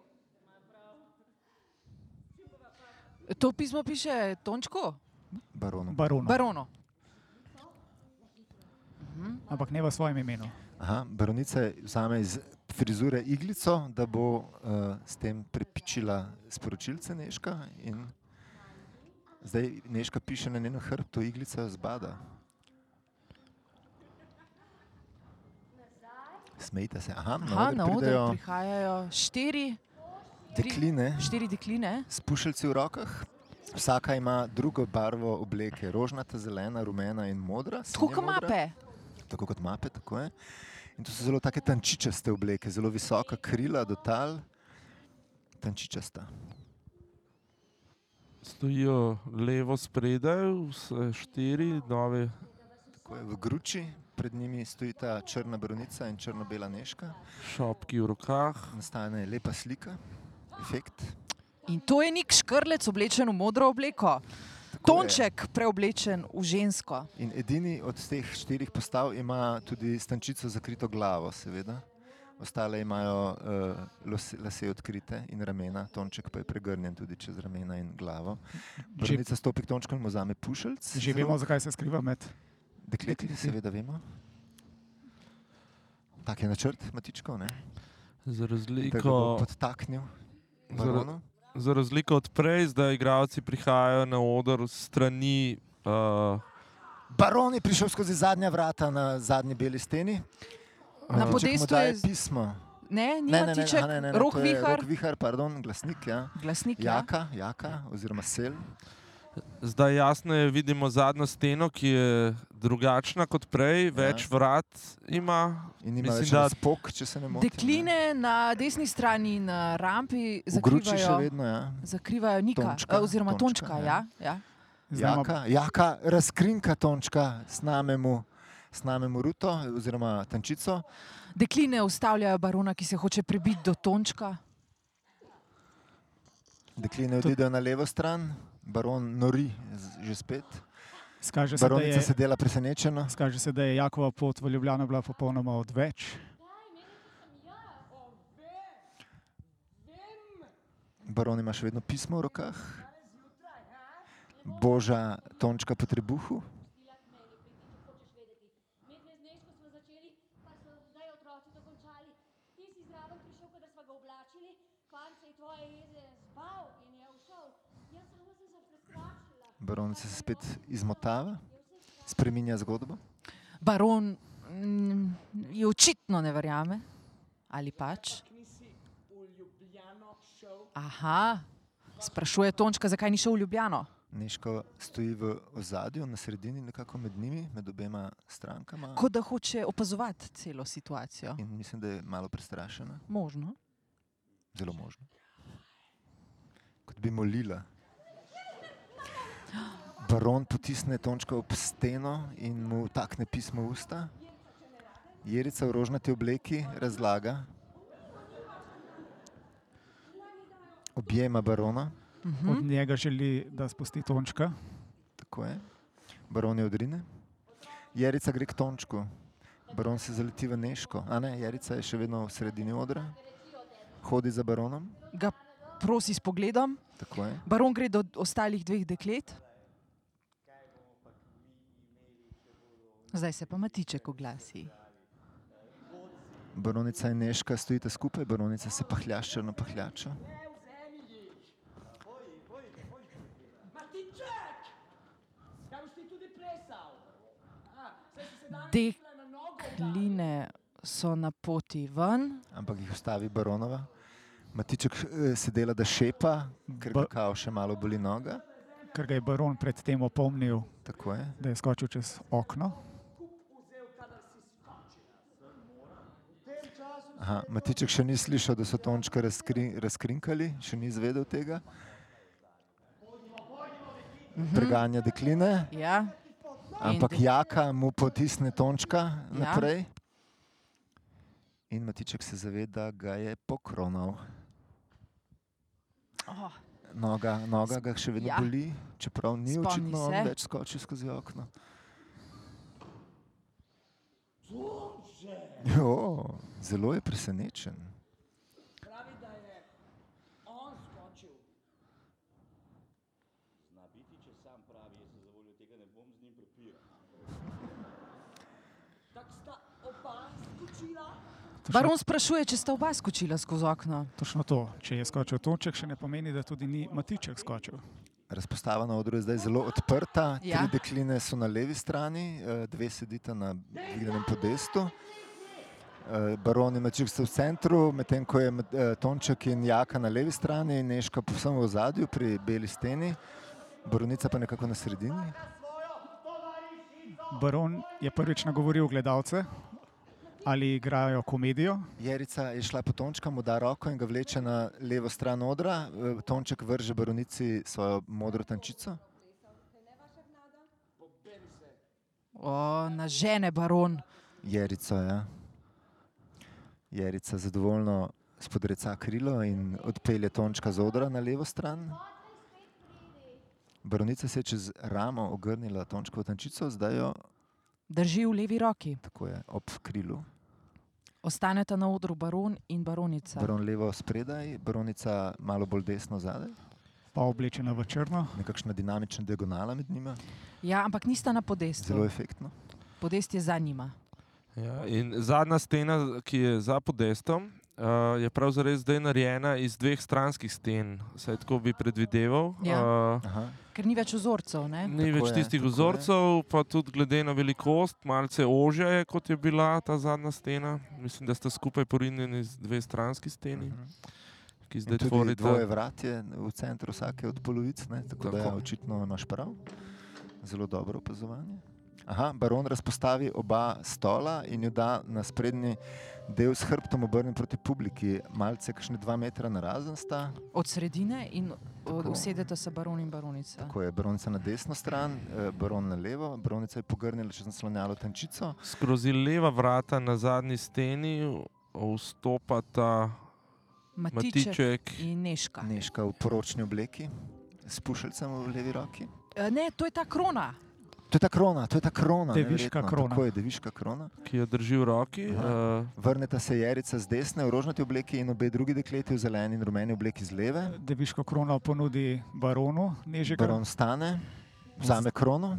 To pismo piše Tončko,
Baronu.
Barona.
barono.
No,
Ampak ne v svojem imenu.
Aha, baronica vzame iz frizure iglico, da bo uh, s tem prepičila sporočilce Neška. in Zdaj Neška piše na njeno hrbtu, iglica zbada. Smejte se. Aha,
Aha, na
na oder
odru
pridejo
prihajajo štiri, tri-
dekline
štiri dekline.
s pušeljci v rokah. Vsaka ima drugo barvo obleke, rožnata, zelena, rumena in modra.
Tako kot
sinje-modra.
mape.
tako kot mape. Tako je. in to so zelo take tančičaste obleke, zelo visoka krila do tal, tančičasta.
Stojijo levo spredaj, vse štiri nove.
Tako je v gruči, pred njimi stoji ta črna bronica in črno-bela neška.
Šopki v rokah,
Nastane lepa slika, efekt.
In to je nek škrlec oblečen v modro obleko,
Tako je.
Tonček preoblečen v žensko.
In edini od teh štirih postav ima tudi stančico zakrito glavo, seveda. Ostale imajo uh, lase odkrite in ramena, tonček pa je pregrnjen tudi čez ramena in glavo. Bronica stopi k tončku in mu vzame pušelc.
Že vemo, zakaj se skriva med
Dekleti,
Dekleti.
seveda vemo. Tak je načrt, matičko, ne?
za
da ga bo
razliko,
podtaknil.
Zar-
baronu.
za razliko od prej, zdaj igravci prihajajo na oder s strani. Uh,
Baron je prišel skozi zadnja vrata na zadnji beli steni.
Na
Matiček mu
podestu
daje
je z-
pismo.
Ne, ni matiček,
aha,
rok
to je
vihar,
Rok vihar, pardon, glasnik, ja.
glasnik. Ja.
Jaka, jaka, oziroma sel.
Zdaj jasno je, vidimo zadnjo steno, ki je drugačna kot
Ja.
prej, več vrat ima.
In ima
Mislim,
več
da-
razpok, če se ne motim.
Dekline na desni strani na rampi
v gruči še
zakrivajo,
vedno, ja.
zakrivajo Nika,
Tončka,
eh, oziroma
Tončka,
Tončka.
ja.
ja, ja.
Znamo-
Jaka, jaka razkrinka tončka, snamemo, snamemo ruto oziroma tančico.
Dekline ustavljajo barona, ki se hoče prebiti do Tončka.
Dekline odidejo na levo stran, baron nori z- že spet.
Skaže se, da
Baronica
je,
se dela presenečena.
skaže se, da je Jakova pot v Ljubljano bila popolnoma odveč.
Baron ima še vedno pismo v rokah. Boža tončka po trebuhu.
Stila k meni, pridi, če hočeš vedeti. Medved dneško smo začeli, pa so zdaj otroci dokončali. Ti si zraven prišel, ko da smo ga oblačili, fant se je tvoje jeze zbal in je ušel. Jaz samo sem se prestrašila.
Baronica se spet izmotava, spreminja zgodbo.
Baron mm, je očitno ne verjame, ali pač. Aha, sprašuje Tončka, zakaj ni šel v Ljubljano.
Neško stoji v ozadju, na sredini, nekako med njimi, med obema strankama.
Kot da hoče opazovati celo situacijo.
In mislim, da je malo prestrašena,
Možno.
zelo možno. Kot bi molila. Baron potisne Tončka ob steno in mu takne pismo v usta. Jerica v rožnati obleki razlaga. Objema barona,
Hm? Od njega želi, da spusti Tončka.
tako je. Baron je odrine. Jerica gre k Tončku. Baron se zaleti v Neško. A ne, Jerica je še vedno v sredini odra. Hodi za baronom,
Ga prosi s pogledom,
tako je.
baron gre do ostalih dveh deklet. Zdaj se pa matiček oglasi.
Baronica in Neška stojita skupaj, baronica se pahljašča na pahljačo.
Matiček! Kaj boš ti tudi plesal? A, saj si se danes
Dek-
šla na nogo udarila.
Kline so na poti ven,
Ampak jih ustavi baronova. Matiček eh, se dela, da šepa, ker ga
Ba-
kao še malo boli noga.
Ker ga je baron predtem opomnil,
Tako je.
da je skočil čez okno.
Aha, Matiček še ni slišal, da so tončka razkri, razkrinkali, še ni izvedel tega. Preganja dekline,
ja,
ampak
dek-
jaka mu potisne tončka
Ja.
naprej. In Matiček se zaveda, da ga je pokronal.
oh,
Noga, noga ga še vedno ja.
Ja.
boli, čeprav ni
Spomni
očitno on
se.
več skočil skozi okno. Jo, zelo je presenečen.
Pravi, da je on skočil.
Zna biti, če sam pravi, jaz se zavoljo tega ne bom z njim prepiral.
Tako sta oba skočila.
baron sprašuje, če sta oba skočila skozi okno.
Točno to, če je skočil Tonček, še ne pomeni, da tudi ni Matiček skočil.
Razpostava na odru je zdaj zelo odprta. Ja.
Ja.
Tri dekline so na levi strani, eh, dve sedita na dvignjenem podestu. Eh, Baron in Mačik sta v centru, medtem ko je Mat- eh, Tonček in Jaka na levi strani, in Neška povsem v zadju pri beli steni, Baronica pa nekako na sredini.
Baron je prvič nagovoril gledalce, ali igrajo komedijo.
Jerica je šla po Tončka, mu da roko in ga vleče na levo stran odra. Eh, Tonček vrže baronici svojo modro tančico.
O, na žene baron.
Jerica, ja. Jerica zadovoljno spodreca krilo in odpelje Tončka z odra na levo stran. Baronica se je čez ramo ogrnila Tončkovo tančico, zdaj jo
Drži v levi roki.
tako je ob krilu.
Ostaneta na odru baron in baronica.
Baron levo spredaj, baronica malo bolj desno zadaj.
Pa oblečena v črno,
Nekakšna dinamična diagonala med njima,
Ja, ampak nista na podestu.
zelo efektno.
Podest je za njima.
Ja, in zadnja stena, ki je za podestom, uh, je pravzaprav zdaj narejena iz dveh stranskih sten, vsaj tako bi predvideval.
Ja.
Uh,
Aha.
Ker ni več vzorcev, ne?
Ni
Tako
več
je,
tistih
tako je.
vzorcev, pa tudi glede na velikost, malce ožja je kot je bila ta zadnja stena. Mislim, da sta skupaj porinjeni z dve stranski steni, ki
Mhm. In
zdaj
Tudi
tvorita.
dvoje vrat je v centru vsake od polovic, ne? tako da ja,
Tako.
očitno imaš prav. Zelo dobro opazovanje. Aha, baron razpostavi oba stola in jo da na sprednji del s hrbtom obrnjen proti publiki, malce kakšne dva metra narazen sta.
Od sredine in
Tako.
usedete se baron in baronica.
Ko je baronica na desno stran, eh, baron na levo, baronica je pogrnila čez naslonjalo tančico.
Skozi leva vrata na zadnji steni vstopata
Matiček
Matiček.
in Neška. Ne.
Neška v poročni obleki, s pušeljcem v levi roki.
Eh, ne, to je ta krona.
To je ta krona, to je ta krona.
Deviška
neverjetno.
krona.
Tako je deviška krona.
ki jo drži v roki. Uh,
Vrneta se Jerica z desne v rožnati obleki in obe drugi dekleti v zeleni in rumeni obleki z leve.
Deviško krono ponudi baronu, nežika.
Baron stane, vzame krono.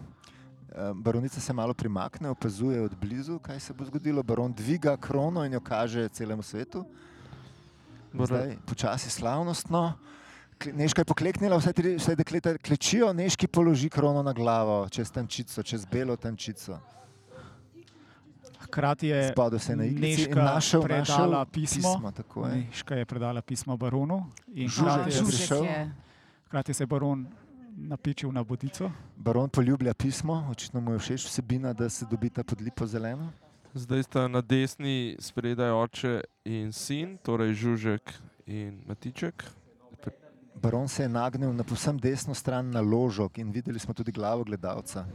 eh, Baronica se malo primakne, opazuje od blizu, kaj se bo zgodilo. Baron dviga krono in jo kaže celemu svetu. Zdaj, počasi slavnostno. Kle- Neška je pokleknila, vse, tri, vse dekleta klečijo, neški položi krono na glavo, čez tančico, čez belo tančico.
Hkrati je
Spadal se je na igrici in
Nežka
našel,
E, predala
našel
pismo.
pismo tako je.
Neška je predala pismo baronu in
Žužek
Aha,
hkrati je-
Žužek.
Žužek
prišel.
je.
hkrati se je baron napičil na bodico.
Baron poljublja pismo, očitno mu je všeč vsebina, da se dobita pod lipo zeleno.
zdaj sta na desni spredaj oče in sin, torej Žužek in Matiček.
Baron se je nagnil na povsem desno stran na ložok in videli smo tudi glavo gledalca.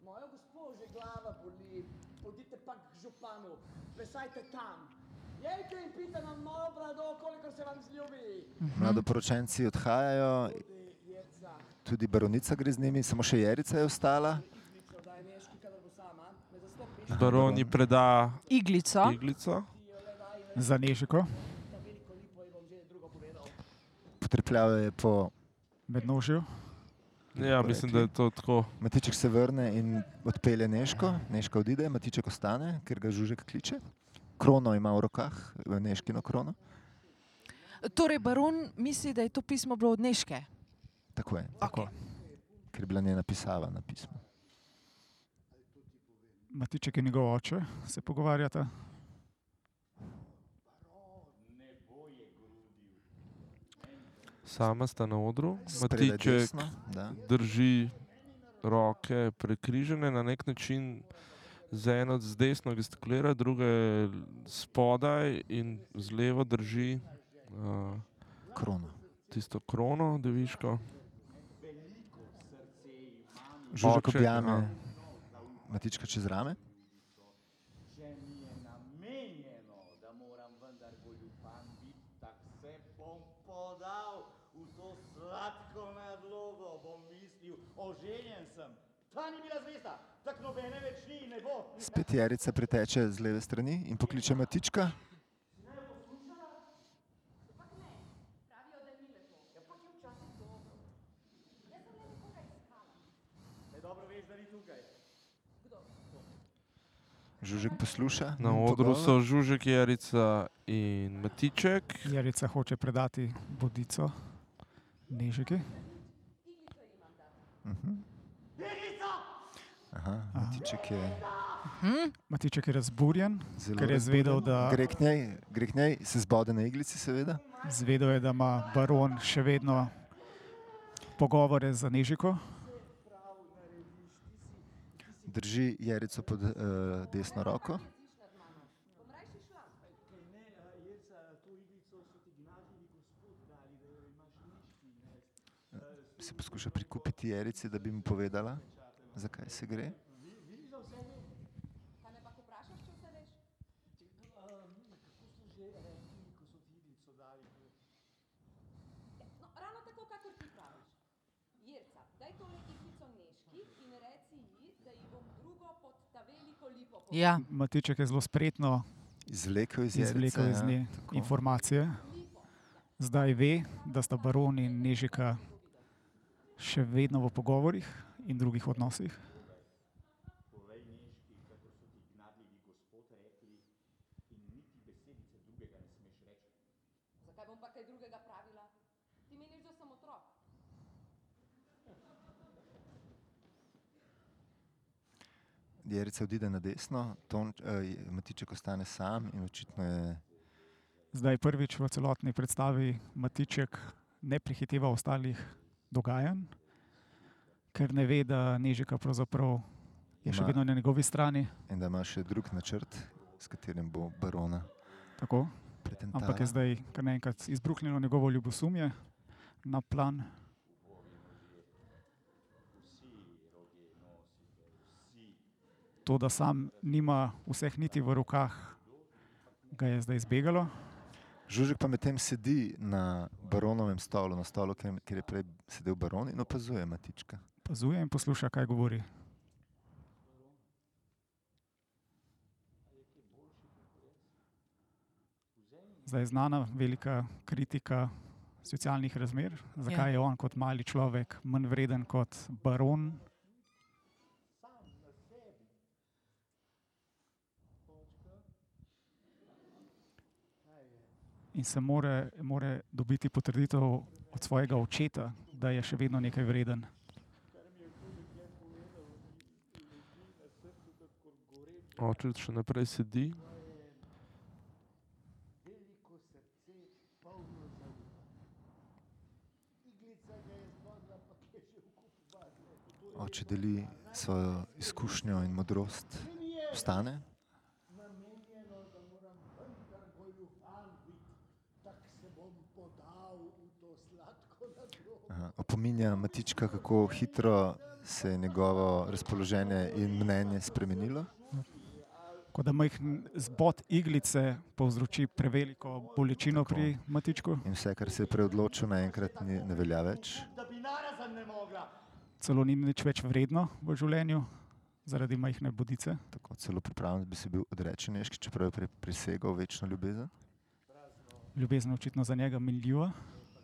Moja gospo že glava boli, pojdite pa k županu, vesajte tam. Jejte in pite nam malo brado, koliko se vam zljubi.
Mladoporočenci odhajajo, tudi baronica gre z njimi, samo še Jerica je ostala.
Baron ji preda
Iglico.
iglico.
Za nežiko,
Potrpljal je po
med nožjo.
Ja, mislim, da je to tako.
Matiček se vrne in odpelje Neško, Neška odide, Matiček ostane, ker ga žužek kliče. Krono ima v rokah, Neškino krono.
Torej, baron misli, da je to pismo bilo od Neške.
Tako je, tako. ker je bila njena pisava na pismu.
Matiček in njegov oče se pogovarjata.
Sama sta na odru,
Spredaj
Matiček
desno, da.
drži roke prekrižene na nek način. Z eno z desno gestikulira, druga je spodaj in z levo drži uh,
Krono.
tisto krono, deviško.
Žužek
Oče,
objame
aha.
Matička čez rame.
Če mi je namenjeno, da moram vendar goljupan biti, tako se bom podal v to sladko nadlogo, bom mislil, oženjen sem. Ta ni bila zvesta, tako nobene več ni in ne bo.
Spet Jerica priteče z leve strani in pokliče Matička.
Ne dobro veš, da ni tukaj.
Žužek posluša.
Na
njun
odru
pogovor.
so Žužek, Jarica in Matiček.
Jerica hoče predati bodico nežiki.
Aha, Matiček je
Matiček je razburjen,
zelo.
ker je zvedel,
razburjen.
da,
Gre k njej, gre k njej, se zbode na iglici, seveda.
zvedel je, da ima baron še vedno pogovore za nežiko.
Drži Jerico pod uh, desno roko. Se poskuša prikupiti Jerici, da bi mu povedala, zakaj se gre.
No, ravno tako, kakor ti praviš. Jerca, daj tole ikico Neški in reci ji, da ji bom drugo pod ta veliko lipo povedal.
Ja.
Matiček je zelo spretno
Izvlekel iz Jerice.
izvlekel iz
ja,
nje
tako.
informacije. Zdaj ve, da sta baron in nežika še vedno v pogovorih in drugih odnosih.
Zakaj bom pa kaj drugega pravila? Ti meniš, da sem otrok?
eh, Jerica odide na desno, Ton, uh, Matiček ostane sam in očitno je
zdaj prvič v celotni predstavi Matiček ne prehiteva ostalih dogajanj, ker ne ve, da Nežika pravzaprav je še
Ma-
vedno na njegovi strani.
In da ima še drug načrt, s katerim bo barona
Tako,
pretentala.
ampak je zdaj kar naenkrat izbruhnilo njegovo ljubosumje na plan. To, da sam nima vseh niti v rokah, ga je zdaj zbegalo.
Žužek pa medtem sedi na baronovem stolu, na stolu, kjer, kjer je prej sedel baron in opazuje Matička.
Pazuje in posluša, kaj govori. Zdaj je znana velika kritika socialnih razmer, zakaj je on kot mali človek manj vreden kot baron. In se more, more dobiti potrditev od svojega očeta, da je še vedno nekaj vreden.
Oče še naprej sedi,
veliko srce, polno zaupanja. Iglica ga je zbodla, pa je že v kup barve.
Oče deli svojo izkušnjo in modrost. Vstane,
Namenjeno, da moram vendar goljufan biti, tak se bom podal v to sladko nadlobo.
aha, opominja Matička, kako hitro se je njegovo razpoloženje in mnenje spremenilo.
Kot da majhen zbod iglice povzroči preveliko bolečino
Tako.
Tako. pri matičku.
In vse, kar se je preodločil, naenkrat ni- ne velja več.
Da bi narazem ne mogla.
Celo ni nič več vredno v življenju zaradi majhne bodice.
Tako celo pripravljen bi se bil odrečen, Ježki, čeprav je pri- prisegal večno ljubezen.
Ljubezen je očitno za njega minljiva,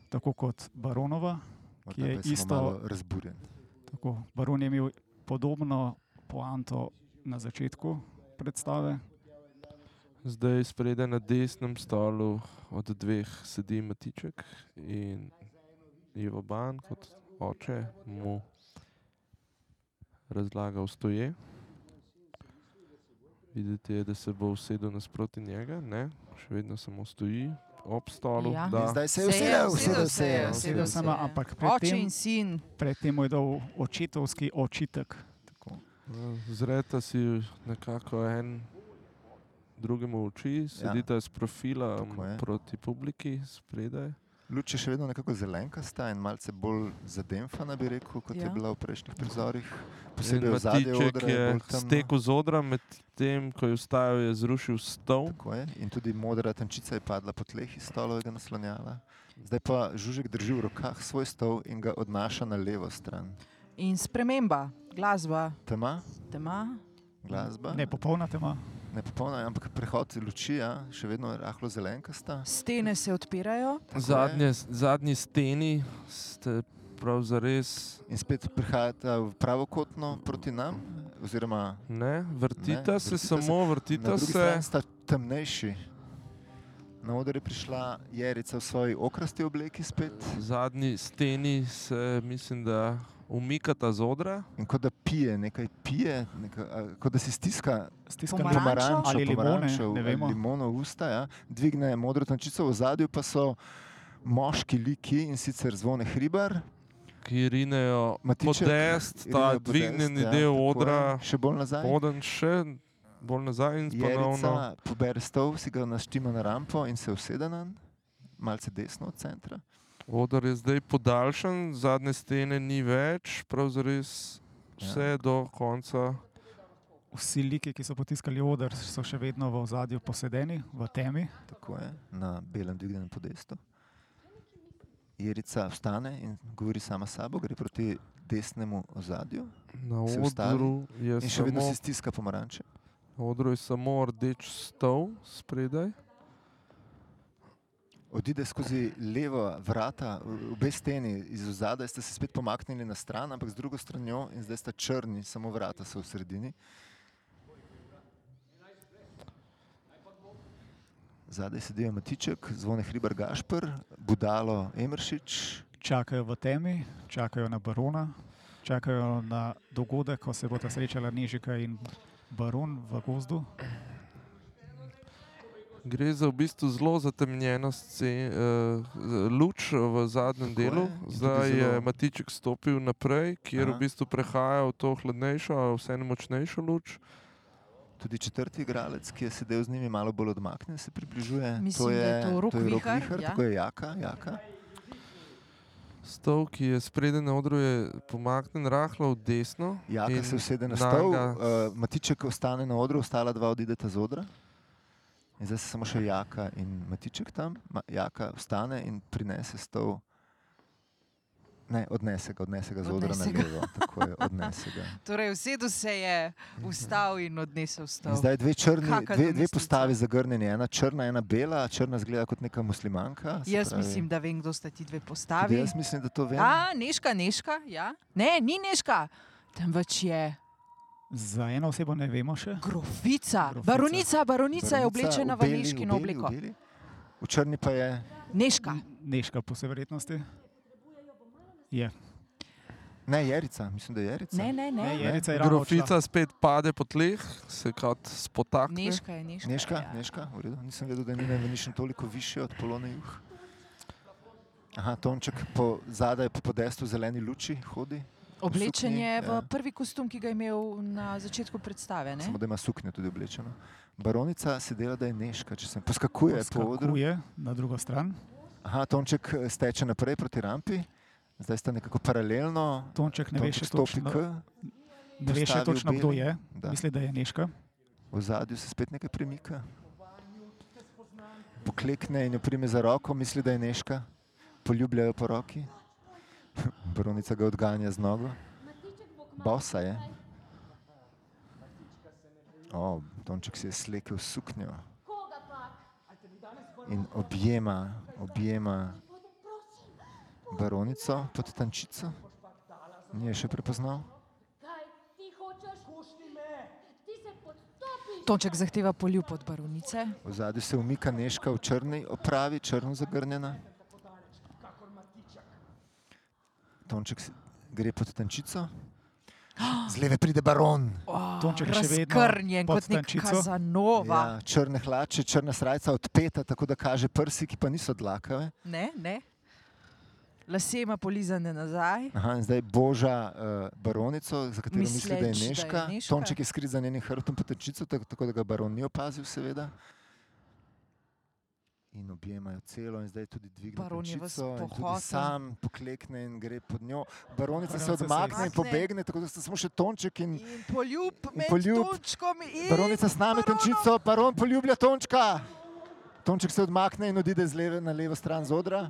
tako kot baronova.
Morda
je
pa samo
isto-
malo razburjen.
Tako, baron je imel podobno poanto na začetku predstave.
zdaj spredaj na desnem stolu od dveh sedi Matiček in Ivo Ban kot oče mu razlaga vstoje. Videti je, da se bo usedel nasproti njega, ne? še vedno samo stoji ob stolu.
Ja.
In
Da,
zdaj se je usedel, usedel se je.
usedel
usedel se je.
sama, ampak pred
Oče
tem-
in sin.
Predtem mu je dal očetovski očitek.
Zreta si nekako en drugemu v oči, sedita ja. s profila
Tako je.
m, proti publiki, spredaj.
Luč je še vedno nekako zelenkasta in malce bolj zademfana, bi rekel, kot ja. je
Ja.
bila v prejšnjih prizorih.
In
Posebej v zadnjem
Matiček
odru
je
je bolj temna.
stekel z odra, medtem ko je vstajal, je zrušil stol.
Tako je. In tudi modra tančica je padla po tleh iz stolovega naslonjala. Zdaj pa Žužek drži v rokah svoj stol in ga odnaša na levo stran.
In sprememba, glasba,
Tema,
tema.
glasba,
Ne popolna tema.
ne popolna, ampak prehod luči, ja, še vedno je rahlo zelenkasta.
Stene se odpirajo,
Zadnje, zadnji steni ste prav zares.
In spet prihajata v pravokotno proti nam, oziroma
Ne, vrtita ne,
Ne,
se
vrtita se.
samo,
Na
vrtita
drugi strani
se.
sta temnejši. Na oder je prišla Jerica v svoji okrasti obleki spet
Zadnji steni se, mislim, da umikata z odra.
in kot da pije, nekaj pije, neka, a, kot da si stiska
Stiskam
Pomarančo?
pomarančo,
ali limone,
pomarančo,
ne vemo.
limono v usta, ja. dvigne modro tančico, v zadju pa so moški liki in sicer zvone hribar,
ki rinejo
Matiček,
podest, ta
Irina Bodest,
dvignjeni
ja,
del
tako je.
odra,
še bolj nazaj.
poden še bolj nazaj in ponovno.
Jerica pobere stol, si ga naštima na rampo in se usede na njega, malce desno od centra.
Odr je zdaj podaljšan, zadnje stene ni več, pravzaprav vse ja. do konca.
Vsi liki, ki so potiskali oder, so še vedno v zadju posedeni, v temi.
Tako je, na belem dvignjenem podestu. Jerica vstane in govori sama s sabo, gre proti desnemu ozadju
Na
Se ustavi
odru je,
in še vedno
samo,
si stiska pomaranče.
na odru je samo rdeč stol spredaj.
Odide skozi leva vrata, o- obe steni iz ozadja, ste se spet pomaknili na stran, ampak z drugo stranjo in zdaj sta črni, samo vrata so v sredini. Zadaj sedijo Matiček, zvone Hribar Gašpr, Budalo Emeršič,
čakajo v temi, čakajo na barona, čakajo na dogodek, ko se bodo srečala Nežika in baron v gozdu.
Gre za v bistvu zelo zatemnjeno scen, uh, luč v zadnjem
Tako je,
delu.
in tudi
Zdaj je
zelo-
Matiček stopil naprej, kjer
Aha.
v bistvu prehaja v to hladnejšo, vse močnejšo luč.
Tudi četrti igralec, ki je sedel z njimi malo bolj odmaknjen, se približuje.
Mislim, da je to Rok
to je Rok
Vihar,
Vihar,
ja.
tako je jaka, jaka.
Stol, ki je spreden na odru, je pomaknjen rahlo v desno.
Jaka
in
Ja, se usede na
nanj
stol,
ga-
uh, Matiček ostane na odru, ostala dva odideta z odra. In zdaj so samo še Jaka in Matiček tam. Ma, jaka vstane in prinese stol. Ne, odnese ga, odnese ga z odra na
Odnese ga.
levo. Tako je, odnese ga.
Torej, usedel se je, vstal in odnesel
In
stol.
zdaj dve, črni,
Kaka
dve, dve
domislica.
postavi zagrnjeni, ena črna, ena bela, črna zgleda kot neka muslimanka. se
Jaz
pravi-
mislim, da vem, kdo sta ti dve
Tudi
postavi.
Jaz mislim, da to vem.
Ja, neška, neška. Ja. Ne, ni neška, temveč je
Za eno osebo ne vemo še.
grofica.
Grofica.
Baronica, baronica je
Baronica
oblečena v
beli-
neškino
beli-
obleko.
V, beli. v črni pa je
Neška.
Neška, po vsej verjetnosti. Je.
ne Jerica, mislim, da je Jerica.
Ne, ne,
Ne,
ne.
Jerica je ravno odšla.
Grofica spet pade po tleh, se kot spotakne.
Neška je neška.
Neška,
ja.
neška, v redu. Nisem vedel, da ni najmanjši toliko više od polone juh. Aha, Tonček po zadaj po podestu zeleni luči hodi,
Oblečen
suknji,
je v
ja.
prvi kostum, ki ga je imel na začetku predstave. Ne?
samo da ima suknjo tudi oblečeno. Baronica se dela, da je neška, če se poskakuje, poskakuje po odru.
Poskakuje na drugo stran.
Aha, Tonček eh, steče naprej proti rampi, zdaj sta nekako paralelno.
Tonček ne ve
Tonček
še
stopi
točno,
k,
ne ve še
postavi v
točno kdo
beli.
je.
Da.
Misli, da je Neška.
v zadju se spet nekaj premika. Poklekne in jo prime za roko, misli, da je neška, poljubljajo po roki. Baronica ga odganja z nogo.
Matiček bo kmalu.
Bosa je. O, Tonček si je slekel suknjo
Koga pak?
in objema, objema
Gospode, prosim.
baronico pod tančico. Ni je še prepoznal.
Kaj ti hočeš? Pusti me. Ti se podstopi.
Tonček zahteva poljub od baronice.
V zadju se umika neška v črni opravi, črno zagrnjena. Tonček si- gre pod tančico. Z leve pride baron.
Tonček je še vedno
Ah, Razkrnjen
pod
kot nek
tančico.
kazanova.
Ja, črne hlače, črna srajca odpeta, tako da kaže prsi, ki pa niso dlakave.
Ne, ne. Lase ima polizane nazaj.
Aha, in zdaj boža uh, baronico, za katero misli, da
Misleč,
je
da je
neška.
Nežka.
Tonček je skrit za njenim hrbtom potrčico, tako, tako da ga baron ni opazil, seveda. In objemajo celo, in zdaj tudi dvigne
Baron je ves
tančico, in tudi
pohoten.
sam poklekne in gre pod njo. Baronica
Baronica
se
se
odmakne in
izmakne.
pobegne, tako da sta samo še Tonček in
In poljub med
poljub.
Tončkom in
baronica sname
baronom.
tančico, baron poljublja Tončka. Tonček se odmakne in odide z leve na levo stran z odra.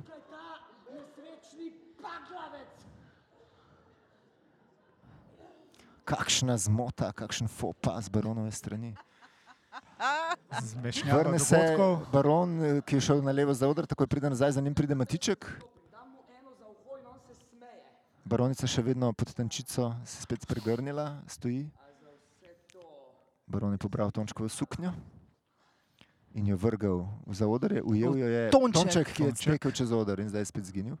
Nesrečni paglavec!
kakšna zmota, kakšen fopa z baronove strani.
Zmešnjava
Vrne se
Ja, dogodkov.
baron, eh, ki je šel na levo za odr, takoj pride nazaj, za njim pride Matiček. Baronica še vedno pod tančico se spet pregrnila, stoji. Baron je pobral Tončkovo suknjo in jo vrgel v zaodrje, ujel jo je
Tonček.
Tonček, ki je
Tonček.
stekel čez odr in zdaj je spet zginil.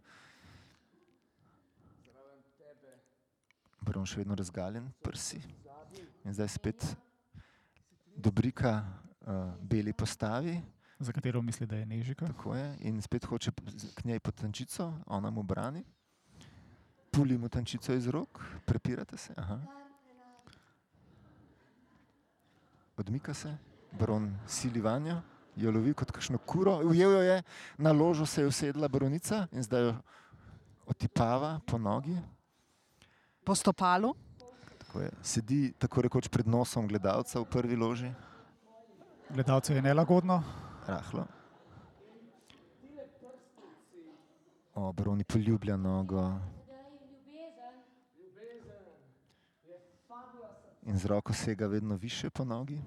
Baron še vedno razgaljen, prsi. In zdaj spet dobrika uh, beli postavi,
za katero misli, da je Nežika.
tako je, in spet hoče p- z- k njej potančico, ona mu brani. Puli mu tančico iz rok, prepirate se. Aha. Odmika se, baron sili vanjo, jo lovi kot kakšno kuro, ujel jo je, na ložo se je usedla baronica in zdaj jo otipava po nogi.
Po stopalu.
Tako je. Sedi tako rekoč pred nosom gledalca v prvi loži,
Gledalcu je nelagodno,
rahlo. O, baroni poljublja nogo
Daj ljubezen.
in z roko sega vedno više po nogi.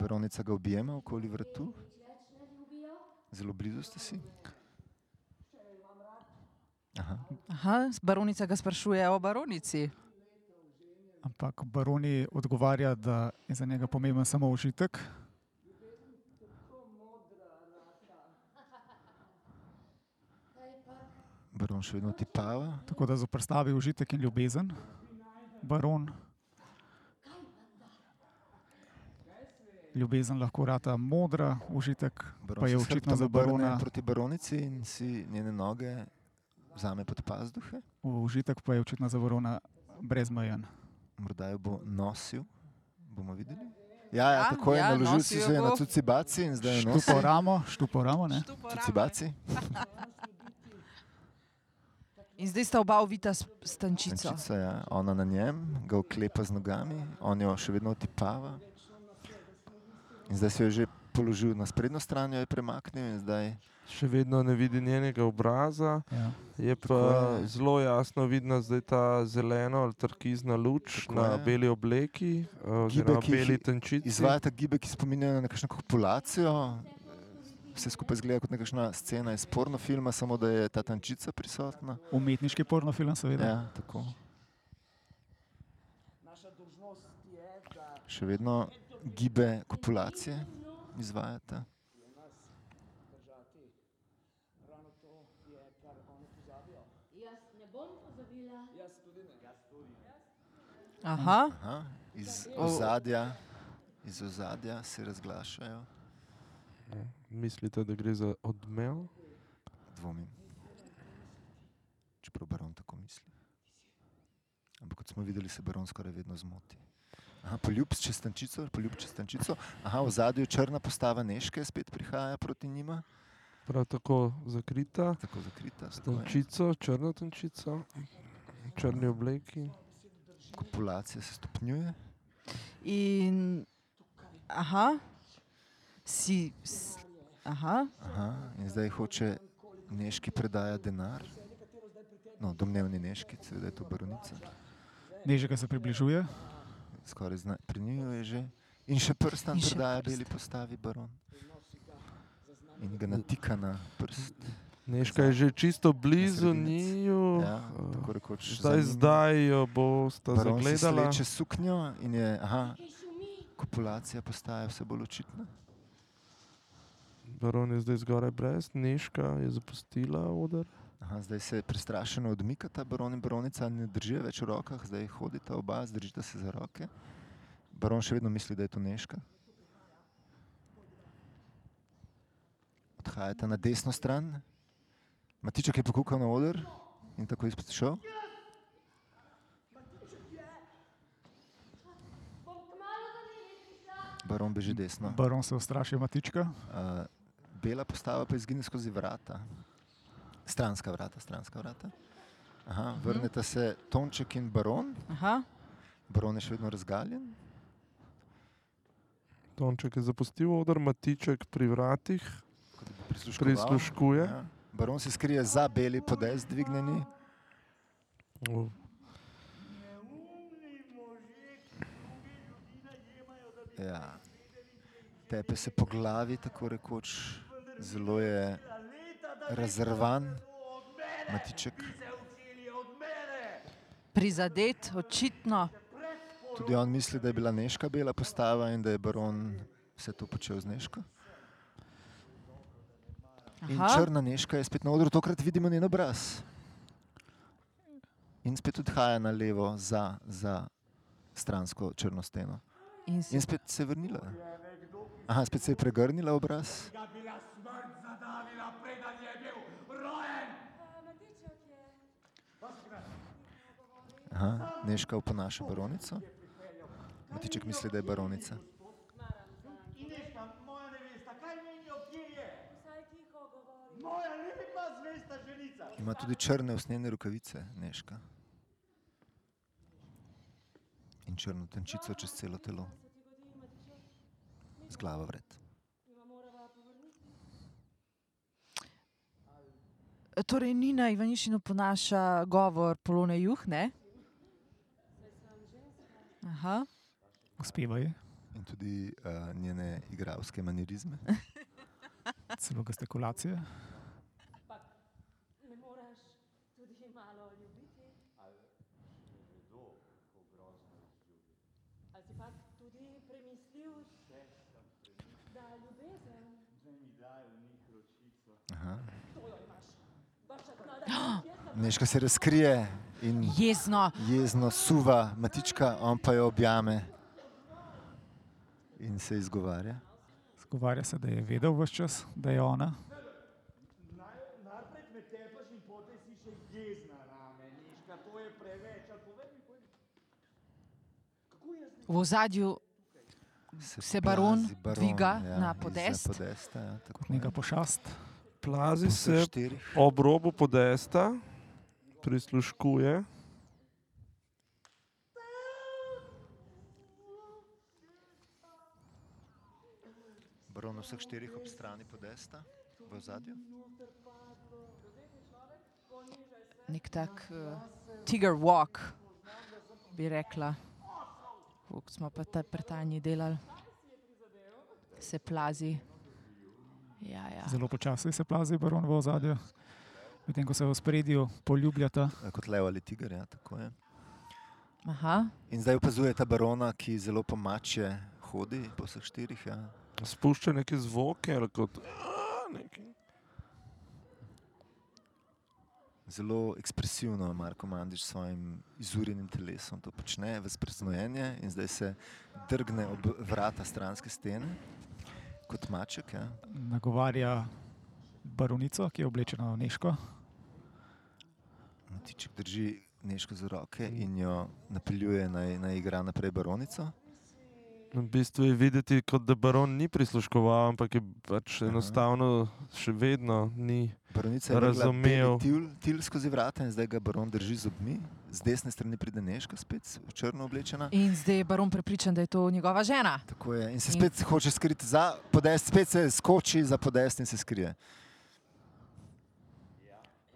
Baronica ga objema okoli vratu,
Več ne ljubijo.
zelo blizu ste si. Aha.
Aha, baronica ga sprašuje o baronici.
ampak baroni odgovarja, da je za njega pomemben samo užitek.
Baron še vedno tipava,
Tako da zoprstavi užitek in ljubezen. Baron ljubezen lahko rata modra, užitek
Baron
pa je
se s
očitno za
hrbtom obrne
barona,
Proti baronici in si njene noge vzame pod pazduhe,
užitek pa je očitno za barona brezmejen.
morda jo bo nosil, bomo videli. Ja, ja
Ja,
tako je,
ja,
naložil si
nosil
se
jo
na
bo.
cucibaci in zdaj jo nosi.
Štupo ramo, štupo ramo, ne?
Štupo rame.
Cucibaci,
In zdaj sta oba ovita s stančico.
Tančica, ja. ona na njem, ga oklepa z nogami, on jo še vedno otipava. In zdaj se jo je že položil na sprednjo stran, jo je premaknil in zdaj
Še vedno ne vidi njenega obraza,
Ja.
je pa
Tako je.
zelo jasno vidna zdaj ta zelena ali trkizna luč
Tako
na
je.
beli obleki, eh, oziroma
ki jih
beli tenčici.
izvajata gibe, ki spominjajo na kakšno kopulacijo. Vse skupaj zgleda kot nekakšna scena iz pornofilma, samo da je ta tančica prisotna.
Umetniški pornofilm, seveda.
Ja, tako. Še vedno gibe kopulacije izvajata.
Jaz ne bom pozabila.
Aha.
Aha, iz ozadja, iz ozadja se razglašajo,
Mislite, da gre za odmev?
dvomim. Čeprav baron tako misli. Ampak kot smo videli, se baron skoraj vedno zmoti. Aha, poljub s čestančico, poljub s čestančico. Aha, v zadju črna postava Neške spet prihaja proti njima,
Prav tako zakrita,
tako Ja. zakrita, s to
tenčico, črno tenčico, črni obleki.
kopulacija se stopnjuje.
In. Aha. Si. s- Aha.
Aha, in zdaj hoče Neški predaja denar. No, domnevni Neški, seveda je to baronica.
Nežega se približuje,
Skoraj zna, pri njiju je že. In še prstan
In še
predaja
prst.
beli postavi baron. In ga natika na prst.
Neška je že čisto blizu
sredinec.
njiju.
Ja,
eh,
tako rekoč. za
Zdaj,
njim.
zdaj jo boste
Baron si
zagledali.
sleče suknjo in je, aha,
Kaj šumi?
kopulacija postaja vse bolj očitna.
Baron je zdaj zgoraj brez, Neška je zapustila oder.
Aha, zdaj se prestrašeno odmikata, baron in baronica ne držijo več v rokah, zdaj hodita oba, zdržita se za roke. Baron še vedno misli, da je to neška. Odhajata na desno stran, Matiček je pokukal na oder in tako je spet šel.
Bom kmalo do njega prišla.
Baron beži desno.
baron se ustraši matička.
Uh, bela postava pa izgine skozi vrata, stranska vrata, stranska vrata. Aha, vrneta se Tonček in baron,
Aha.
baron je še vedno razgaljen.
Tonček je zapustil oder, Matiček pri vratih.
Kot da bi prisluškoval.
Prisluškuje.
Ja. Baron se skrije za beli podez, dvignjeni.
O,
Ja. Tepe se po glavi, tako rekoč. Zelo je razrvan, matiček.
Prizadet, očitno.
Tudi on misli, da je bila neška bela postava in da je baron vse to počel z neško. In
Aha.
črna neška je spet na odru, tokrat vidimo njen obraz. In spet odhaja na levo za, za stransko črno steno.
In si
In spet se je vrnila. Aha, spet se je pregrnila obraz.
Matiček je.
Aha, Neška oponaša baronico. Matiček misli, da je baronica.
Ineška, moja nevesta, kaj menijo, kje je?
Vsaj tiho govori.
Moja lepa zvesta ženica.
Ima tudi črne usnjene rokavice, Neška. In črno tenčico čez celo telo, z
Se ti godi, Matiček?
glavo vred.
Mi ga morava povrniti.
Torej, Nina Ivanišina ponaša govor Polone Juhne. Aha.
Uspeva je,
In tudi uh, njene igravske manirizme.
celo gestikulacije.
Ne moreš tudi malo ljubiti. Ali vedo, ko grozno izljubi. Ali si pa tudi premislil, da ljubezen
Aha. Neška se razkrije in
Jezno.
jezno suva matička, on pa jo objame. in se izgovarja.
Zgovarja se, da je vedel vse čas, da je ona.
Najprej me tepaš in potem si še jezna name, Miška, to je preveč. Ali povej mi, kaj- kako jaz
V ozadju Se baron dviga
ja,
na podest.
izza podesta, ja, tako
Kot neka
je.
pošast,
Plazi
Vseh
se
štirih.
ob robu podesta, prisluškuje.
Baron na vseh štirih ob strani podesta, v zadju.
nek tak uh, tiger walk, bi rekla. Kot smo pa ta pretanji delali, se plazi. Ja, ja.
zelo počasi se plazi baron v ozadju, medtem ko se v spredju poljubljata.
Ja, kot lev ali tiger, ja, tako je.
Aha,
In zdaj opazuje ta barona, ki zelo pomače hodi po vseh štirih. Ja.
Spušča neke zvoke, ali kot "A", nekaj.
Zelo ekspresivno Marko Mandič s svojim izurjenim telesom to počne, v sprznojenje in zdaj se drgne ob vrata stranske stene kot maček. Ja.
Nagovarja baronico, ki je oblečena v neško.
Matiček drži neško za roke in jo napeljuje naj, naj igra naprej baronico.
V bistvu je videti, kot da baron ni prisluškoval, ampak je pač enostavno še vedno ni.
Baronica je vrgla beli
Razumel.
Til, til skozi vrata in zdaj ga baron drži z obmi. Z desne strani pride neška spet, v črno oblečena.
in zdaj je baron prepričan, da je to njegova žena.
Tako je. In se spet hoče skriti za podest, spet se skoči za podest in se skrije.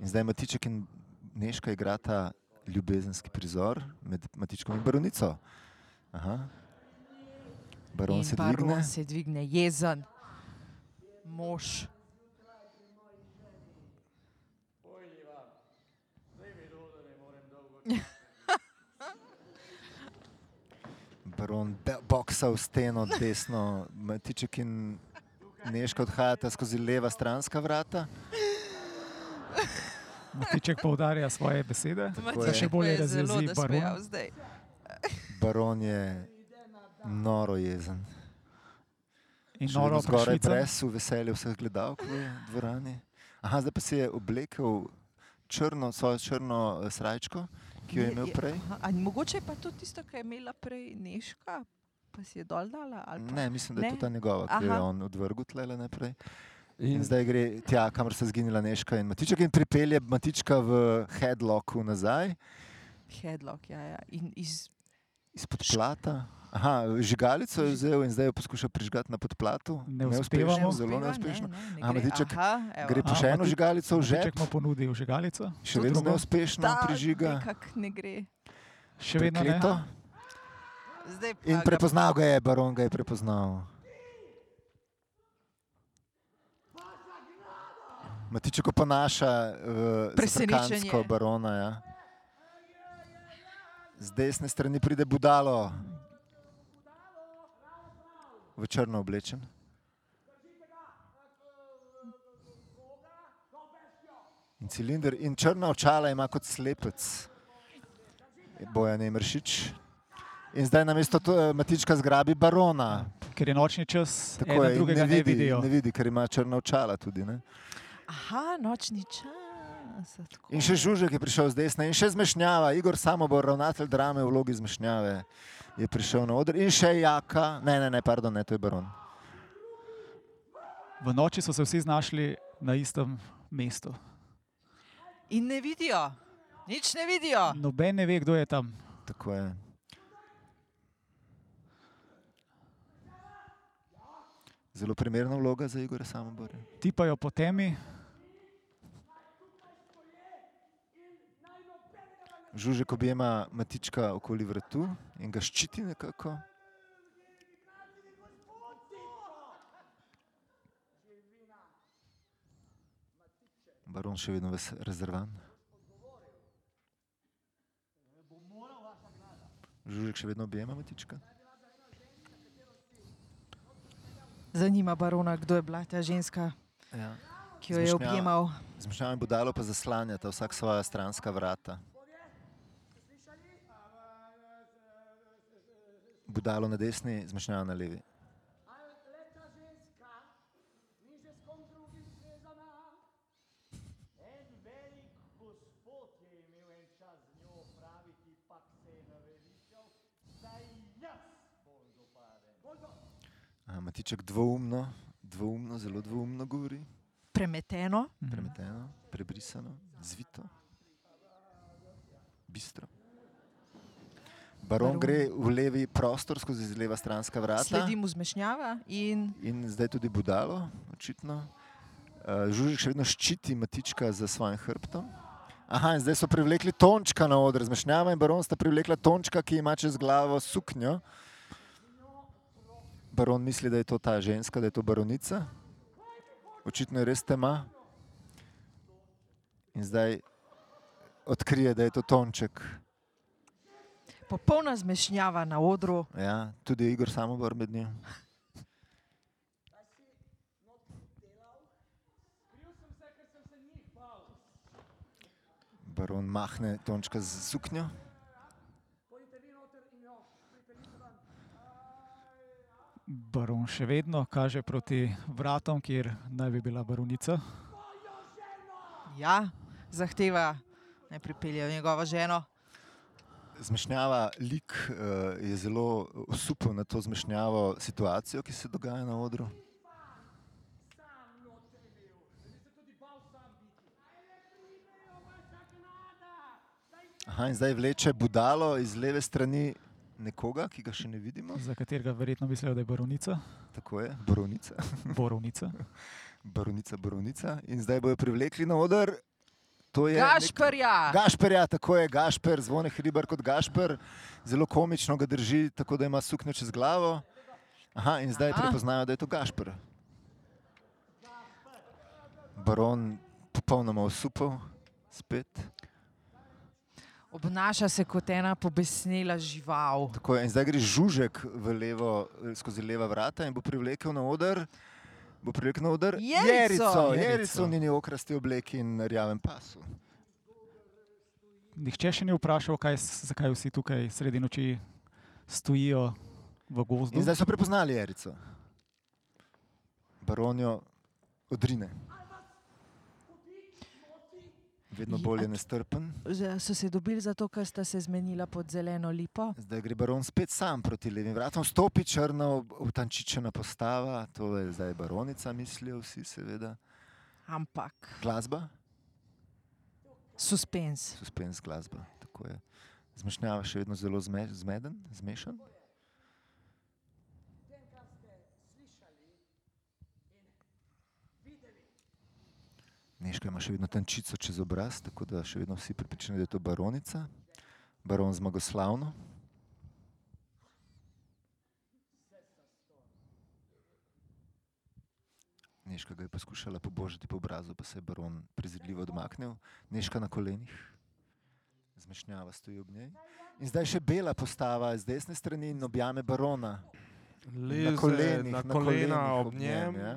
In zdaj Matiček in Neška igrata ljubezenski prizor med Matičkom in baronico. Aha. Baron
in
se
baron
dvigne.
se dvigne, jezen, mož.
Baron be- boksa v steno, desno, Matiček in Neška odhajata skozi leva stranska vrata.
Matiček poudarja svoje besede,
Tako je.
še bolje
Matiček pa je
razjezi
zelo
barona.
nasmejal zdaj.
Baron je noro jezen.
in
Še
noro
vedno zgoraj
prešvica.
presu, veselje vseh gledalcev v dvorani. Aha, zdaj pa si je oblekel črno, svojo črno eh, srajčko, ki jo je
Je-
imel
je-
prej.
aha, a Mogoče je pa to tisto, kar je imela prej Neška, pa si je dol dala. ali pa-
Ne, mislim, da je
Ne?
to ta njegova, ki jo je
Aha.
on odvrgel tlele najprej.
In
In zdaj gre tja, kamor se je zginila Neška in Matiček in pripelje Matička v headlocku nazaj,
Headlock, ja, ja. In iz
izpod plata. Aha, žigalico je vzel in zdaj jo poskuša prižgati na podplatu.
Ne
Neuspešno,
uspeva mu?
zelo
uspeva,
neuspešno.
Ne, ne, ne
A,
gre.
Matiček
Aha, evo.
Gre po
Aha,
še eno
Mati-
žigalico v žep,
Matiček mu ponudi žigalico,
še vedno
drugo?
neuspešno
Ta
prižiga.
Nekako ne gre.
še vedno ne.
prekleto.
Zdaj pa
In
ga-
prepoznal ga je, baron ga je prepoznal. Matiček oponaša
Presenečenje.
presenečenje barona. Ja. Z desne strani pride budalo, v črno oblečen. In cilinder in črna očala ima kot slepec. Boja ne mršič. In zdaj na mesto Matička zgrabi barona.
Ker je nočni čas,
Tako
tako
je, in
E, drugega
ne
ne
vidi,
vidijo.
ne vidi, ker ima črna očala tudi. Ne?
Aha, nočni čas. a tako.
In še Žužek je prišel z desne, in še zmešnjava, Igor Samobor, ravnatelj drame v vlogi zmešnjave, je prišel na oder, in še Jaka, ne, ne, ne, pardon, ne, to je baron.
V noči so se vsi znašli na istem mestu.
In ne vidijo, nič ne vidijo.
Noben ne ve, kdo je tam.
Tako je. Zelo primerna vloga za Igora Samobora.
Tipajo po temi,
Žužek objema Matička okoli vratu in ga ščiti nekako. Baron še vedno ves rezervan. Žužek še vedno objema Matička.
Zanima barona, kdo je bila ta ženska,
Ja.
ki jo je
Zmešnjava.
objemal.
Zmešnjava in budalo pa zaslanjata vsak svoja stranska vrata. Budalo na desni, zmešnjava na levi. Matiček dvoumno, dvoumno, zelo dvoumno govori,
Premeteno,
premeteno, prebrisano, zvito, bistro. Baron
Baron.
gre v levi prostor skozi leva stranska vrata.
sledi mu zmešnjava in
In zdaj tudi budalo, očitno. Uh, Žužek še vedno ščiti matička za svojim hrbtom. Aha, in zdaj so privlekli Tončka na oder, zmešnjava in baron sta privlekla Tončka, ki ima čez glavo suknjo. Baron misli, da je to ta ženska, da je to baronica. Očitno je res tema. In zdaj odkrije, da je to Tonček.
popolna zmešnjava na odru.
Ja, tudi Igor Samobor med njim. Baron mahne tončka z suknjo.
Baron še vedno kaže proti vratom, kjer naj bi bila baronica.
Ja, zahteva, naj pripeljejo njegovo ženo.
Zmešnjava lik eh, je zelo osupel na to zmešnjavo situacijo, ki se dogaja na odru. Aha, in zdaj vleče budalo iz leve strani nekoga, ki ga še ne vidimo.
za katerega verjetno mislijo, da je baronica,
Tako je, borovnica.
borovnica.
Baronica, baronica. In zdaj bojo privlekli na oder. To
Ja,
je
Gašprja,
Nek... Gašper, ja, tako je Gašper, zvone Hribar kot Gašper. Zelo komično ga drži, tako da ima suknjo čez glavo. Aha, in zdaj
Aha.
prepoznajo, da je to Gašper. Baron popolnoma osupel, spet.
obnaša se kot ena pobesnela žival.
Tako je, in zdaj gre žužek v levo, eh, skozi leva vrata in bo privlekel na oder. Bo privlekel na oder
Jerico!
Jerico,
Jerico.
Jerico v njeni okrasti obleki in rjavem pasu.
Nihče še ni vprašal, kaj, s- zakaj vsi tukaj sredi noči stojijo v gozdu.
In zdaj so prepoznali Erico. Baronijo odrine. Vedno
Ja,
bolj je
t-
nestrpen.
Z- So se dobili zato, ker sta se zmenila pod zeleno lipo.
Zdaj gre baron spet sam proti levim vratom, stopi črna, ob- utančičena postava, to je zdaj baronica, mislijo vsi, seveda.
Ampak
Glasba,
suspenz.
suspens glasba, tako je. Zmešnjava še vedno zelo zme, zmeden, zmešan. Neška ima še vedno tančico čez obraz, tako da še vedno vsi pripričani, da je to baronica, baron zmagoslavno. Neška ga je poskušala pobožati po obrazu, pa se je baron prezirljivo odmaknil. Neška na kolenih, zmešnjava stoji ob njej. In zdaj še bela postava z desne strani in objame barona.
Leze
na kolenih,
na
na
kolena
kolenih
ob njem.
ja.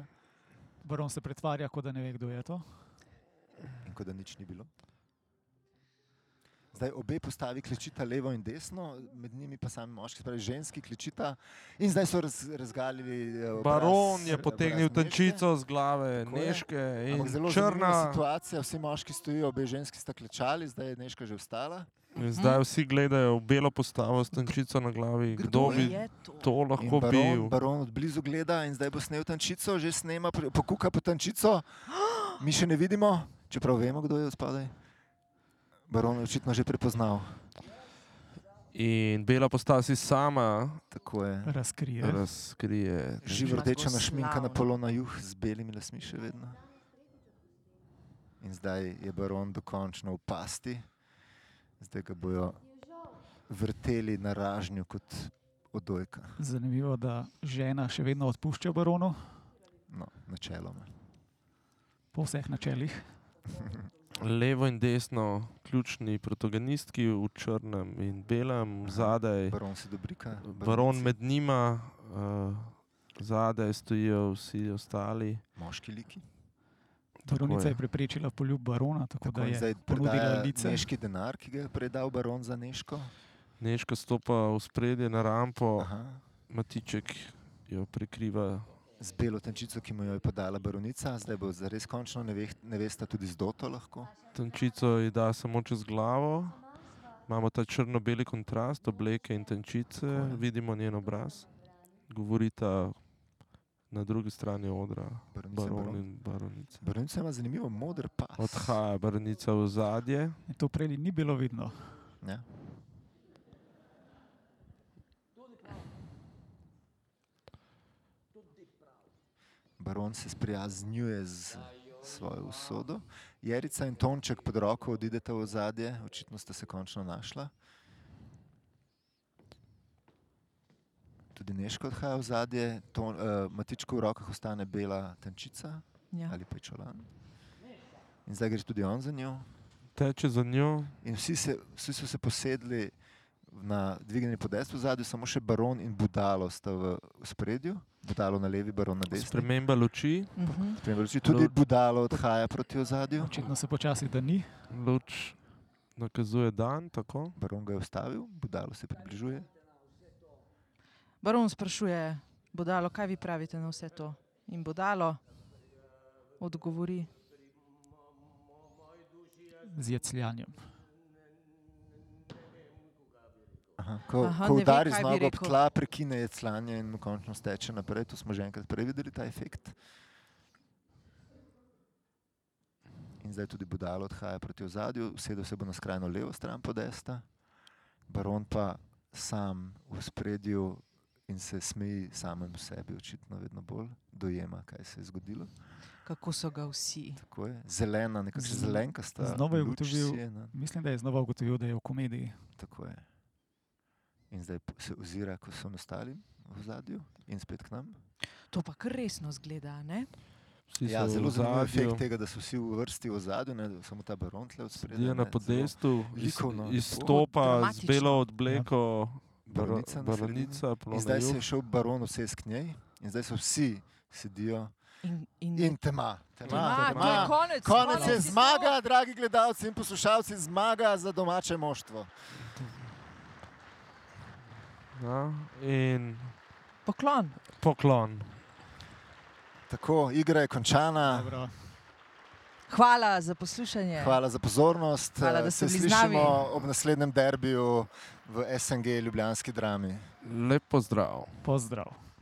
Baron se pretvarja, kot da ne ve, kdo je to.
in kot da nič ni bilo. Zdaj obe postavi klečita levo in desno, med njimi pa sami moški, se pravi ženski klečita. In zdaj so raz, razgalili. eh, Obraz,
Baron je
obraz
potegnil
Nežke.
tančico z glave
Tako je.
Neške in
Ampak zelo črna
črna.
situacija, vsi moški stojijo, obe ženski sta klečali, zdaj je Neška že vstala.
In zdaj vsi gledajo v belo postavo s tančico na glavi.
Kdo
Kdo bi
Je to?
to
In
lahko
Baron,
bil?
baron od blizu gleda in zdaj bo snel tančico, že snema, pri- pokuka po tančico. Mi še ne vidimo, čeprav vemo, kdo je odpadaj. Baron je očitno že prepoznal.
In bela postava si sama
Tako je.
Ja.
Razkrije.
razkrije.
Živo rdeča našminka na
Zmagoslavno.
polo na juh z belimi lasmi še vedno. In zdaj je baron dokončno v pasti, zdaj ga bojo vrteli na ražnju kot odojka,
Zanimivo, da žena še vedno odpušča baronu
no, načeloma.
po vseh načelih.
Levo in desno, ključni protagonistki v črnem in belem, zadaj,
Baron si dobrika.
baron
baronica.
med njima, uh, zadaj stojijo vsi ostali.
Moški liki.
Baronica
je.
je preprečila poljub barona, tako, tako da
in
je
zdaj
ponudila
predaja
lice.
Neški denar, ki ga je predal baron za Neško.
Neška stopa v spredje na rampo,
Aha.
Matiček jo prekriva.
Z belo tančico, ki mu jo je podala baronica, zdaj bo zares končno neveh- nevesta tudi z doto lahko.
Tančico ji da samo čez glavo. Imamo ta črno-beli kontrast, obleke in tančice, vidimo njen obraz. Govorita na drugi strani odra,
Baronica
baron
in baron.
in baronica.
Baronica ima zanimivo moder pas.
Odhaja baronica v zadje,
In to prej ni bilo vidno.
Ja. Baron se sprijaznjuje z svojo usodo. Jerica in Tonček pod roko odideta v zadje, očitno sta se končno našla. Tudi Neško odhaja v zadje, uh, Matičko v rokah ostane bela tančica
Ja.
ali pa je čolan. In zdaj greš tudi on za njo.
teče za njo,
In vsi, se, vsi so se posedli na dvigani podest v zadju, samo še baron in budalo sta v spredju, budalo na levi, baron na desni.
sprememba luči,
Mhm.
Spremembe luči. Tudi
Lu-
budalo odhaja proti ozadju,
Očitno se počasi da ni.
luč nakazuje dan, tako.
baron ga je ustavil, budalo se približuje.
Baron sprašuje, bodalo, kaj vi pravite na vse to? In bodalo odgovori,
z jecljanjem.
Aha, ko
Aha,
Aha, ko
ne ve,
udari
kaj bi
z nogo ob
rekel.
tla, prekine je slanje in mu končno steče naprej. To smo že enkrat prej videli, ta efekt. In zdaj tudi budalo odhaja proti ozadju, usedel se bo na skrajno levo stran podesta, baron pa sam v spredju in se smeji samemu sebi, očitno vedno bolj dojema, kaj se je zgodilo.
kako so ga vsi.
Tako je. Zelena, nekakšna
Z-
zelenka sta.
znova je
luč
ugotovil-
sijena.
Mislim, da je znova ugotovil, da je v komediji.
Tako je. In zdaj p- se ozira, ko so ostali v zadju in spet k nam.
To pa kar resno zgleda, ne?
Vsi
ja,
so
zelo
v
zanimiv
ozadju.
efekt tega, da so vsi v vrsti v zadju, ne, samo ta baron tle od
Je
spredaj.
na
ne, zelo-
podestu, iz-
likovno, Ja.
lepo.
izstopa z
Dramatično.
belo odbleko, baro-
Baronica na sredini.
baronica,
In zdaj se je
plonajub.
šel baron vse k njej in zdaj so vsi sedijo
In, in,
in tema. tema,
Ma, to je
tema.
konec,
Konec je
konec
zmaga, dragi gledalci in poslušalci, zmaga za domače moštvo.
Ja, in
Poklon.
poklon.
Tako, igra je končana.
Dobro.
Hvala za poslušanje.
Hvala za pozornost.
Hvala, da
Eh,
ste
Se
bili z nami.
slišimo ob naslednjem derbiju v SNG Ljubljanski drami.
Lep pozdrav.
Pozdrav.